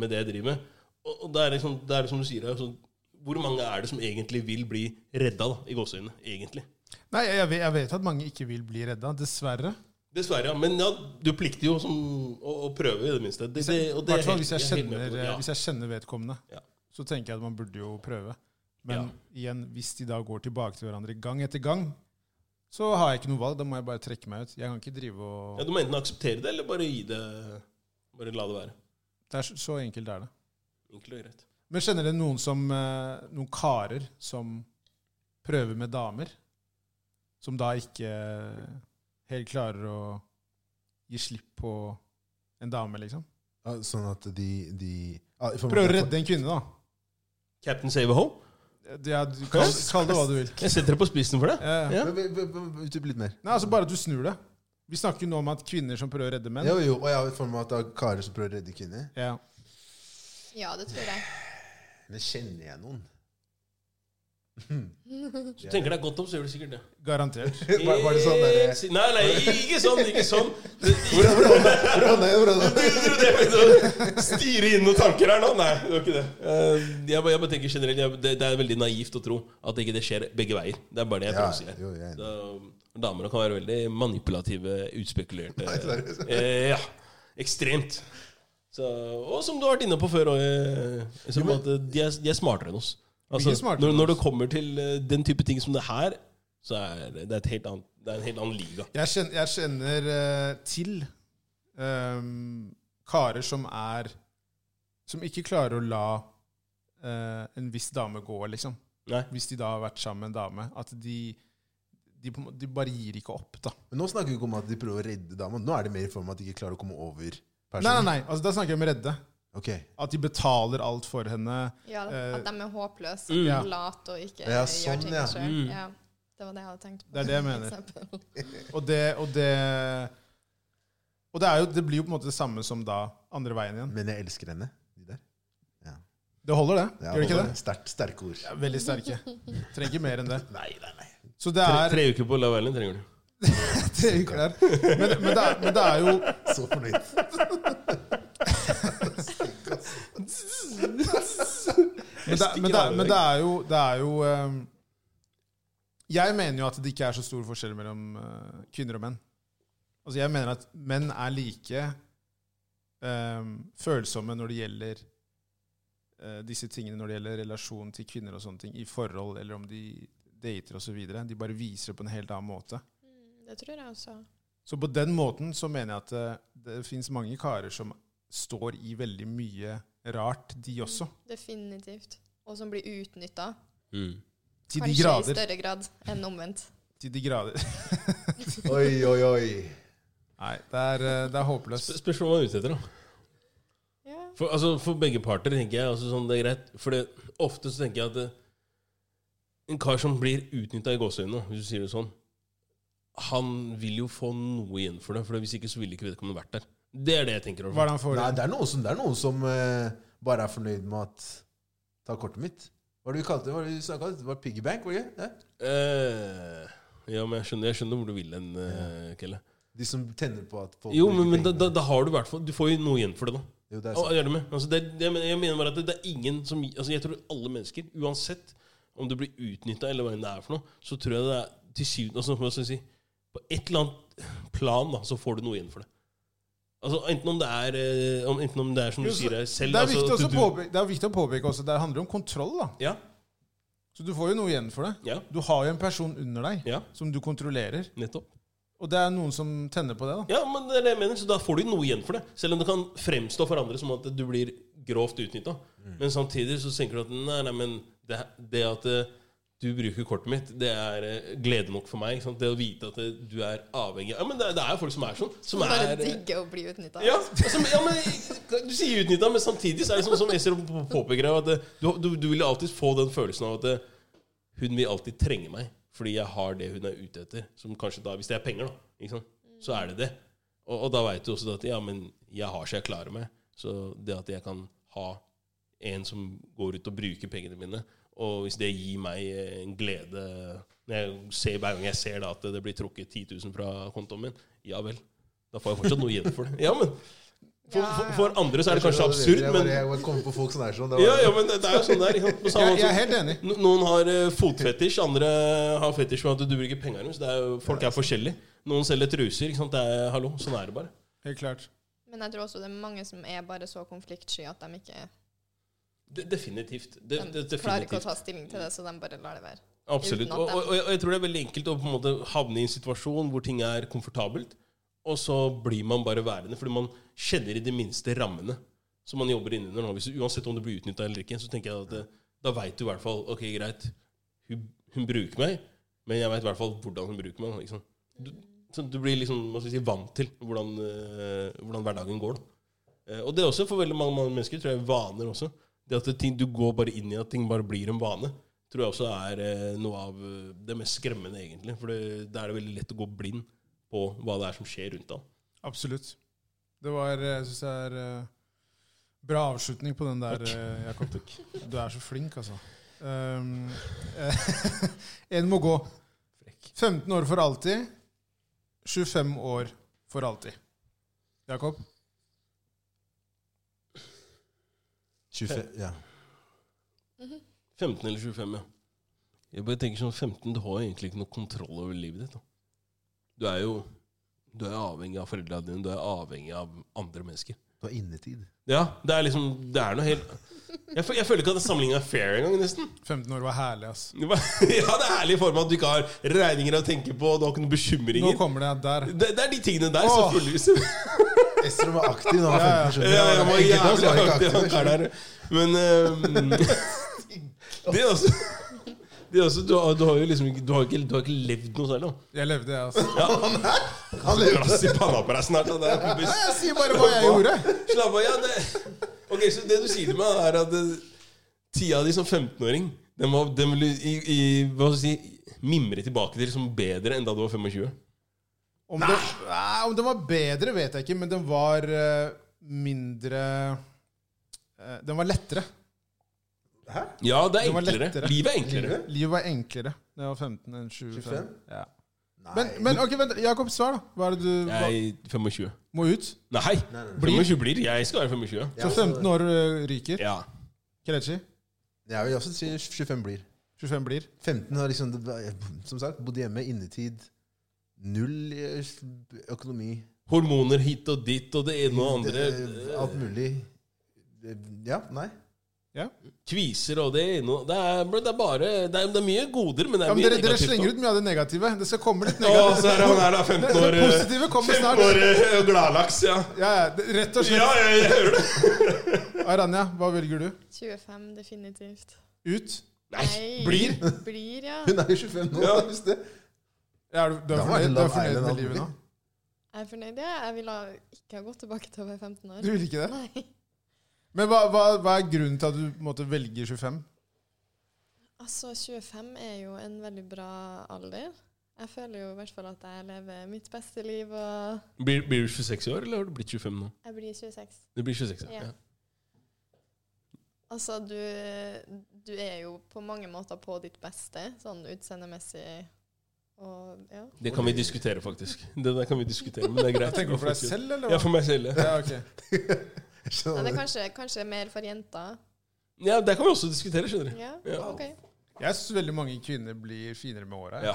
S3: med det jeg driver med. Og, og det, er liksom, det er som du sier her, sånn, hvor mange er det som egentlig vil bli redda, da, i gåseøynene? Egentlig.
S2: Nei, jeg, jeg, vet, jeg vet at mange ikke vil bli redda, dessverre.
S3: Dessverre, ja. Men ja, du plikter jo som, å, å prøve, i det minste. Det,
S2: Hvis
S3: det,
S2: jeg,
S3: og
S2: i
S3: det er
S2: hvert fall
S3: helt-
S2: hvis jeg,
S3: er helt med
S2: kjenner,
S3: på det, ja.
S2: hvis jeg kjenner vedkommende,
S3: Ja.
S2: så tenker jeg at man burde jo prøve. Men igjen, hvis de da går tilbake til hverandre gang etter gang, så har jeg ikke noe valg. Da må jeg bare trekke meg ut. Jeg kan ikke drive og
S3: Ja, du må enten akseptere det, eller bare gi det Bare la det være.
S2: Det er så, så enkelt er det.
S3: Enkelt og greit.
S2: Men kjenner dere noen som eh, Noen karer som prøver med damer? Som da ikke eh, helt klarer å gi slipp på en dame, liksom?
S1: Ja, sånn at de, de ja, for-
S2: Prøver å redde en kvinne, da.
S3: Captain Save a Hole.
S2: Det er, du, kall, kall det hva du vil.
S3: Jeg setter deg på spissen for det.
S2: Eh,
S3: Ja.
S1: Men- men- men- men- Utdyp litt mer.
S2: Nei, altså Bare at du snur det. Vi snakker jo nå om at kvinner som prøver å redde menn
S1: Jo, jo, og jeg har for meg at det er karer som prøver å redde kvinner.
S2: ja.
S4: Ja, det tror jeg.
S1: Men kjenner jeg noen?
S3: Hvis du tenker deg godt om, så gjør du sikkert det.
S2: Garantert.
S1: Var, var det sånn derre
S3: Helt Eh, si- Nei, nei, ikke sånn! Ikke sånn. Det-
S1: Hvordan hvordan- hvordan er det? Hvordan er det?
S3: Du- du- du- du- Styre inn noen tanker her nå? Nei, det var ikke det. Eh, Jeg bare, jeg bare tenker generelt jeg, det, det er veldig naivt å tro at ikke det skjer begge veier. Det er bare det jeg prøver å si
S1: Ja,
S3: her.
S1: jo, jeg er enig.
S3: Så, Damer kan være veldig manipulative, utspekulerte eh, Ja. Ekstremt. Så, og som du har vært inne på før òg, som at eh, de er, de er smartere enn oss. Altså,
S2: Mye smartere
S3: når,
S2: enn
S3: når det kommer til eh, den type ting som det her, så er det, det, er et helt annet, det er en helt annen liga.
S2: Jeg kjenner, jeg kjenner eh, til ehm, karer som er Som ikke klarer å la eh, en viss dame gå, liksom.
S3: Nei.
S2: Hvis de da har vært sammen med en dame. At de, de, på en måte- de bare gir ikke opp, da.
S1: Men nå snakker vi ikke om at de prøver å redde dama. Nå er det mer i form av at de ikke klarer å komme over
S2: Nei, nei,
S1: personen.
S2: nei. Altså, da snakker jeg om redde.
S1: Ok.
S2: At de betaler alt for henne.
S4: Ja,
S2: Eh,
S4: at de er håpløse
S3: Mm.
S4: og
S2: Ja.
S4: late og ikke
S1: Ja, sånn,
S4: gjør ting
S1: ja.
S4: sjøl.
S3: Mm.
S4: Ja, det var det jeg hadde tenkt på.
S2: Det er det jeg
S4: som
S2: mener.
S4: eksempel.
S2: Og det Og det, og det, er jo, det blir jo på en måte det samme som da andre veien igjen.
S1: Men jeg elsker henne. De der.
S2: Det holder, det?
S1: Ja,
S2: Gjør det ikke
S1: holder.
S2: det?
S1: Sterkt, sterke ord.
S2: Ja, veldig sterke. Trenger ikke mer enn det.
S1: Nei, nei, nei.
S2: Så det
S3: Tre,
S2: er
S3: tre uker på Love Island trenger du.
S2: tre uker der. Men, men, det er, men det er jo
S1: Så fornøyd.
S2: Men det, men det, men det er jo, det er jo ehm, Jeg mener jo at det ikke er så stor forskjell mellom eh, kvinner og menn. Altså Jeg mener at menn er like ehm, følsomme når det gjelder eh, disse tingene, når det gjelder relasjon til kvinner og sånne ting, i forhold eller om de dater osv. De bare viser det på en helt annen måte.
S4: Mm, Det tror jeg også.
S2: Så på den måten så mener jeg at det, det fins mange karer som står i veldig mye rart, de også.
S4: Mm, Definitivt. Og som blir utnytta.
S3: Mm.
S2: Til de
S4: Kanskje i
S2: grader.
S4: større grad enn omvendt.
S2: Til de grader.
S1: Oi, oi, oi.
S2: Nei, det er, eh, det er håpløst.
S3: Sp- Spørs hva man er ute etter, da.
S4: Ja.
S3: For, altså, for begge parter tenker jeg altså, sånn, det er greit. For det, ofte så tenker jeg at eh, en kar som blir utnytta i gåseøynene, hvis du sier det sånn, han vil jo få noe igjen for det. For hvis ikke så ville ikke vedkommende vært der. Det er det jeg tenker
S2: Hva er
S3: over.
S2: det han får?
S1: Nei, det er noen som, det er noen som eh, bare er fornøyd med at Ta kortet mitt. Hva var det vi kalte det? Hva var det vi snakket om? Det var piggybank, var det ikke? Ja.
S3: Eh, ja, men jeg skjønner, jeg skjønner hvor du vil hen, eh, Kelle.
S1: De som tenner på at folk
S3: Jo,
S1: bruker
S3: men, men da,
S1: pengene.
S3: da, da har du i hvert fall Du får jo noe igjen for det, da.
S1: Jo, det er
S3: Ja,
S1: sant.
S3: jeg er med. Altså, det, det, men jeg mener bare at det, det er ingen som altså, Jeg tror alle mennesker, uansett om du blir utnytta eller hva enn det er for noe, så tror jeg det er til syvende altså, hva skal jeg si, På et eller annet plan da, så får du noe igjen for det. Altså, enten om det er, eh, om, enten om det er som du
S2: Jo, så-
S3: sier her selv
S2: det, er
S3: altså,
S2: viktig
S3: at
S2: også å
S3: du-
S2: påpeke, det er viktig å påpeke også, det handler om kontroll. da.
S3: Ja,
S2: Så du får jo noe igjen for det.
S3: ja,
S2: Du har jo en person under deg
S3: ja,
S2: som du kontrollerer.
S3: nettopp.
S2: Og det er noen som tenner på det. da.
S3: Ja, men det er det jeg mener, så da får du noe igjen for det. Selv om det kan fremstå for andre som at du blir grovt utnytta. Men samtidig så tenker du at nei, nei, men det, det at eh, du bruker kortet mitt, det er eh, glede nok for meg. Ikke sant? Det å vite at eh, du er avhengig Ja, men det, det er jo folk som er sånn. Som
S4: Bare
S3: er eh,
S4: digger å bli utnytta.
S3: ja, altså, ja, men Du sier utnytta, men samtidig så er det sånn som Eser påpeker her, at eh, du, du, du vil alltid få den følelsen av at eh, hun vil alltid trenge meg, fordi jeg har det hun er ute etter. Som kanskje da, Hvis det er penger, da, ikke sant? så er det det. Og, og da veit du også at ja, men jeg har så jeg klarer meg. Så det at jeg kan ha en som går ut og bruker pengene mine, og hvis det gir meg eh, en glede når jeg ser, Hver gang jeg ser da at det blir trukket 10 000 fra kontoen min, ja vel. Da får jeg fortsatt noe igjen for det. Ja, men For,
S4: Ja,
S3: for,
S4: ja.
S3: for andre så er det kanskje absurd,
S1: Jeg,
S3: men
S1: bare, jeg kommer på folk som er sånn. Det var,
S3: ja, ja, men det det er jo sånn der. ikke sant? På samme
S2: Jeg, jeg
S3: måte som-
S2: er helt enig.
S3: No- Noen har eh, fotfetisj, andre har fetisj med at du bruker penger deres. Det er jo- Folk er forskjellige. Noen selger truser. ikke sant? Det er, hallo, sånn er det bare.
S2: Helt klart.
S4: Men jeg tror også det er mange som er bare så konfliktsky at de ikke
S3: De, definitivt. De,
S4: de
S3: de,
S4: klarer ikke å
S3: definitivt.
S4: ta stilling til det, så de bare lar det være.
S3: Absolutt.
S4: uten at
S3: Og,
S4: det-
S3: og, og jeg- og jeg tror det er veldig enkelt å på en måte havne i en situasjon hvor ting er komfortabelt, og så blir man bare værende fordi man kjenner i det minste rammene som man jobber innunder. nå. Hvis, uansett om du blir utnytta eller ikke, så tenker jeg at eh, da veit du i hvert fall Ok, greit, hun, hun bruker meg, men jeg veit i hvert fall hvordan hun bruker meg. Liksom. Du, så du blir liksom, hva skal vi si, vant til hvordan, eh, hvordan hverdagen går. Da. Eh, og det er også for veldig mange, mange mennesker tror jeg vaner også. Det at ting, du går bare inn i at ting bare blir en vane, tror jeg også er eh, noe av eh, det mest skremmende, egentlig. For det, da er det veldig lett å gå blind på hva det er som skjer rundt deg.
S2: Absolutt. Det var eh, Jeg syns det er eh, bra avslutning på den der, eh, Jakob. Du er så flink, altså. Um, eh, en må gå. 15 år for alltid. 25 år for alltid. Jakob?
S1: 25, ja.
S3: 15 eller 25, ja. Jeg bare tenker sånn 15, du har jo egentlig ikke noe kontroll over livet ditt. Da. Du er jo du er avhengig av foreldrene dine, du er avhengig av andre mennesker.
S1: Du har innetid.
S3: Ja, det er liksom Det er noe helt Jeg, fø- jeg føler ikke at sammenligningen er fair engang, nesten.
S2: 15 år var herlig, ass.
S3: Det var- Ja, det er herlig i form av at du ikke har regninger å tenke på, du har ikke noen
S2: Nå
S3: bekymringer.
S2: kommer det der.
S3: Det, det er de tingene der,
S2: Åh.
S3: selvfølgelig.
S1: Ester var aktiv da han var
S2: Ja, ja.
S1: 15, skjønner du.
S3: Ja, jeg var
S1: Enkelte av
S3: jævlig altså.
S1: oss var ikke
S3: aktiv,
S1: aktive,
S3: han karen der. Men ehm, Det er også, det er også du, har, du har jo liksom ikke du har, ikke du har ikke levd noe særlig, da.
S2: Jeg levde, jeg, altså.
S1: Han levde.
S3: Glass i panna på deg snart. da. Det er kompis.
S2: Jeg sier bare hva jeg gjorde.
S3: Slapp av. Ja, det. Ok, Så det du sier til meg, er at eh, tida di som 15-åring den, var- den vil du i, i, hva skal jeg si, mimre tilbake til som bedre enn da du var 25?
S2: Om den, nei, om den var bedre, vet jeg ikke, men den var eh, mindre eh, Den var lettere.
S3: Ja, det er
S2: Det var
S3: enklere.
S2: lettere.
S3: Livet er enklere.
S2: Livet var enklere da jeg var 15 enn 25.
S1: 25?
S2: Ja.
S1: Nei.
S2: Men, men ok, vent, Jakob, svar, da. Hva er det du hva,
S3: Jeg er 25.
S2: må ut?
S3: Nei!
S1: Nei, nei, nei.
S3: 25 blir. Jeg skal være 25.
S1: Ja, altså-
S2: Så 15 år eh, ryker.
S3: Ja.
S2: Kelechi,
S1: Jeg vil også si 25 blir.
S2: 25 blir.
S1: 15 har liksom det var- Som sagt, bodde hjemme, innetid. Null eh, økonomi.
S3: Hormoner hit og dit og det ene og det
S1: Det-
S2: eh,
S3: andre.
S1: eh, Alt mulig. Det- Ja, nei.
S3: Kviser og det ene og det er, det er bare det er, det er mye goder, men det
S2: Ja,
S3: er
S2: men
S3: mye
S2: dere, dere
S3: negativt
S2: slenger
S3: også.
S2: ut mye av det negative. Det skal komme litt
S3: Å,
S2: negativt.
S3: så er det han her, da.
S2: Det,
S3: 15
S2: det
S3: år, eh,
S2: positive kommer
S3: 15 år
S2: snart.
S3: eh, gladlaks, ja.
S2: Ja, ja, det- rett og
S3: Ja,
S2: slett.
S3: jeg, jeg hører det.
S2: Aranya, hva velger du?
S4: 25, definitivt.
S2: Ut?
S3: Nei,
S4: Nei.
S3: blir.
S4: Blir, ja.
S1: Hun er jo 25 nå,
S3: Ja.
S1: da, hvis det.
S2: Ja, er du, du er
S1: Da var det
S2: fornøyd, du
S1: Love
S2: er fornøyd
S1: Island
S2: med
S1: alt
S2: livet nå?
S1: mulig.
S4: Jeg er fornøyd, ja. Jeg ville ikke ha gått tilbake til å være 15
S2: Du
S4: år.
S2: vil ikke det?
S4: Nei.
S2: Men hva, hva, hva er grunnen til at du på en måte, velger 25?
S4: Altså, 25 er jo en veldig bra alder. Jeg føler jo i hvert fall at jeg lever mitt beste liv, og
S3: Blir, blir du 26 år, eller har du blitt 25 nå?
S4: jeg blir 26.
S3: Det blir 26, ja.
S4: Ja.
S3: ja.
S4: Altså, du, du er jo på mange måter på ditt beste, sånn utseendemessig og ja.
S3: Det kan vi diskutere, faktisk. Det der kan vi diskutere, men det er greit.
S2: Tenker du for deg selv, eller?
S3: Ja, for meg selv. Ja,
S2: Ja, ok.
S1: Så,
S4: Men det er kanskje, kanskje mer for jenter.
S3: ja det kan vi også diskutere, skjønner du.
S4: Ja,
S3: Ja.
S4: OK.
S2: Jeg syns veldig mange kvinner blir finere med åra. jeg.
S3: Ja.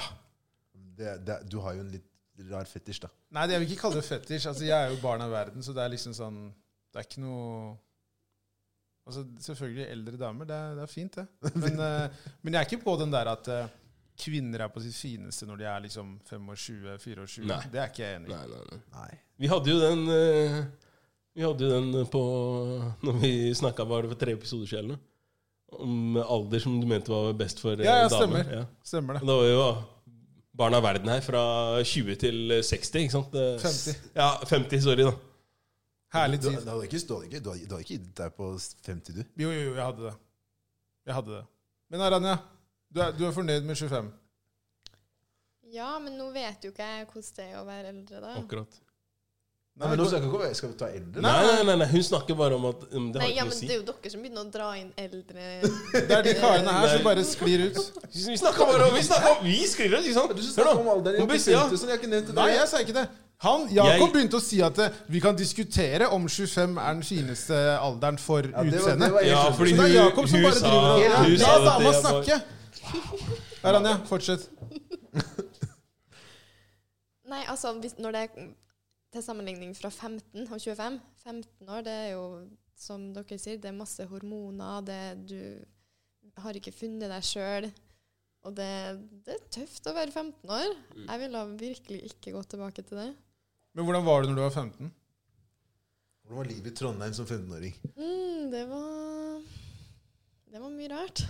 S1: det, det, du har jo en litt rar fetisj, da.
S2: Nei, jeg vil ikke kalle det fetisj. Altså, jeg er jo barn av verden, så det er liksom sånn Det er ikke noe Altså, selvfølgelig eldre damer. Det er, det er fint, det. Men, eh, men jeg er ikke på den der at eh, kvinner er på sitt fineste når de er liksom 25-24.
S3: Nei.
S2: Det er ikke jeg enig i.
S3: Nei, nei, nei.
S1: Nei.
S3: Vi hadde jo den eh, Vi hadde jo den på Når vi snakka bare for tre episoder siden eller noe, om alder som du mente var best for eh,
S2: Ja, ja,
S3: damer.
S2: stemmer.
S3: Ja.
S2: Stemmer
S3: Og
S2: det.
S3: Det var jo barn av verden her fra 20 til 60, ikke sant? Det-
S2: 50.
S3: Ja, 50, sorry, da.
S2: Herlig
S1: Du, du,
S2: tid.
S1: du, hadde ikke, du, hadde ikke, du, hadde, du hadde ikke gitt deg på 50, du.
S2: Jo, jo, jo, jeg hadde det. Jeg hadde det. Men Aranya, du er, du er fornøyd med 25?
S4: Ja, men nå vet jo ikke jeg hvordan det er å være eldre, da.
S3: Akkurat.
S1: Nei, men nå skal, vi ikke, skal vi ta eldre?
S3: Nei, nei, nei, nei, hun snakker bare om at um, Det har
S4: Nei, ja,
S3: ikke noe å
S4: men
S3: si.
S4: det er jo dere som begynner å dra inn eldre
S2: Det er de karene her som bare sklir ut.
S3: Vi snakker bare om Vi snakker om Vi skriver det, ikke sant? Hør nå. Hun bes- ja.
S1: jeg har ikke nevnt
S2: Nei, jeg sa ikke det. Han, Jakob
S3: Jeg-
S2: begynte å si at eh, vi kan diskutere om 25 er den fineste alderen for
S1: det var-
S2: utseende.
S1: det var jeg
S3: Ja,
S1: skjønte.
S3: fordi
S2: Så det
S3: hun,
S2: er Jakob som
S3: hun
S2: bare
S3: sa,
S2: driver og
S1: Ja,
S3: hun
S2: La
S3: sa at
S2: dama
S3: det var-
S2: snakke! Aranja, fortsett.
S4: Nei, altså, hvis, når det er til sammenligning fra 15 og 25 15 år, det er jo, som dere sier, det er masse hormoner, det, du har ikke funnet deg sjøl. Og det, det er tøft å være 15 år.
S3: Mm.
S4: Jeg ville virkelig ikke gått tilbake til det.
S2: Men hvordan var du når du var 15?
S1: Hvordan var livet i Trondheim som 15-åring?
S4: Mm, det var Det var mye rart.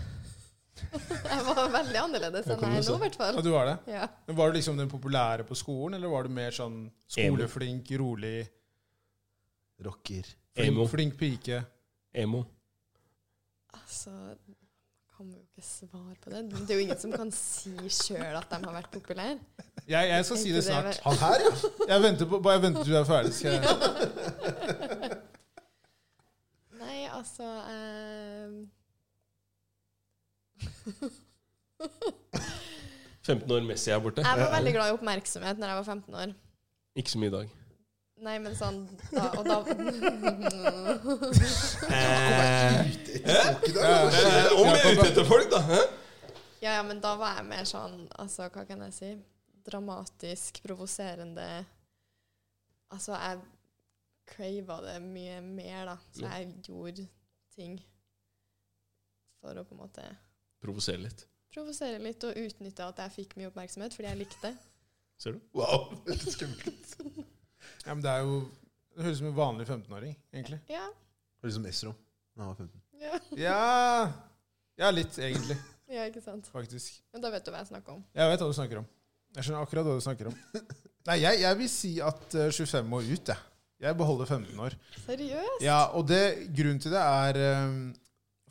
S4: jeg var veldig annerledes
S3: Her
S4: enn
S3: kommer
S4: jeg
S3: det
S4: er nå,
S3: så.
S4: i hvert fall.
S2: Ja, du var det.
S4: Ja.
S2: Men var du liksom den populære på skolen, eller var du mer sånn skoleflink, rolig,
S1: Rocker.
S2: flink,
S3: Emo.
S2: flink pike?
S3: Emo.
S4: Altså kan jo ikke svare på det. Det er jo ingen som kan si sjøl at de har vært populære.
S2: Jeg, jeg skal si det snart.
S1: Han her, ja!
S2: Jeg venter på, bare venter til du er ferdig. Skal jeg.
S4: Nei, altså eh,
S3: 15 år Messi er borte. Eh,
S4: Jeg var veldig glad i oppmerksomhet når jeg var 15 år.
S3: Ikke så mye i dag.
S4: Nei, men sånn da, Og da
S1: altså.
S3: Eh, Om jeg er ute etter folk, da. Hæ?
S4: Ja, ja, men da var jeg mer sånn Altså, hva kan jeg si? Dramatisk, provoserende Altså, jeg crava det mye mer, da. Så jeg gjorde ting for å på en måte
S3: Provosere litt.
S4: provosere litt og utnytte at jeg fikk mye oppmerksomhet fordi jeg likte det.
S3: Ser du?
S1: Wow. Skummelt.
S2: Ja, men det er jo Det høres ut som en vanlig 15-åring, egentlig.
S4: Ja.
S1: Høres ut som Esrom da han var 15.
S4: ja.
S2: Ja, ja litt, egentlig.
S4: Ja, ikke sant.
S2: Faktisk.
S4: Men da vet du hva jeg snakker om.
S2: Jeg vet hva du snakker om. Jeg skjønner akkurat hva du snakker om. Nei, jeg, jeg vil si at eh, 25 og ut, jeg. Jeg beholder 15 år.
S4: Seriøst?
S2: Ja, og det, grunnen til det er eh,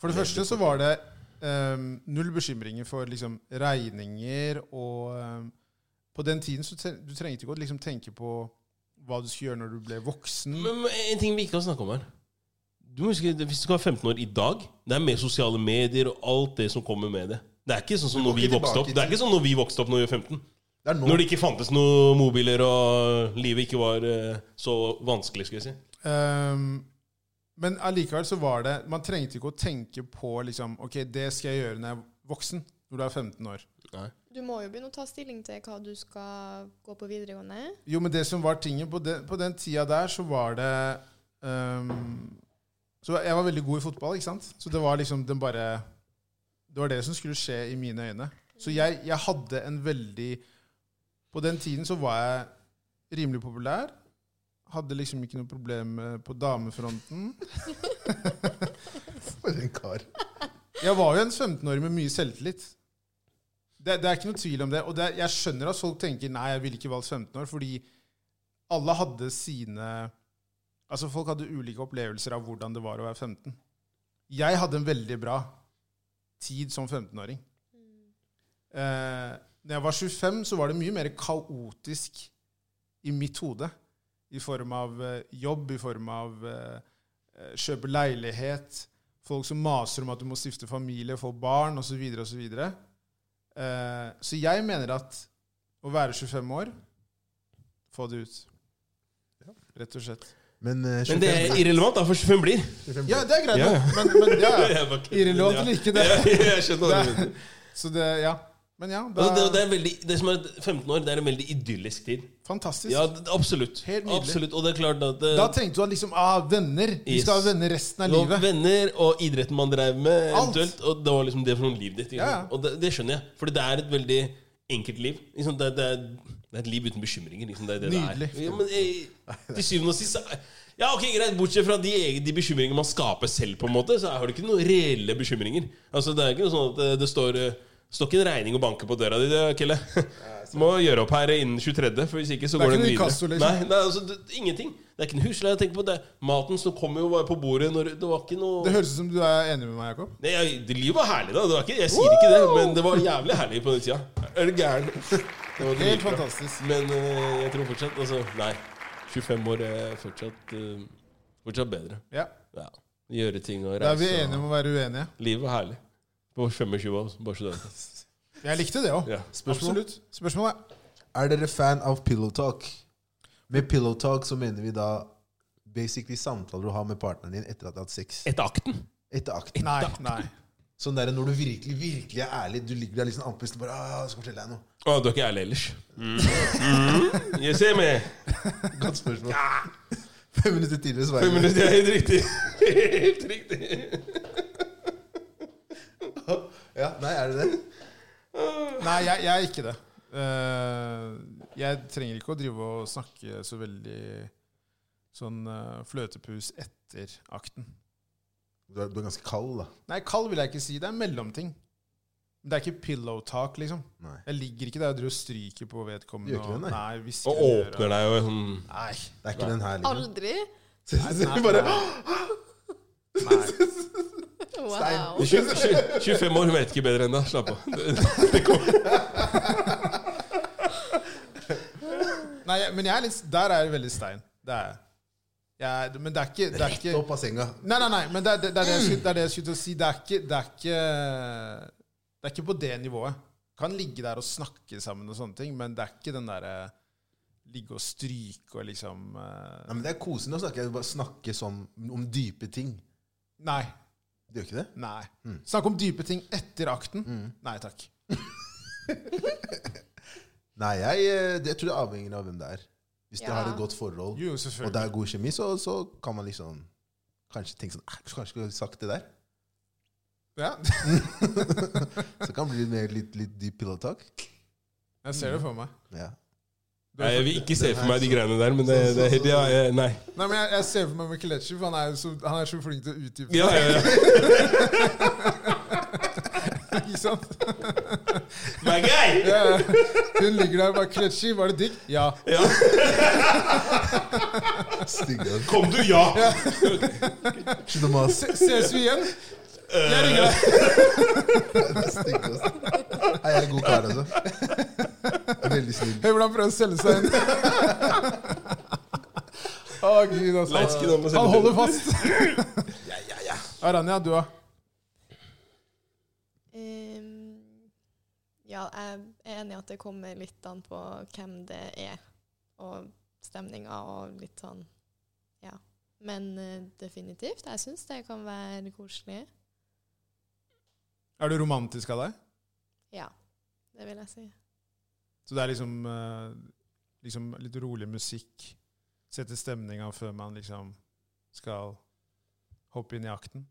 S2: For det første så var det eh, null bekymringer for liksom, regninger og eh, På den tiden så tre- du trengte ikke å liksom, tenke på hva du skulle gjøre når du ble voksen.
S3: Men men en ting vi ikke har snakka om her Du må huske, det- Hvis du skal være 15 år i dag, det er mer sosiale medier og alt det som kommer med det. Det er ikke sånn som
S1: Du
S3: når
S1: går
S3: vi
S1: ikke
S3: vokste opp
S1: tilbake
S3: Det er ikke sånn når vi vokste opp når vi var 15.
S1: Det er nå.
S3: Når det ikke fantes noen mobiler, og livet ikke var eh, så vanskelig, skal jeg si.
S2: Ehm, men allikevel så var det Man trengte ikke å tenke på liksom, Ok, det skal jeg gjøre når jeg er voksen. Når du er 15 år.
S4: Du må jo begynne å ta stilling til hva du skal gå på videregående.
S2: Jo, men det som var tingen på den, på den tida der, så var det ehm, Så jeg var veldig god i fotball, ikke sant? Så det var liksom den bare Det var det som skulle skje i mine øyne. Så jeg, jeg hadde en veldig På den tiden så var jeg rimelig populær. Hadde liksom ikke noe problem eh, på damefronten.
S1: For en kar.
S2: Jeg var jo en 15-åring med mye selvtillit. Det, det er ikke noe tvil om det. Og det, er- jeg skjønner at folk tenker nei, jeg ville ikke valgt 15 år, fordi alle hadde sine Altså, folk hadde ulike opplevelser av hvordan det var å være 15. Jeg hadde en veldig bra tid som 15-åring. Eh, når jeg var 25, så var det mye mer kaotisk i mitt hode. I form av eh, jobb, i form av eh, eh, kjøpe leilighet, folk som maser om at du må stifte familie, få barn osv. Så, videre, og så, videre. eh, så jeg mener at å være 25 år Få det ut. Rett og slett.
S1: Men eh,
S3: Men det
S1: 25
S3: er irrelevant, da, for 25 blir.
S2: Ja, det er greit,
S3: Ja.
S2: nok, men, men ja,
S3: Jeg bare kødder,
S2: irrelevant
S3: ja.
S2: eller ikke, det
S3: Ja, Jeg skjønner hva du
S2: Det-
S3: mener.
S2: Så det, ja. Men ja,
S3: Altså, det,
S2: det er
S3: det, er veldig, det som er 15 år, det er en veldig idyllisk tid.
S2: fantastisk.
S3: Ja, d- absolutt.
S2: Helt nydelig.
S3: absolutt. Og det er klart at eh,
S2: Da tenkte du at liksom ah, venner. Vi skal
S3: Yes.
S2: ha venner resten av
S3: det var
S2: livet.
S3: venner og idretten man drev med,
S2: Alt.
S3: eventuelt. Og det var liksom det for noen liv ditt. ikke
S2: Ja, ja.
S3: sant? Og det, det skjønner jeg. For det er et veldig enkelt liv. Liksom det, det, er, det er et liv uten bekymringer. Liksom det er det
S2: Nydelig.
S3: Det er. Ja, men eh, til syvende og sist så er- ja, ok, greit, Bortsett fra de, egen- de bekymringene man skaper selv, på en måte, så har du ikke noen reelle bekymringer. Altså, Det er ikke noe sånn at det, det står eh, står ikke en regning og banker på døra di, det, Kelle. Du må gjøre opp her innen 23., for hvis ikke så
S2: Det er
S3: går
S2: ikke
S3: den
S2: noe
S3: videre.
S2: Picasso, liksom.
S3: Nei, nei, altså, det, ingenting. Det er ikke noe husleie å tenke på. Det er maten som kom jo bare på bordet når Det var ikke noe
S2: Det høres ut som du er enig med meg, Jakob.
S3: Nei, jeg, det Livet var herlig, da. Det var ikke, jeg sier ikke det, men det var jævlig herlig på den tida. Er du gæren? Det var
S2: Helt
S3: dritbra.
S2: fantastisk.
S3: Men eh, jeg tror fortsatt Altså, nei. 25 år er fortsatt, eh, fortsatt bedre.
S2: Ja.
S3: Ja. Gjøre ting og reise.
S2: Da er vi
S3: og-
S2: enige om å være uenige.
S3: Livet var herlig. På 25 år, bare så du vet.
S2: Jeg likte det òg.
S3: Ja.
S1: Spørsmål?
S2: Absolutt. Spørsmål, ja.
S1: Er dere fan av pillow talk? Med pillow talk så mener vi da basically samtaler du har med partneren din etter at du har hatt sex.
S3: Etter akten?
S1: Etter akten.
S2: Nei, nei.
S1: Sånn der når du virkelig virkelig er ærlig. Du ligger der liksom andpusten bare «Ah, jeg 'Skal fortelle deg noe.'
S3: Å, du er ikke ærlig ellers. Mm. Mm. You see me?
S1: Godt spørsmål. Fem minutter tidligere så var
S3: Fem
S1: jeg
S3: minutter, det er helt riktig. Helt riktig.
S1: ja, Nei, er det det?
S2: Nei, jeg, jeg er ikke det. Eh, jeg trenger ikke å drive og snakke så veldig sånn eh, fløtepus etter akten.
S1: Du er, du er ganske kald, da.
S2: Nei, kald vil jeg ikke si. Det er en mellomting. Det er ikke pillow talk, liksom.
S1: Nei.
S2: Jeg ligger ikke der og driver og stryker på vedkommende.
S1: Gjør ikke det,
S2: og-
S1: nei.
S2: nei, hvisker
S3: Og
S2: i øret.
S3: åpner deg jo sånn
S2: Nei.
S1: Det er ikke den her, liksom.
S4: Aldri?
S1: Så, så, så, vi bare, «Ah,
S2: nei.
S4: Wow.
S3: 25 år, hun vet ikke bedre ennå. Slapp av.
S2: nei, jeg- men jeg er litt, der er jeg veldig stein. Det er jeg. jeg. er- Men det er ikke, det er
S1: Rett
S2: ikke
S1: opp av senga.
S2: Nei, nei, nei, men det, er- det, det, er det, jeg skulle, det er det jeg skulle til å si. Det er ikke Det er ikke, det er ikke på det nivået. Kan ligge der og snakke sammen og sånne ting, men det er ikke den derre ligge og stryke og liksom eh,
S1: Nei, men Det er kosende å snakke, bare snakke sånn om dype ting.
S2: Nei.
S1: Det gjør ikke det?
S2: Nei.
S1: Mm.
S2: Snakke om dype ting etter akten. Nei takk.
S1: Nei, jeg, eh, det tror jeg avhenger av hvem det er. Hvis dere
S4: Ja.
S1: har et godt forhold,
S2: Jo,
S1: og det
S2: selvfølgelig.
S1: er god kjemi, så, så kan man liksom kanskje tenke sånn «Eh, Kanskje skulle jeg sagt det der?
S2: Ja,
S1: Så det kan bli litt mer litt, litt dyp pillow-talk.
S2: jeg ser det for meg.
S1: Ja.
S2: Du
S3: Nei,
S2: er
S3: jeg vil ikke se for meg de greiene der, men det, det, det ja, jeg- Nei.
S2: Nei, men jeg, jeg ser for meg Mikkelechi, for han er, jo så, han er så flink til å utdype
S3: Ja, ja, ja.
S2: ikke sant?
S3: My guy!
S2: Ja, ja. Hun ligger der og bare 'Kelechi, var det digg?' Ja.
S3: Ja.
S1: Stygge.
S3: Kom du, ja!
S1: Slutt å mase.
S2: Ses vi igjen?
S3: Eh,
S2: Jeg ringer deg.
S1: Stygge, altså. Nei, jeg er en god kar, altså. Jeg er Veldig snill.
S2: Hør hvordan han prøver å selge seg inn. Å, Gud, altså.
S3: Leitsken om å selge
S2: Han holder
S3: til.
S2: fast. Aranya, du da?
S4: Ehm, ja, jeg er enig i at det kommer litt an på hvem det er, og stemninga og litt sånn Ja. Men eh, definitivt, jeg syns det kan være koselig.
S2: Er du romantisk av deg?
S4: Ja, det vil jeg si.
S2: Så det er liksom, eh, liksom litt rolig musikk? Sette stemninga før man liksom skal hoppe inn i akten?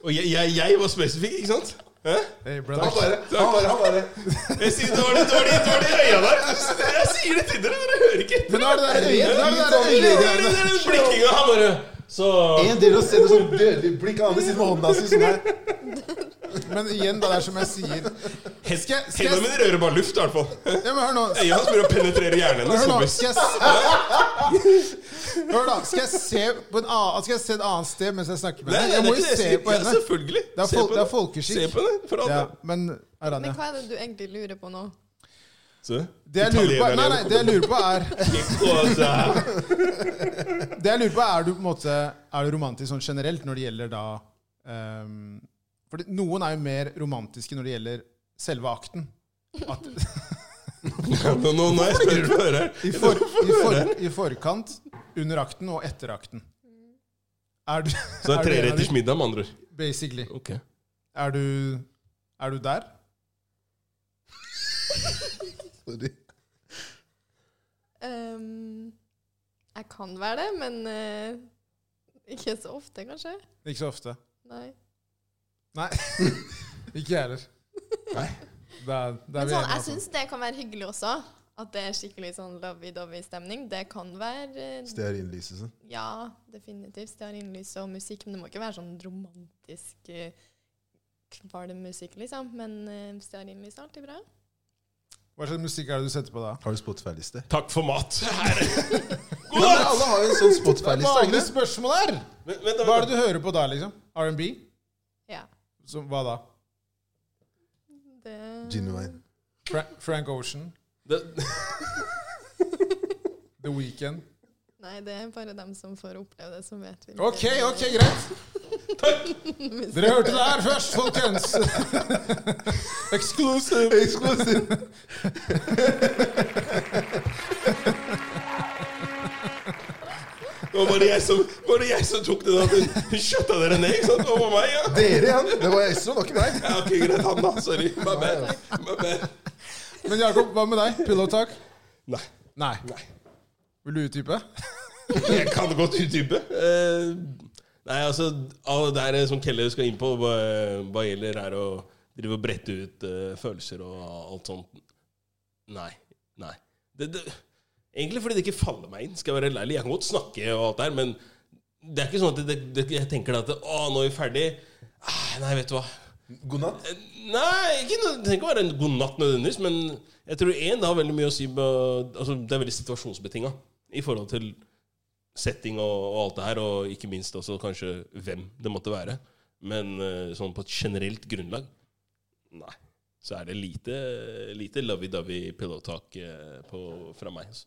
S3: Og jeg, jeg, jeg var spesifikk, ikke sant? Hæ?
S2: Hey,
S1: Han
S2: brother.
S1: bare, han bare, han bare.
S3: Jeg sier, det var det, det var de, det var de øya der. Jeg sier det til dere, dere hører ikke.
S2: Men nå er det der øyet! nå er det der
S3: Det
S2: øyet.
S3: er den blikkinga, han bare Så
S1: En del av stedet sånn dødelig blikk, han andre sitter med hånda si sånn her.
S2: Men igjen, det er som jeg sier Skal jeg, skal
S3: Hendene
S2: jeg,
S3: mine rører bare luft, i hvert fall.
S2: ja, men hør nå.
S3: Øya hans begynner å penetrere hjernen hennes.
S2: Hør nå,
S3: kompis.
S2: skal jeg, s- hør da, skal jeg se på en annen, skal jeg se et annet sted mens jeg snakker med
S3: Nei,
S2: henne?
S3: nei,
S2: Jeg må jo
S3: det er ikke det.
S2: se
S3: Jeg
S2: på
S3: skal- Ja,
S2: henne.
S3: selvfølgelig.
S2: Det er
S3: Se
S2: fol-
S3: på
S2: det er folkeskikk.
S3: Se på det, for all
S2: Ja,
S3: del.
S2: men
S4: Men
S2: Aranya
S4: hva er det du egentlig lurer på nå?
S3: Se.
S2: det jeg, lurer på, nei, nei, det jeg lurer på er
S3: Italienerne.
S2: Det jeg lurer på er du på en måte Er du romantisk sånn generelt når det gjelder da ehm, For det- noen er jo mer romantiske når det gjelder selve akten. At,
S3: Nå- Nå nå er jeg spent på å høre her.
S2: i, for, i, for, I forkant, under akten og etter akten. Er du
S3: Så det
S2: er
S3: er
S2: du en av de-
S3: treretters middag, med andre ord.
S2: Basically.
S3: Ok.
S2: Er du Er du der?
S1: Sorry.
S4: Ehm, jeg kan være det, men eh, ikke så ofte, kanskje.
S2: Ikke så ofte.
S4: Nei.
S2: Ikke jeg heller.
S1: Nei.
S2: Da, da er
S4: Men
S2: vi enige,
S4: sånn, jeg
S2: altså.
S4: syns det kan være hyggelig også. At det er skikkelig sånn lovey-dovey-stemning. Det kan være eh,
S1: Stearinlyset.
S4: Ja, definitivt. Stearinlys og musikk. Men det må ikke være sånn romantisk eh, kvalm musikk, liksom. Men eh, stearinlys er alltid bra.
S2: Hva slags musikk er det du setter på da?
S1: Har du Spotify-liste?
S3: Takk for mat! Her.
S1: Ja, men alle har jo en sånn Spotify-liste.
S2: Vanlige
S1: egentlig.
S2: spørsmål her!
S3: Vent, vent,
S2: Hva er det du hører på da, liksom? R&B?
S4: Ja.
S2: Så Hva da?
S4: Det
S1: Genuine.
S2: Fra Frank Ocean?
S3: Det,
S2: The Weekend?
S4: Nei, det er bare dem som får oppleve det, som vet hvilken
S2: Ok, ok, greit!
S4: musikk.
S2: Dere hørte det her først, folkens! Exclusive!
S1: Eksklusiv.
S3: det var bare jeg som, var det jeg som tok det. da. Hun skjøtta dere ned ikke sant? over meg. ja.
S1: Dere igjen! Det var Estron, det var ikke meg.
S3: Ja, ok, greit. Han, da. Sorry. My bad. My bad.
S2: Men Jakob, hva med deg? Pillow talk?
S3: Nei.
S2: Nei.
S3: Nei.
S2: Vil du utdype?
S3: Jeg kan godt utdype. Eh, nei, altså, all det der som Kelle skal inn på, hva, hva gjelder her å drive og brette ut eh, følelser og alt sånt Nei. Nei. Det, det, egentlig fordi det ikke faller meg inn, skal jeg være helt ærlig. Jeg kan godt snakke og alt der, men det er ikke sånn at det, det, jeg tenker at Å, nå er vi ferdig. Ah, nei, vet du hva.
S1: God natt.
S3: Eh, Nei, ikke, noe- det trenger ikke å være en god natt nødvendigvis, men jeg tror én, det har veldig mye å si med, altså, Det er veldig situasjonsbetinga i forhold til setting og, og alt det her, og ikke minst også kanskje hvem det måtte være. Men eh, sånn på et generelt grunnlag, nei. Så er det lite, lite lovey-dovey pillow talk eh, på, fra meg. Altså.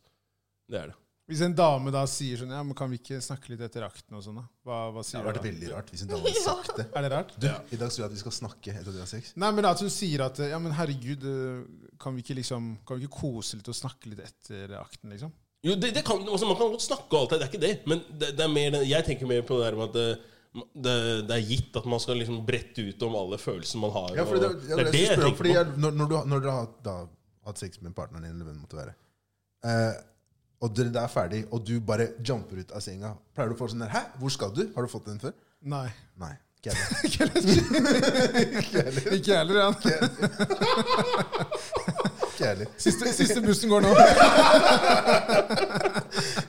S3: Det er det.
S2: Hvis en dame da sier sånn, ja, men kan vi ikke snakke litt etter akten og sånn da? Hva, hva
S1: Det
S2: sier
S1: hadde
S2: du
S1: vært
S2: da?
S1: veldig rart hvis en dame hadde sagt det.
S2: Er det rart?
S1: Du, I dag tror jeg at vi skal snakke etter at vi har sex.
S2: Nei, men at hun sier at ja, men herregud, eh, kan vi ikke liksom Kan vi ikke kose litt og snakke litt etter akten, liksom?
S3: Jo, det, det kan, altså Man kan godt snakke og alt det, det er ikke det. Men det, det er mer, den- jeg tenker mer på det der med at det, det, det er gitt at man skal liksom brette ut om alle følelsene man har.
S1: Ja, for det,
S3: og,
S1: jeg, jeg, jeg, spør, fordi jeg, når, når, du, når dere har da, hatt sex med partneren din, eller hvem det måtte være, eh, og dere da er ferdig, og du bare jumper ut av senga, pleier du å få sånn der Hæ, hvor skal du? Har du fått den før?
S2: Nei.
S1: Nei. Ikke jeg heller.
S2: Ikke heller, Ikke heller, ja.
S1: Ikke jeg heller.
S2: Siste, siste bussen går nå.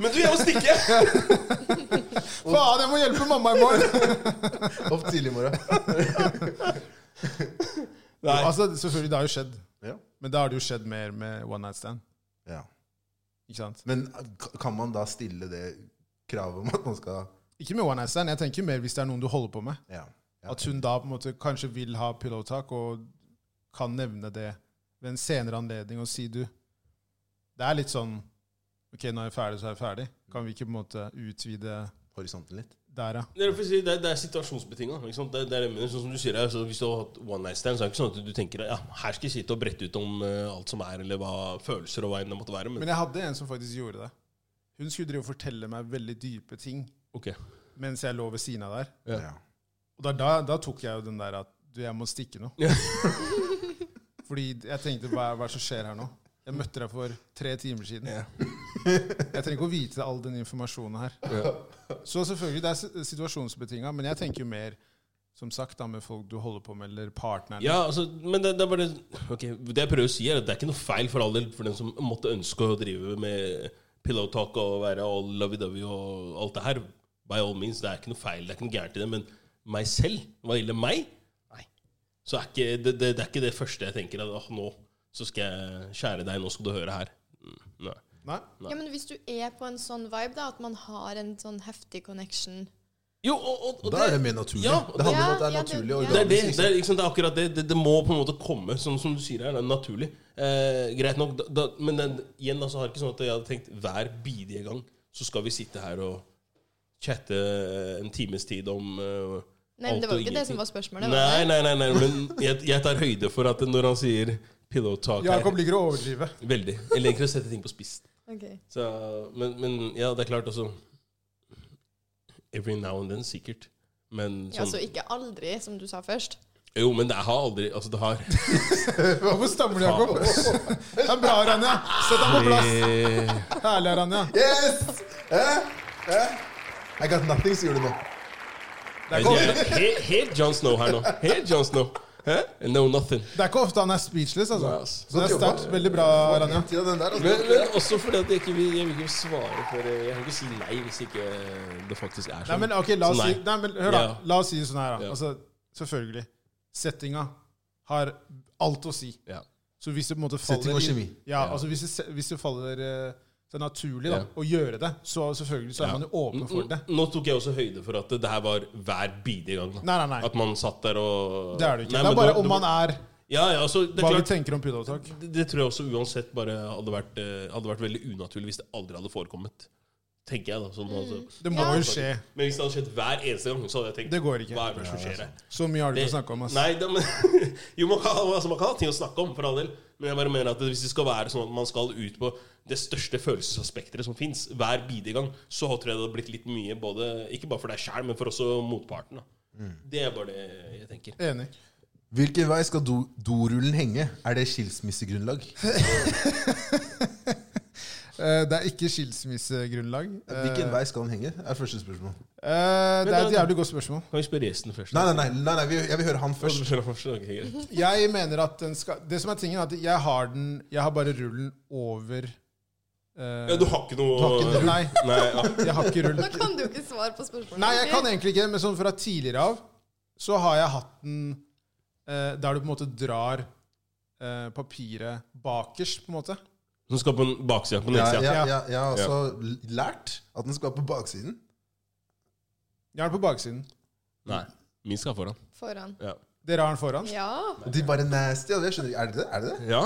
S3: Men du, jeg må stikke!
S2: Faen, jeg må hjelpe mamma i morgen!
S1: Opp tidlig i morgen.
S3: Nei.
S2: Altså, selvfølgelig, det har jo skjedd.
S1: Ja.
S2: Men da har det jo skjedd mer med one night stand.
S1: Ja.
S2: Ikke sant?
S1: Men k- kan man da stille det kravet om at man skal
S2: Ikke med one night stand. Jeg tenker mer hvis det er noen du holder på med.
S1: Ja. ja.
S2: At hun da på en måte kanskje vil ha pillow talk og kan nevne det ved en senere anledning og si du Det er litt sånn Ok, nå er jeg ferdig, så er jeg ferdig. Kan vi ikke på en måte utvide
S1: Horisonten litt.
S2: der, ja?
S3: Det er, derfor jeg sier, det er, det er situasjonsbetinga. ikke sant? Det, det er det jeg mener. sånn som du sier, altså, Hvis du har hatt one night stand, så er det ikke sånn at du tenker ja, her skal jeg sitte og brette ut om eh, alt som er, eller hva følelser og hva enn det måtte være. Men
S2: Men jeg hadde en som faktisk gjorde det. Hun skulle drive og fortelle meg veldig dype ting
S3: ok.
S2: mens jeg lå ved siden av der.
S3: Ja.
S1: Ja.
S2: Og da, da, da tok jeg jo den der at du, jeg må stikke nå.
S3: Ja.
S2: Fordi jeg tenkte hva, hva er det som skjer her nå? Jeg møtte deg for tre timer siden. Jeg trenger ikke å vite all den informasjonen her. Så selvfølgelig, det er si- situasjonsbetinga, men jeg tenker jo mer som sagt da med folk du holder på med, eller partneren.
S3: Ja, altså, men det, det er bare ok, Det jeg prøver å si, er at det er ikke noe feil for all del for den som måtte ønske å drive med pillow talk og være all lovey-dovey og alt det her. By all means, det er ikke noe feil, det er ikke noe gærent i det. Men meg selv, hva gjelder meg, nei. Så er ikke, det, det, det er ikke det første jeg tenker. At, «Åh, nå så skal jeg skjære deg, nå skal du høre her. Mm, nei.
S2: Nei?
S4: Ja, men hvis du er på en sånn vibe, da, at man har en sånn heftig connection
S3: Jo, og, og, og
S1: Da er det mer naturlig.
S3: Ja, og
S1: det handler om at det er
S4: Ja, ja, det-
S1: naturlig og
S4: ja.
S3: Det er, det,
S1: organisk.
S3: det, er, ikke sant, det er akkurat det. det. Det må på en måte komme, sånn som du sier her. Det er naturlig. Eh, greit nok. Da, da, men den, igjen, altså, har ikke sånn at jeg hadde tenkt hver bidige gang så skal vi sitte her og chatte eh, en times tid om eh,
S4: Nei, men
S3: alt
S4: det var
S3: og
S4: jo ikke det
S3: ingenting.
S4: som var spørsmålet.
S3: Nei,
S4: Var det?
S3: nei, nei, nei, men jeg, jeg tar høyde for at når han sier pillow talk er
S2: Jakob ligger og overdriver.
S3: Veldig. Jeg liker å sette ting på spiss.
S4: Ok.
S3: Så, men, men ja, det er klart også Every now and then, sikkert. Men
S4: Ja,
S3: sånn
S4: så ikke aldri, som du sa først.
S3: Jo, men det har aldri Altså, det har
S2: Hvorfor stammer du, Jakob? Det er bra, Ranja. Sett deg på plass. Herlig, Ranja.
S1: Yes! Eh? Eh? I got nothing, sier du nå.
S2: Det er ikke ofte-
S3: Helt he John Snow her nå. Helt John Snow. Hæ? No nothing.
S2: det er ikke ofte han er speechless,
S3: Nei,
S2: altså.
S3: ass.
S2: Så det er sterkt. Veldig bra, Ranja.
S1: Til den der,
S3: Men,
S1: altså.
S3: men også fordi at jeg ikke vil, jeg vil ikke svare for Jeg kan ikke si nei hvis ikke det faktisk er
S2: Nei,
S3: sånn.
S2: men ok, la oss
S3: Så nei.
S2: si Nei, men hør da,
S3: Ja.
S2: la oss si det sånn her da
S3: Ja.
S2: Altså, selvfølgelig Settinga har alt å si
S3: Ja.
S2: Så hvis det på en måte faller
S1: Setting og
S2: i-
S1: kjemi.
S2: Ja,
S3: Ja.
S2: altså hvis det, se- hvis det faller eh, Det er naturlig da,
S3: Ja.
S2: å gjøre det Så selvfølgelig så er
S3: Ja. Mm,
S2: man jo åpen for det
S3: Nå tok jeg også høyde for at det her var hver bidige gang. Da.
S2: Nei, nei, nei,
S3: At man satt der og
S2: det er det ikke
S3: Nei,
S2: Det
S3: men
S2: er bare
S3: da-
S2: om
S3: da-
S2: man er
S3: Ja, ja, altså, det er
S2: Hva vi
S3: klart
S2: tenker om pudavtak
S3: det, det tror jeg også uansett bare hadde vært, eh, hadde vært veldig unaturlig hvis det aldri hadde forekommet. Tenker jeg, da. Sånn, altså.
S2: Det må
S4: Ja.
S2: jo skje
S3: Men hvis det hadde skjedd hver eneste gang, så hadde jeg tenkt
S2: eh, Det går ikke
S3: Hva er det som skjer her?
S2: Så mye har du
S3: Det-
S2: ikke å snakke om ass.
S3: Nei, det, men, jo, man kan, altså, man kan ha ting å snakke om, for all del. Men jeg bare mener at hvis det skal være sånn at man skal ut på det største følelsesaspekteret som fins, hver bidige gang, så tror jeg det hadde blitt litt mye, både, ikke bare for deg sjæl, men for også motparten. Da. Det er bare det jeg tenker.
S2: Enig
S1: Hvilken vei skal do- dorullen henge? Er det skilsmissegrunnlag?
S2: Eh, Det er ikke skilsmissegrunnlag Eh,
S1: Hvilken vei skal den henge? er første spørsmål.
S2: eh, Det er et jævlig godt spørsmål
S3: Kan vi spørre gjesten først?
S1: Nei, nei, nei, nei, nei vi- jeg vil høre han først.
S3: Først.
S2: Jeg mener at den skal Det som er tingen, er at jeg har den Jeg har bare rullen over eh,
S3: Ja, du har ikke noe
S2: du har ikke- Nei,
S3: Nei, ja.
S2: jeg har ikke rull.
S4: Da kan du ikke svare på spørsmålet.
S2: Nei, jeg kan egentlig ikke, men sånn fra tidligere av så har jeg hatt den eh, der du på en måte drar eh, papiret bakerst, på en måte.
S3: Som skal på en baksida på
S1: Ja,
S3: nedsida.
S1: ja,
S3: Ja,
S1: ja, jeg har også lært at den skal på baksiden.
S2: Jeg har den på baksiden.
S3: Nei. Min skal foran.
S4: Foran.
S3: Ja.
S2: Dere har den foran.
S4: Ja.
S1: Og de bare nasty. og det skjønner jeg. Er det det? Er det det?
S3: ja.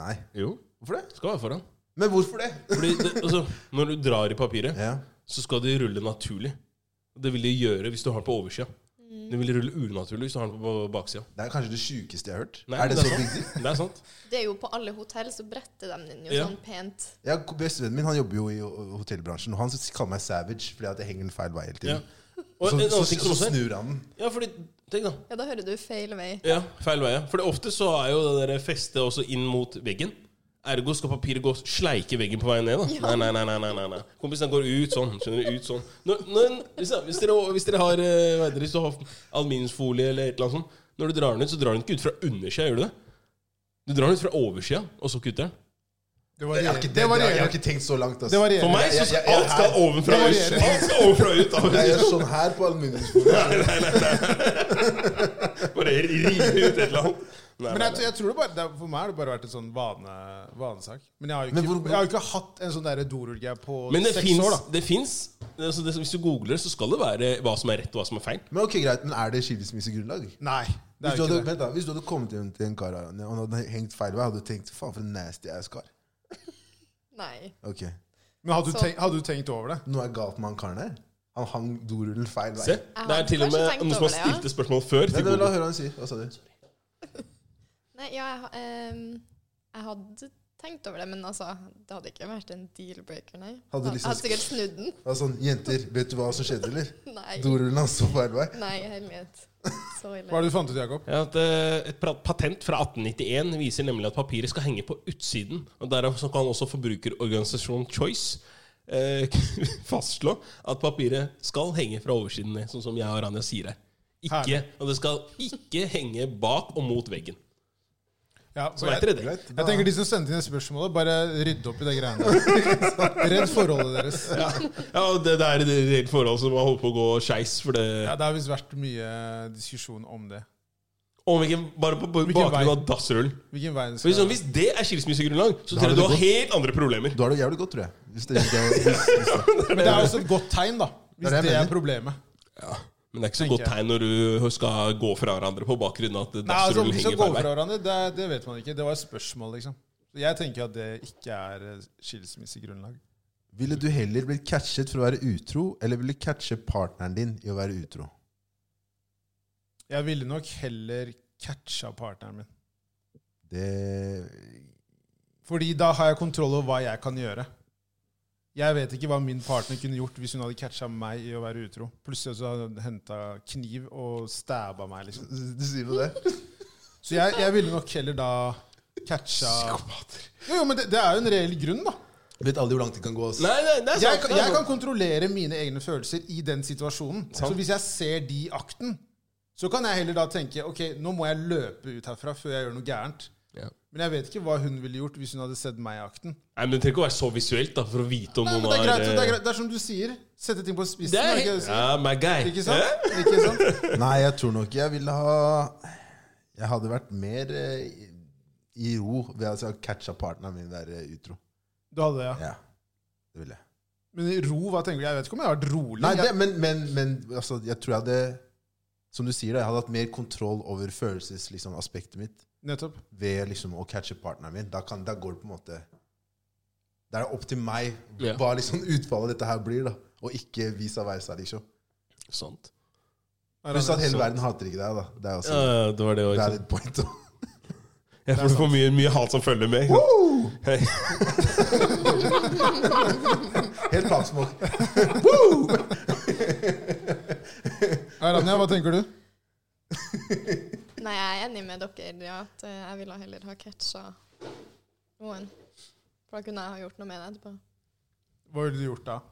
S1: Nei.
S3: Jo.
S1: Hvorfor det?
S3: Skal være foran.
S1: Men hvorfor det?
S3: Fordi det, altså, når du drar i papiret
S1: Ja.
S3: så skal de rulle naturlig. Og Det vil de gjøre hvis du har den på oversida. De vil rulle unaturlig hvis du har den på baksida.
S1: Det er kanskje det sjukeste jeg har hørt.
S3: Nei,
S1: er det
S3: men
S1: så
S3: det er
S1: big deal?
S3: Det er sant.
S4: Det er jo på alle hotell, så bretter de den jo
S3: Ja.
S4: sånn pent.
S1: Ja, Bestevennen min han jobber jo i ho- hotellbransjen, og han kaller meg savage fordi at jeg henger den feil vei hele
S3: Ja.
S1: tiden.
S3: Og
S1: Så,
S3: en
S1: så,
S3: annen
S1: så,
S3: ting som også er
S1: snur han den.
S3: Ja, fordi, tenk da.
S4: Ja, da hører du feil vei.
S3: Ja, feil vei. ja. Fordi ofte så er jo det der festet også inn mot veggen. Ergo skal papiret gå sleike veggen på vei ned. da
S4: Ja.
S3: Nei, nei, nei. nei, nei, nei, nei. Kompisen går ut sånn. skjønner du, ut sånn når, når, hvis, hvis, dere, hvis dere har eh, hva heter det, hvis du har aluminiumsfolie eller et eller annet sånt Når du drar den ut, så drar den ikke ut fra undersida, gjør du det? Du drar den ut fra oversida, og så kutter den.
S2: Det
S1: Jeg har
S2: varierer.
S1: ikke,
S2: Det
S1: jeg, jeg, har
S2: varierer.
S1: ikke tenkt så langt. ass.
S2: Det
S3: For
S2: varierer.
S3: meg så
S1: Jeg- jeg- jeg-
S3: alt skal ovenfra
S2: Det
S3: og ut.
S2: varierer.
S3: Alt skal ovenfra og ut. da.
S1: Jeg gjør sånn her på aluminiumsbordet.
S3: Nei, nei, nei, nei. Bare rive ut et eller annet. Nei,
S2: Men
S3: nei,
S2: jeg, tror- jeg tror det bare, det, er- For meg har det bare vært en sånn vane, vanesak. Men jeg har jo
S1: Men
S2: ikke,
S1: hvor-
S2: jeg har jo ikke hatt en sånn derre dorullgreie på
S3: nei. Men det
S2: seks år,
S3: fins,
S2: da.
S3: det fins altså det, Hvis du googler, så skal det være hva som er rett, og hva som er feil.
S1: Men ok, greit, men er det skilsmissegrunnlag?
S2: Nei. Det
S1: Hvis,
S2: er
S1: du
S2: jo
S1: hadde-
S2: ikke det.
S1: vent da, hvis du hadde kommet hjem til en kar og han hadde hengt feil vei, hadde du tenkt 'faen, for en nasty ass-kar'?
S4: Nei.
S1: Ok,
S2: Men hadde du,
S4: Så-
S2: tenkt, hadde du tenkt over det?
S1: Noe er galt med han karen her. Han hang dorullen feil vei.
S3: Se, Det er til og
S4: kanskje
S3: med
S4: tenkt
S3: noen som har
S4: over det, ja.
S3: stilt et spørsmål før.
S1: Nei,
S3: Til
S1: nei, la
S3: Google.
S1: høre han si. Hva sa du?
S4: Nei, ja, jeg, ha- ehm, jeg hadde tenkt over det, men altså, det hadde ikke vært en deal-breaker, nei.
S1: Hadde du
S4: Jeg
S1: liksom-
S4: hadde sikkert snudd den.
S1: Det var sånn, Jenter, vet du hva som skjedde, eller?
S4: Nei,
S1: Dorullen hans så feil vei.
S4: nei herlighet. Så ille.
S2: Hva er det du fant ut, Jakob?
S3: Ja, at, eh, et pra- patent fra 1891 viser nemlig at papiret skal henge på utsiden. og Derav så kan også forbrukerorganisasjonen Choice eh, fastslå at papiret skal henge fra oversiden ned, sånn som jeg og Rania sier her. Ikke,
S2: Herlig.
S3: og det skal ikke henge bak og mot veggen.
S2: Ja,
S3: Så
S2: for
S3: vet
S2: jeg,
S3: dere det.
S1: Greit.
S2: jeg tenker de som sendte inn det spørsmålet, bare rydde opp i det greiene der. Redd forholdet deres.
S3: Ja, ja og det, det er et reelt forhold som har holdt på å gå skeis. For det
S2: Ja, det har visst vært mye diskusjon om det.
S3: Om ikke bare på, på
S2: Hvilken
S3: bakgrunn
S2: vei?
S3: av dassrullen.
S2: Hvilken vei det skal
S3: For liksom, Hvis det er skilsmissegrunnlag, så tror
S1: Da har
S3: jeg du
S1: det
S3: har
S1: gått.
S3: helt andre problemer.
S1: Du har det jævlig godt, tror jeg. Hvis det ikke er, hvis, hvis det.
S2: Men det er også et godt tegn, da. Hvis
S1: Det er det jeg
S2: det er
S1: mener.
S2: problemet.
S3: Men det er ikke så
S2: Tenker
S3: godt
S2: jeg.
S3: tegn når du skal gå fra hverandre på bakgrunn av at
S2: Nei, altså,
S3: dassrullen
S2: Om de skal
S3: henger
S2: gå
S3: feil
S2: fra
S3: vei.
S2: hverandre, det, er- det vet man ikke. Det var et spørsmål, liksom. Så Jeg tenker at det ikke er eh, skilsmissegrunnlag.
S1: Ville du heller blitt catchet for å være utro, eller ville du catche partneren din i å være utro?
S2: Jeg ville nok heller catcha partneren min.
S1: Det
S2: Fordi da har jeg kontroll over hva jeg kan gjøre. Jeg vet ikke hva min partner kunne gjort hvis hun hadde catcha meg i å være utro. Plutselig så hadde hun henta kniv og stabba meg, liksom.
S1: Du sier jo det.
S2: Så jeg, jeg ville nok heller da catcha Jo, jo, men det, det er jo en reell grunn, da.
S1: Vet aldri hvor langt det kan gå. ass.
S3: Nei, nei, det er
S2: Jeg,
S3: sant.
S2: kan-
S3: det er
S2: jeg kan
S3: sant.
S2: kontrollere mine egne følelser i den situasjonen. Så hvis jeg ser de i akten, så kan jeg heller da tenke ok, nå må jeg løpe ut herfra før jeg gjør noe gærent.
S3: Ja.
S2: Men jeg vet ikke hva hun ville gjort hvis hun hadde sett meg i akten.
S3: Nei, men Du trenger ikke å være så visuelt da, for å vite om
S2: Nei, men
S3: noen
S2: det er greit,
S3: eh,
S2: det er, greit. Det er som du sier. Sette ting på spissen.
S3: Det
S2: er
S3: er
S2: det ikke det du
S3: helt
S2: sier?
S3: Ja, my guy.
S2: Ikke sant? Ikke sant?
S1: Nei, jeg tror nok jeg ville ha Jeg hadde vært mer eh, i- i ro ved at jeg hadde catcha partneren min være utro.
S2: Du hadde det, ja.
S1: Ja, det ville jeg.
S2: Men ro, hva tenker du? Jeg vet ikke om jeg har vært rolig.
S1: Nei, det,
S2: Jeg-
S1: men, men, men altså, jeg tror jeg hadde Som du sier, da, jeg hadde hatt mer kontroll over følelsesaspektet liksom, aspektet mitt
S2: Nettopp.
S1: ved liksom, å catche partneren min. Da, kan, da går det på en måte Da er det opp til meg
S3: Ja.
S1: hva liksom, utfallet av dette her blir, da. Og ikke vice versa. liksom.
S3: Sant.
S1: Pluss at hele verden hater ikke deg. da. Det er,
S3: Ja,
S1: også,
S3: det var det òg.
S1: det er et point. da.
S3: Jeg får for mye, mye hat som følger med. ikke sant?
S1: Woo!
S3: Hei.
S1: Helt platsmål.
S2: Aranja, hva tenker du?
S4: Nei, jeg er enig med dere. Ja, at eh, jeg ville heller ha catcha noen. For da kunne jeg ha gjort noe med det etterpå.
S2: Hva ville du gjort da?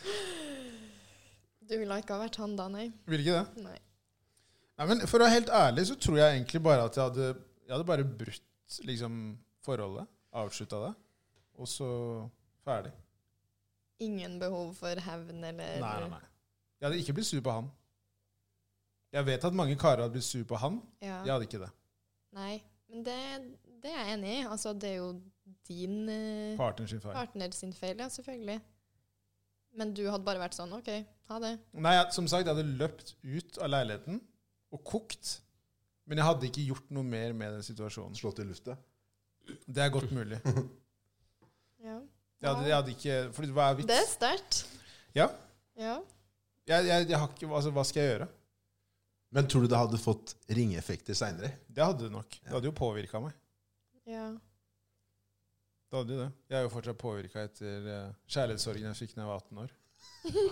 S4: Du ville ikke ha vært han da, nei.
S2: Vil ikke det?
S4: nei.
S2: Nei, men For å være helt ærlig så tror jeg egentlig bare at jeg hadde, jeg hadde bare brutt liksom, forholdet. Avslutta det. Og så ferdig.
S4: Ingen behov for hevn eller
S3: Eh,
S2: Nei, nei, nei. Jeg hadde ikke blitt sur på han. Jeg vet at mange karer hadde blitt sur på han.
S4: Ja.
S2: Jeg hadde ikke det.
S4: Nei. Men det, det er jeg enig i. Altså, det er jo din eh,
S2: Partneren sin feil.
S4: partner sin feil, ja, selvfølgelig. Men du hadde bare vært sånn OK, ha det.
S2: Nei, jeg, som sagt, jeg hadde løpt ut av leiligheten og kokt. Men jeg hadde ikke gjort noe mer med den situasjonen.
S1: Slått i lufta.
S2: Det er godt mulig. Jeg
S4: Ja.
S2: hadde, jeg hadde ikke, fordi hva er
S4: Det
S2: vits?
S4: er sterkt.
S2: Ja.
S4: Ja.
S2: Jeg, jeg, jeg har ikke, altså, hva skal jeg gjøre?
S1: Men tror du det hadde fått ringeeffekter seinere?
S2: Det hadde det nok. Det hadde jo påvirka meg.
S4: ja.
S2: Det hadde jo det. Jeg er jo fortsatt påvirka etter eh, kjærlighetssorgen jeg fikk da jeg var 18 år.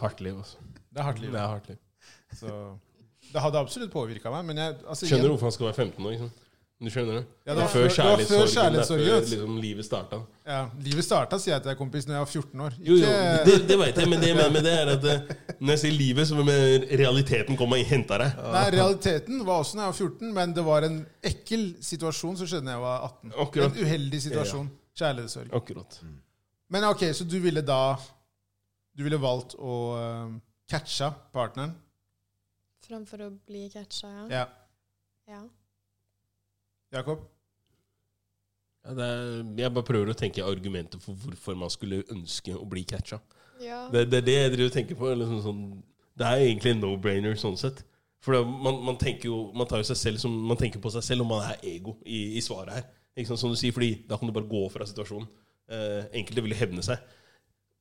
S3: Hardt liv, altså.
S2: Det er hardt liv.
S3: Det er hardt liv.
S2: Så det hadde absolutt påvirka meg, men jeg altså, igjen-
S3: Skjønner du hvorfor han skal være 15 nå? ikke sant? Du skjønner det?
S2: Ja, det
S3: Det var
S2: var
S3: før
S2: før- det var før
S3: kjærlighetssorgen. Det er
S2: kjærlighetssorgen. altså.
S3: før liksom, livet starta.
S2: Ja, livet starta, sier jeg til deg, kompis, når jeg var 14 år.
S3: Jo, jo,
S2: Ikke-
S3: det, det veit jeg, men det jeg mener med det, er at eh, når jeg sier livet, så mener jeg realiteten kommer og henter deg.
S2: Nei, realiteten var også når jeg var 14, men det var en ekkel situasjon som skjedde da jeg var 18.
S3: Akkurat.
S2: En uheldig situasjon. Kjærlighetssorg.
S3: Akkurat.
S2: Men ok, så du ville da Du ville valgt å eh, catcha partneren?
S4: Framfor å bli catcha,
S2: Ja.
S4: ja. ja.
S2: Jakob?
S3: Ja, det er, jeg bare prøver å tenke argumenter for hvorfor man skulle ønske å bli catcha.
S4: Ja.
S3: Det, det er det jeg driver og tenker på. Liksom sånn, det er egentlig en no-brainer sånn sett. For da, man, man tenker jo Man tar jo seg selv som, Man tenker på seg selv om man er ego i, i svaret her. Ikke sant, som du sier, fordi da kan du bare gå fra situasjonen. Eh, enkelte ville hevne seg.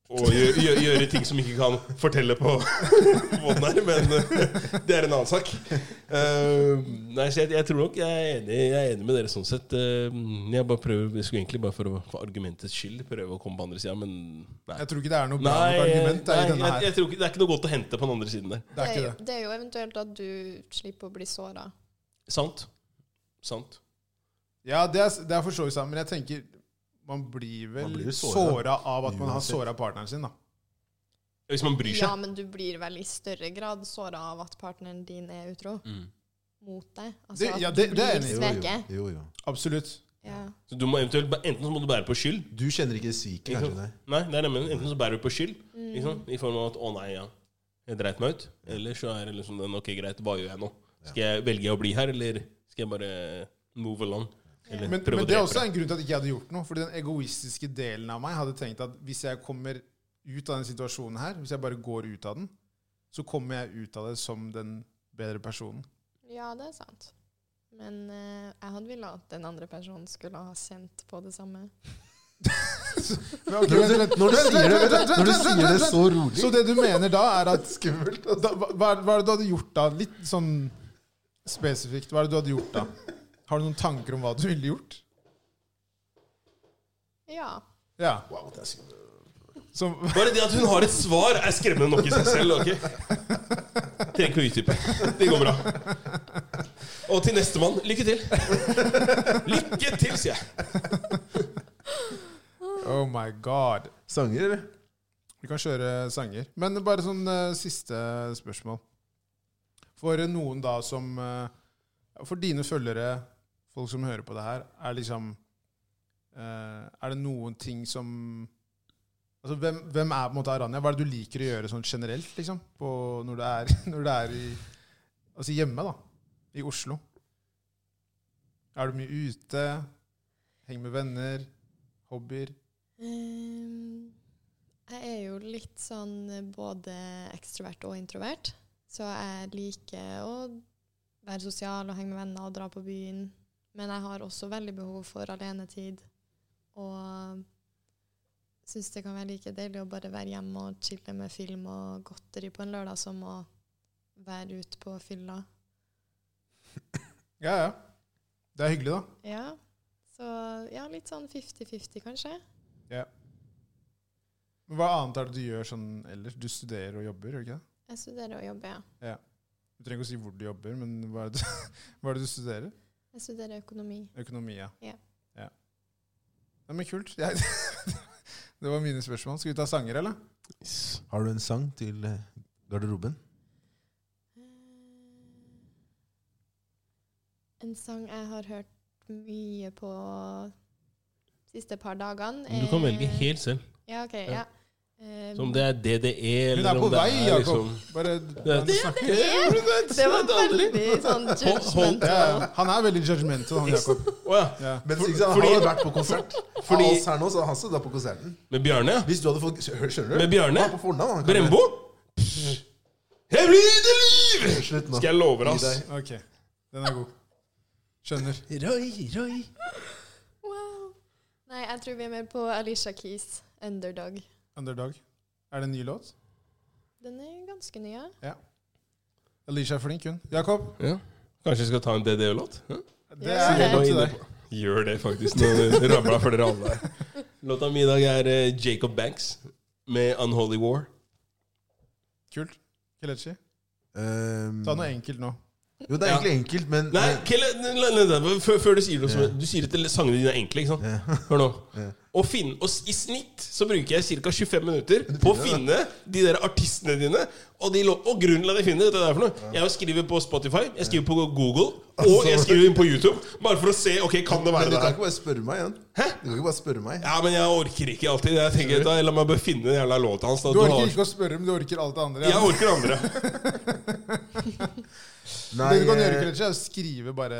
S3: Og gjø- gjø- gjøre ting som ikke kan fortelle på måten her, men eh, det er en annen sak. Eh, nei, så jeg, jeg tror nok jeg er, enig, jeg er enig med dere sånn sett. Eh, jeg bare prøver, jeg skulle egentlig bare for, å, for argumentets skyld prøve å komme på andre sida, men nei.
S2: Jeg tror ikke det er noe bra
S3: Nei,
S2: argument da,
S3: nei
S2: i denne
S3: jeg,
S2: her.
S3: jeg tror ikke, det er ikke noe godt å hente på den andre siden der.
S2: Det er ikke
S4: jo-
S2: det.
S4: det er jo eventuelt at du slipper å bli såra.
S3: Sant. Sant.
S2: Ja, det er, det er for så vidt sant, men jeg tenker man blir vel
S1: Man blir jo såret.
S2: såra av at man har
S1: Uansett.
S2: såra partneren sin, da.
S3: Hvis man bryr
S4: Ja,
S3: seg.
S4: men du blir vel i større grad såra av at partneren din er utro
S3: Mm.
S4: mot deg. Altså
S2: Det-
S4: at
S2: ja,
S4: du
S2: det- det er
S4: blir
S2: enig.
S4: sveket.
S1: Jo, jo, jo.
S2: Absolutt.
S4: Ja.
S3: Så du må eventuelt, bæ- Enten så må du bære på skyld.
S1: Du kjenner ikke sviket,
S3: Ikke
S1: kanskje?
S3: sant?
S1: Nei.
S3: Nei, det er det jeg mener. Enten så bærer du på skyld ikke sant? i form av at 'å nei, ja, jeg dreit meg ut'. Eller så er det liksom den 'ok, greit, hva gjør jeg nå'? Skal jeg velge å bli her, eller skal jeg bare move along? Eller
S2: Men,
S3: prøve
S2: men
S3: å
S2: det er
S3: drepe
S2: også
S3: deg?
S2: en grunn til at jeg ikke hadde gjort noe. Fordi den egoistiske delen av meg hadde tenkt at hvis jeg kommer ut av den situasjonen her, hvis jeg bare går ut av den, så kommer jeg ut av det som den bedre personen.
S4: ja, det er sant. Men eh, jeg hadde villet at den andre personen skulle ha kjent på det samme.
S2: Men ok, vent,
S1: Når du,
S2: vent,
S1: når du
S2: vent,
S1: sier det,
S2: vent, vent,
S1: vet du, når du
S2: vent, vent,
S1: sier det
S2: vent, vent.
S1: så altså. rolig
S2: Så det du mener da, er at Skummelt. Da, hva, hva er det du hadde gjort da? Litt sånn spesifikt, hva er det du hadde gjort da? Har du noen tanker om hva du ville gjort?
S4: Ja.
S2: Ja.
S1: Wow, det er skummelt.
S2: Som,
S3: Bare det at hun har et svar, er skremmende nok i seg selv. ok? Trenger ikke å utdype. Det går bra. Og til nestemann lykke til. Lykke til, sier jeg.
S2: oh my god.
S1: Sanger, eller?
S2: Vi kan kjøre sanger. Men bare sånn eh, siste spørsmål. For noen da som eh, For dine følgere, folk som hører på det her, er liksom eh, Er det noen ting som Altså, hvem, hvem er på en måte Aranya? Hva er det du liker å gjøre sånn generelt, liksom? På, når du er, når du er i, altså hjemme, da. I Oslo. Er du mye ute? Henger med venner? Hobbyer?
S4: Ehm, Jeg er jo litt sånn eh, både ekstrovert og introvert. Så jeg liker å være sosial og henge med venner og dra på byen. Men jeg har også veldig behov for alenetid. Og syns det kan være like deilig å bare være hjemme og chille med film og godteri på en lørdag som å være ute på fylla.
S2: Ja, ja. Det er hyggelig, da.
S4: Ja. Så ja, litt sånn 50-50, kanskje.
S2: Men Hva annet er det du gjør sånn ellers? Du studerer og jobber, gjør du ikke det?
S4: Jeg studerer og jobber, ja.
S2: Du trenger ikke å si hvor du jobber, men hva er det, hva er det du studerer?
S4: Jeg studerer økonomi.
S2: Økonomi, ja.
S4: Ja.
S2: Ja. Ja, men kult. Jeg, det var mine spørsmål. Skal vi ta sanger, eller?
S1: Har du en sang til eh, garderoben?
S4: Eh, En sang jeg har hørt mye på siste par dagene
S3: Men Du kan
S4: Eh.
S3: velge helt selv.
S4: Ja, ok,
S3: Ja.
S4: ja. Eh,
S3: Så om det er DDE
S2: Hun
S3: eller
S2: er
S3: om
S2: på
S3: det
S2: vei,
S3: er
S2: Jakob.
S3: liksom
S2: Bare,
S3: Ja,
S2: han, snakker.
S4: det var veldig sånn judgment.
S2: Ja, ja. han er veldig judgmental, han Jakob.
S3: Å ja.
S2: Ja.
S1: Men ikke
S3: fordi-
S1: sant, Han hadde vært på konsert. Fordi,
S3: Fordi-
S1: av oss her nå, så hadde han stått da på konserten.
S3: Med Bjarne? ja.
S1: Hvis du hadde fått Skjø- Skjønner du?
S3: Med Bjarne?
S1: Han er på fornavn, han kan-
S3: Brembo? Pff. Jeg blir det liv!
S1: Slutt nå.
S3: Skal jeg love deg,
S1: Gi
S3: ass.
S1: deg.
S2: Ok, den er god. Skjønner.
S3: Roy, Roy.
S4: Wow. Nei, jeg tror vi er mer på Alicia Keys' 'Underdog'.
S2: Underdog. Er det en ny låt?
S4: Den er ganske ny, ja.
S2: Alicia er flink, hun. Jakob,
S3: Ja. Kanskje jeg skal ta en DDE-låt? Ja?
S2: det er helt
S3: Nå
S2: opp til
S3: inne
S2: deg.
S3: på- Gjør det, faktisk. Nå ramla for dere alle her. Låta mi i dag er eh, Jacob Banks med 'Unholy War'.
S2: Kult. Kelechi,
S1: Ehm,
S2: ta noe enkelt nå.
S1: jo, det er egentlig enkelt, men
S3: Nei, Kelle, la- la- la- la- før, før du sier noe som Du sier at sangene dine er enkle, ikke sant? Hør nå. Og, finne, og s- I snitt så bruker jeg ca. 25 minutter på å finne de der artistene dine. Og, de, lå- og grunnen til at jeg finner dette der for noe Jeg skriver på Spotify, jeg skriver på Google, og jeg skriver inn på YouTube. Bare for å se ok, kan det være
S1: Altså, Men du
S3: det
S1: kan
S3: her.
S1: ikke bare spørre meg igjen.
S3: Hæ?
S1: Du kan ikke bare spørre meg.
S3: Ja, men jeg orker ikke alltid. Jeg tenker, da, La meg bare finne den jævla låta hans. Da,
S2: Du
S3: Du
S2: orker
S3: har-
S2: ikke å spørre, men du orker alt det andre.
S3: Jeg orker andre.
S1: Nei,
S2: Det du kan
S1: eh,
S2: gjøre, Kelechi, er å skrive bare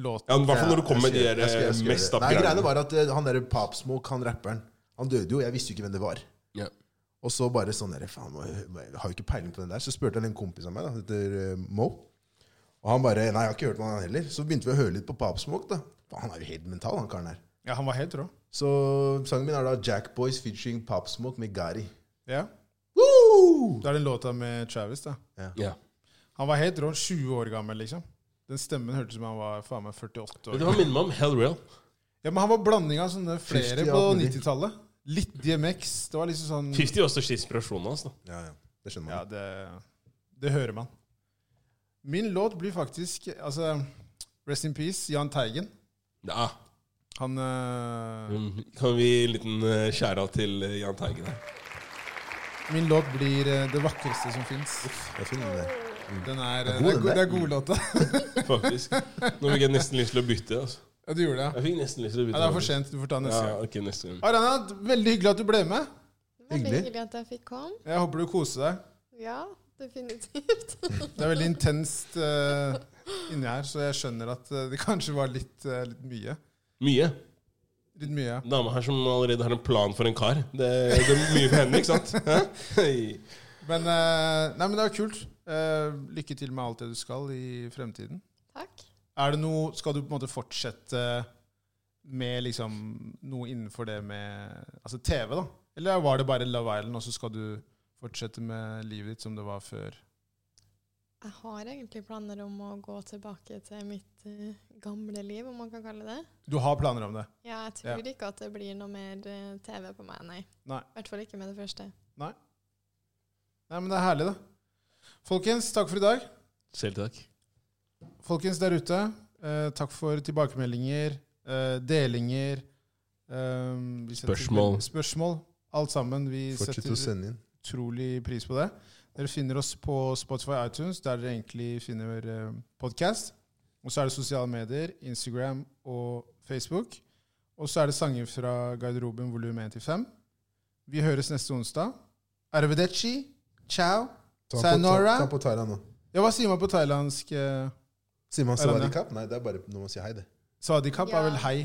S2: låten.
S3: Ja, men I hvert fall når du kommer med de
S1: Jeg
S3: der
S1: skal-
S3: eh,
S1: jeg skal gjøre
S3: mest
S1: det.
S3: opp
S1: Nei, greiene
S3: greiene.
S1: var at eh, han derre Papsmoke, han rapperen, han døde jo. Jeg visste jo ikke hvem det var.
S3: Ja.
S1: Og så bare sånn der, faen, må- jeg har jo ikke peiling på den der. Så spurte jeg en kompis av meg, da, som heter eh, Mo. Og han bare Nei, jeg har ikke hørt på han heller. Så begynte vi å høre litt på Papsmoke, da. Faen, Han er jo helt mental, han karen her.
S2: Ja, han var helt rå.
S1: Så sangen min er da Jack Boys featuring Papsmoke med Gary.
S2: Ja.
S1: Woo!
S2: Da er den låta med Travis, da.
S3: Ja.
S2: Han var helt rå, 20 år gammel, liksom. Den stemmen hørtes ut som han var faen meg 48
S3: Vet
S2: år.
S3: du hva minner meg om? Hell Real.
S2: Ja, Men han var blanding av sånne flere
S1: 50
S2: på
S1: alt mulig.
S2: 90-tallet. Litt DMX. Det var liksom sånn
S3: 50 var største inspirasjonen hans. da.
S1: Ja, ja. Det skjønner man.
S2: Ja, det, det hører man. Min låt blir faktisk Altså, Rest in Peace, Jahn Teigen.
S3: Ja.
S2: Han øh,
S3: Mm, Kan vi gi en liten eh, skjæra til eh, Jahn Teigen her?
S2: Min låt blir øh, det vakreste som fins.
S1: Det er fint, det der.
S2: Den er,
S1: er
S2: øh,
S1: god,
S2: det er,
S1: den
S2: go-
S1: der.
S2: det er godlåta.
S3: Faktisk. Nå fikk jeg nesten lyst til å bytte. altså.
S2: Ja, du gjorde det.
S3: Jeg fikk nesten lyst til å bytte.
S2: Ja, det er for sent. Du får ta neste
S3: Ja,
S2: gang.
S3: ok, neste gang.
S2: Arana, veldig hyggelig at du ble med.
S4: Veldig
S1: Hyggelig.
S4: hyggelig at jeg fikk komme.
S2: Jeg håper du koser deg.
S4: Ja, definitivt.
S2: Det er veldig intenst eh, inni her, så jeg skjønner at eh, det kanskje var litt, eh, litt mye.
S3: Mye.
S2: Litt mye.
S3: Dame her som allerede har en plan for en kar. Det, Eh, det er mye for henne, ikke sant? Hæ? Hei.
S2: Men, eh, nei, men det var kult. Eh, lykke til med alt det du skal i fremtiden.
S4: Takk.
S2: Er det noe, skal du på en måte fortsette med liksom noe innenfor det med altså TV, da? Eller var det bare Love Island, og så skal du fortsette med livet ditt som det var før?
S4: Jeg har egentlig planer om å gå tilbake til mitt eh, gamle liv, om man kan kalle det.
S2: Du har planer om det?
S4: Ja, jeg tror ikke at det blir noe mer eh, TV på meg, nei.
S2: Nei.
S4: I hvert fall ikke med det første.
S2: Nei, men det er herlig, da. Folkens, takk for i dag.
S3: Selv takk.
S2: Folkens der ute, eh, takk for tilbakemeldinger, eh, delinger eh, vi setter-
S3: Spørsmål.
S2: spørsmål. Alt sammen. Vi
S1: Fortsett å
S2: setter
S1: sende inn.
S2: utrolig pris på det. Dere finner oss på Spotify iTunes, der dere egentlig finner eh, podkast. Og så er det sosiale medier, Instagram og Facebook. Og så er det sanger fra garderoben volum 1 til 5. Vi høres neste onsdag. Arvedeci. Ciao.
S1: Ta på, ta,
S2: Sayonara.
S1: ta på Tara nå.
S2: Ja, hva sier man på thailandsk? eh,
S1: Sier man
S2: Er den det?
S1: sawadikap? Nei, det er bare når man sier hei, det.
S2: Swadikap
S4: Ja.
S2: er vel hei.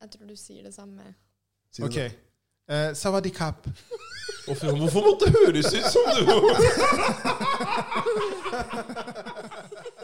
S4: Jeg tror du sier det samme.
S1: Si det
S2: Ok.
S1: da.
S2: Eh, Sawadikap.
S3: Hvorfor måtte det høres ut som du